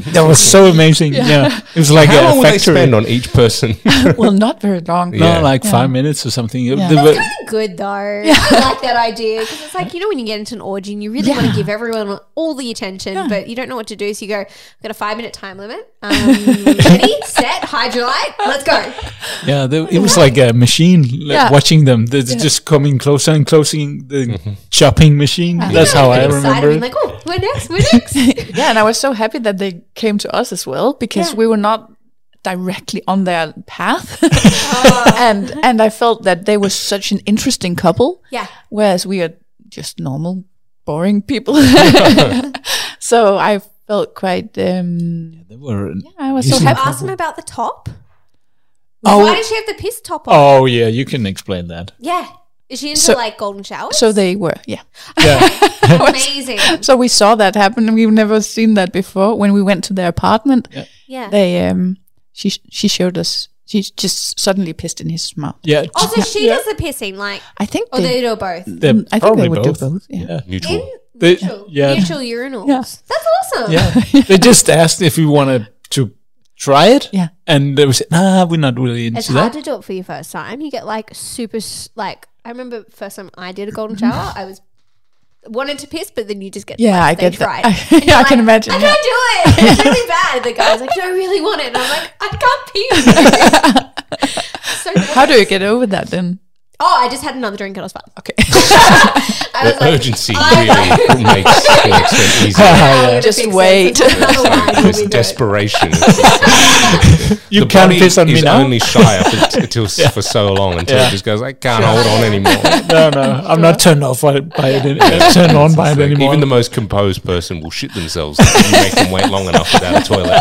F: *laughs* that was so amazing. Yeah. It was like
C: How
F: a
C: long would they
F: factory.
C: spend on each
F: *laughs*
C: person?
E: well, not very long.
F: no,
C: Yeah.
F: like five minutes or something. It-
E: Yeah.
F: they were-
D: Good though. I like that idea because it's like you know when you get into an orgy and you really want to give everyone all the attention, but you don't know what to do, so you go, "I've got a five minute time
F: *laughs*
D: limit. Um, ready, set, hydrolyte, let's go."
F: yeah, they, it was like a machine like,
E: Yeah.
F: watching them. They're just coming closer and closing the chopping machine. That's how I
D: Excited,
F: remember.
D: being
F: it.
D: like, "Oh, we're next, we're next."
F: *laughs*
E: *laughs* yeah, and I was so happy that they came to us as well because
D: Yeah.
E: we were not directly on their
D: *laughs*
E: path, and and I felt that they were such an interesting couple,
D: yeah,
E: whereas we are just normal,
D: *laughs*
E: boring people. so I felt quite. Um,
F: They were-
E: I was
F: You
E: so
F: see-
E: happy.
D: ask them about the top.
F: Oh.
D: Why does she have the piss top on?
F: Oh yeah, you can explain that.
D: Yeah, is she into
E: So-
D: like golden showers? *laughs*
E: So they were, yeah.
F: Yeah,
D: amazing.
E: So we saw that happen, and we've never seen that before. When we went to their apartment,
D: Yeah.
E: they um, she she showed us. She just suddenly pissed in his mouth.
F: yeah.
D: also, Oh, she does the pissing, like,
E: I think
D: or Oh, they do both.
F: They're
E: Mm, I think
F: probably
E: they would
F: both.
E: do both. Yeah.
F: Yeah.
C: *laughs* Neutral.
D: In
F: They-
D: neutral,
F: yeah.
D: neutral urinals.
E: Yeah.
D: That's awesome.
E: *laughs*
F: Yeah. they just asked if we wanted to try it.
E: Yeah.
F: And they said, nah, we're not really into
D: It's
F: that.
D: hard to do it for your first time. You get like super, s- like, I remember first time I did a golden shower, I was wanted to piss, but then you just get,
E: Yeah,
D: like,
E: I
D: they
E: get
D: tried.
E: *laughs* that. I, yeah, I can imagine.
D: I
E: yeah.
D: can't do it. It's
E: *laughs*
D: really bad. The guy's like, "Do I really want it?" And I'm like, "I can't pee."
E: *laughs*
D: *laughs* so
E: How do you get over that then?
D: Oh, I just had another drink and I was fine.
E: Okay. *laughs*
F: uh,
D: I
C: The
D: was like,
C: urgency *laughs*
D: I-
F: *laughs*
C: really makes sex *laughs* easier.
D: "Oh,
F: Yeah.
D: it'll
E: Just
D: fix it.
E: wait.
D: Another
C: *laughs*
D: wine will
C: It's
D: be good."
C: desperation.
F: *laughs* You
C: the
F: can't
C: body
F: piss on
C: is
F: me now.
C: only shy
F: *laughs*
C: up until for so long until
F: Yeah.
C: it just goes, I can't hold
F: *laughs*
C: on anymore.
F: no, no, I'm
E: *laughs*
F: not turned off by, by it. *laughs* Any, turned on by it
C: Like,
F: anymore.
C: Even the most composed person will shit themselves if you make them wait long enough without a
F: *laughs*
C: toilet.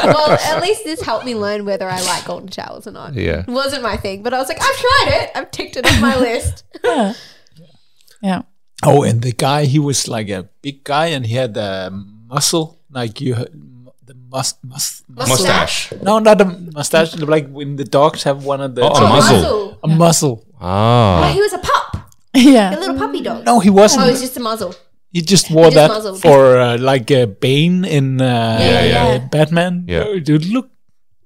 D: well, at least this helped me learn whether I like golden showers or not.
C: Yeah.
D: It wasn't my thing, but I was like, I've tried it. I've ticked it off my list.
E: Yeah.
F: oh, and the guy, he was like a big guy, and he had a muscle like you, the must, must,
C: Mustache.
F: No, not a mustache. Like when the dogs have one of the
C: Oh, a
F: a,
C: muzzle.
F: a muzzle.
D: Oh,
C: Ah.
D: he was a pup, a
E: Yeah.
D: little puppy dog.
F: No, he
D: Oh,
F: wasn't.
D: it was just a muzzle.
F: he just wore
D: just
F: that
D: muzzled.
F: for uh, like uh, Bane in uh,
C: Yeah, yeah.
F: uh, Batman.
C: Yeah.
F: Oh, dude, look,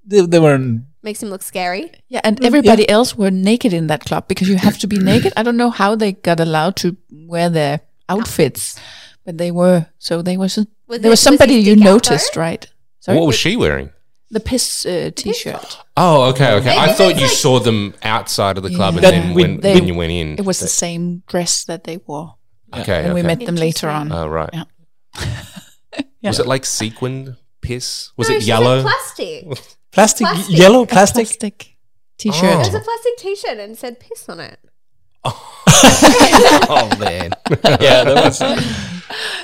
F: they, they were in
D: Makes him look scary.
E: Yeah. And everybody else were naked in that club because you have to be naked. I don't know how they got allowed to wear their outfits, but they were. So they was
D: Was
E: there was
D: it- was
E: somebody
D: his
E: you
D: dick out
E: noticed,
D: though?
E: right? Sorry.
C: What was she wearing?
E: the piss uh, t-shirt.
C: Oh, okay, okay. I
D: Maybe
C: thought
D: it's
C: you
D: like-
C: saw them outside of the club,
F: Yeah.
C: and then
F: That we-
C: when,
E: they-
C: when you went in,
E: It was the same dress that they wore
C: okay.
E: when we
C: okay.
E: met them later on.
C: Oh, right.
E: Yeah.
C: Was it like sequined piss? Was
D: No,
C: it
D: she's
C: yellow?
D: in Plastic. It
F: plastic,
D: Plastic.
F: yellow plastic.
E: *laughs* Plastic t-shirt.
C: Oh.
D: was a plastic T-shirt and said piss on it.
C: *laughs* oh man.
D: *laughs*
F: yeah, that was.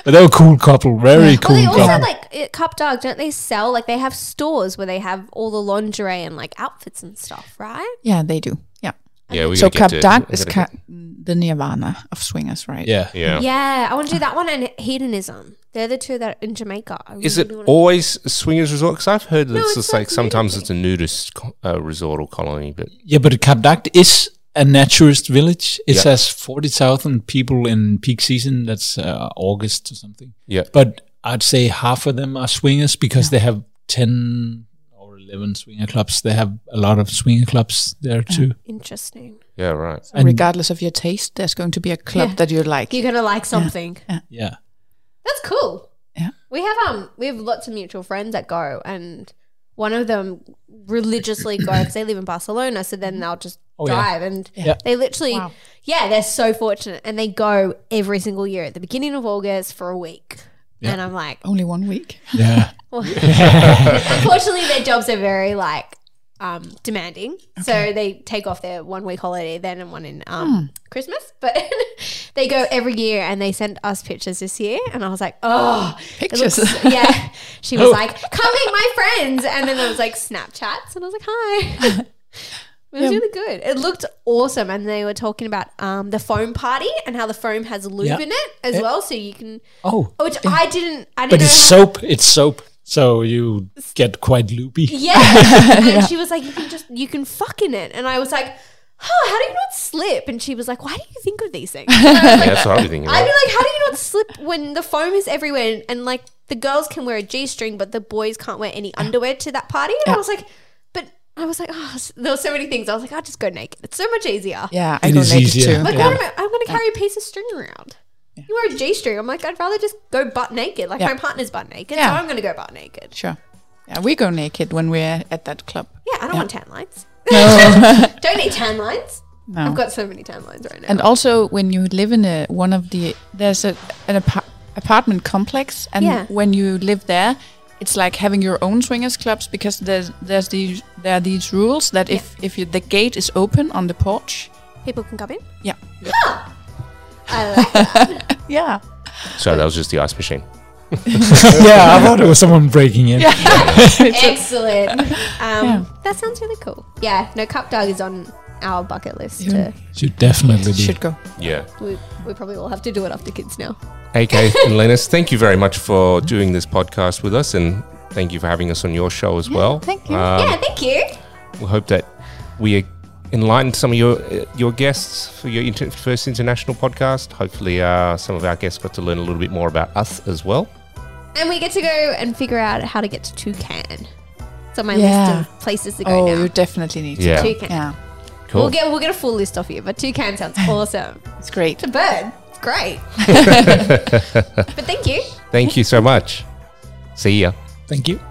F: But they're a cool couple, very cool
D: Well, they also
F: couple.
D: like at Cup Dog, don't they sell like they have stores where they have all the lingerie and like outfits and stuff, right?
E: Yeah, they do. Yeah.
C: *laughs* Yeah, we
E: so
C: gotta get
E: Cap
C: to-
E: Dark
C: we
E: is
C: gotta
E: ca- the Nirvana of swingers, right?
F: Yeah.
C: Yeah.
D: Yeah, I want to do that one and hedonism. They're the two that are in Jamaica. I
C: Is it
D: really wanna-
C: always a swingers resort? Because I've heard that it's,
D: it's
C: just
D: not
C: like sometimes
D: nudity.
C: it's a nudist co- uh, resort or colony, but
F: Yeah, but Kapdagt is a naturist village. It
C: Yeah.
F: says 40,000 people in peak season. That's uh, August or something.
C: yeah,
F: But I'd say half of them are swingers because they have 10 or 11 swinger clubs. They have a lot of swinger clubs there too.
D: interesting?
C: yeah, right.
E: So regardless of your taste, there's going to be a club
D: Yeah.
E: that you like.
D: You're gonna like something.
F: Yeah.
D: That's cool.
E: Yeah.
D: We have um we have lots of mutual friends that go and one of them religiously go because they live in Barcelona, so then they'll just
F: Oh, yeah.
D: drive and
E: Yeah.
D: they literally
E: Wow.
D: yeah, they're so fortunate and they go every single year at the beginning of August for a week. And I'm like,
E: Only one week.
F: Yeah.
D: well, *laughs*
F: *laughs*
D: unfortunately their jobs are very like um, demanding. So they take off their one week holiday then and one in
F: Hmm.
D: um, Christmas. But *laughs* they go every year and they send us pictures this year. And I was like, oh, it looks- *laughs*
E: Pictures.
D: yeah. She
F: Oh.
D: was like, come meet my friends. And then there was like Snapchats. And I was like, hi. *laughs* It was really good. It looked awesome. And they were talking about um, the foam party and how the foam has lube
F: Yeah.
D: in it as well. So you can,
F: Oh,
D: which I didn't, I didn't
F: but
D: know
F: it's
D: how-
F: soap. It's soap. So you get quite loopy.
D: yeah. And she was like, you can just, you can fuck in it. And I was like, huh, how do you not slip? And she was like, why do you think of these things? And *laughs* I was
C: Yeah,
D: like,
C: that's what I'm thinking.
D: I'd
C: About.
D: be like, how do you not slip when the foam is everywhere? And, and like the girls can wear a G string, but the boys can't wear any underwear to that party. And I was like, but I was like, oh, s- there were so many things. I was like, I'll just go naked. It's so much easier.
E: Yeah, I
F: It
E: go
F: is
E: naked
F: easier.
E: too.
D: Like,
F: Yeah.
D: what am I, I'm going to carry a piece of string around. You wear a G string. I'm like, I'd rather just go butt naked. Like
E: Yeah.
D: my partner's butt naked.
E: Yeah.
D: So I'm going to go butt naked.
E: Sure. Yeah, we go naked when we're at that club.
D: Yeah, I don't want tan
E: *laughs*
D: lines. *laughs* don't need tan lines.
E: No.
D: I've got so many tan lines right now.
E: and also when you live in a one of the there's a an apa- apartment complex, and
D: Yeah.
E: when you live there, it's like having your own swingers clubs because there's there's these there are these rules that if if you, the gate is open on the porch,
D: People can
E: *laughs*
D: come in.
E: yeah,
D: I like that.
E: yeah,
C: So that was just the ice machine.
F: *laughs* yeah, I thought it was someone breaking in.
E: *laughs*
D: Excellent. Um, That sounds really cool. Yeah, no, Cup Dog is on our bucket list. To,
F: Should definitely be.
E: should go.
C: Yeah.
D: we, we probably will have to do it after kids now.
C: Hey, Kate and Linus, thank you very much for doing this podcast with us, and thank you for having us on your show as well.
E: thank you.
C: Um,
D: yeah, thank you.
C: We hope that we enlightened some of your uh, your guests for your inter- first international podcast. Hopefully, uh, some of our guests got to learn a little bit more about us as well.
D: And we get to go and figure out how to get to Toucan. It's on my
E: Yeah.
D: list of places to go
E: Oh,
D: now.
E: you definitely need to.
C: Yeah.
D: Toucan.
E: Yeah,
C: Cool.
D: We'll get we'll get a full list off you, but Toucan
E: *laughs*
D: sounds awesome.
E: it's great.
D: it's a bird. It's great.
C: *laughs*
E: *laughs*
D: but thank you.
C: Thank you so much. See ya.
F: Thank you.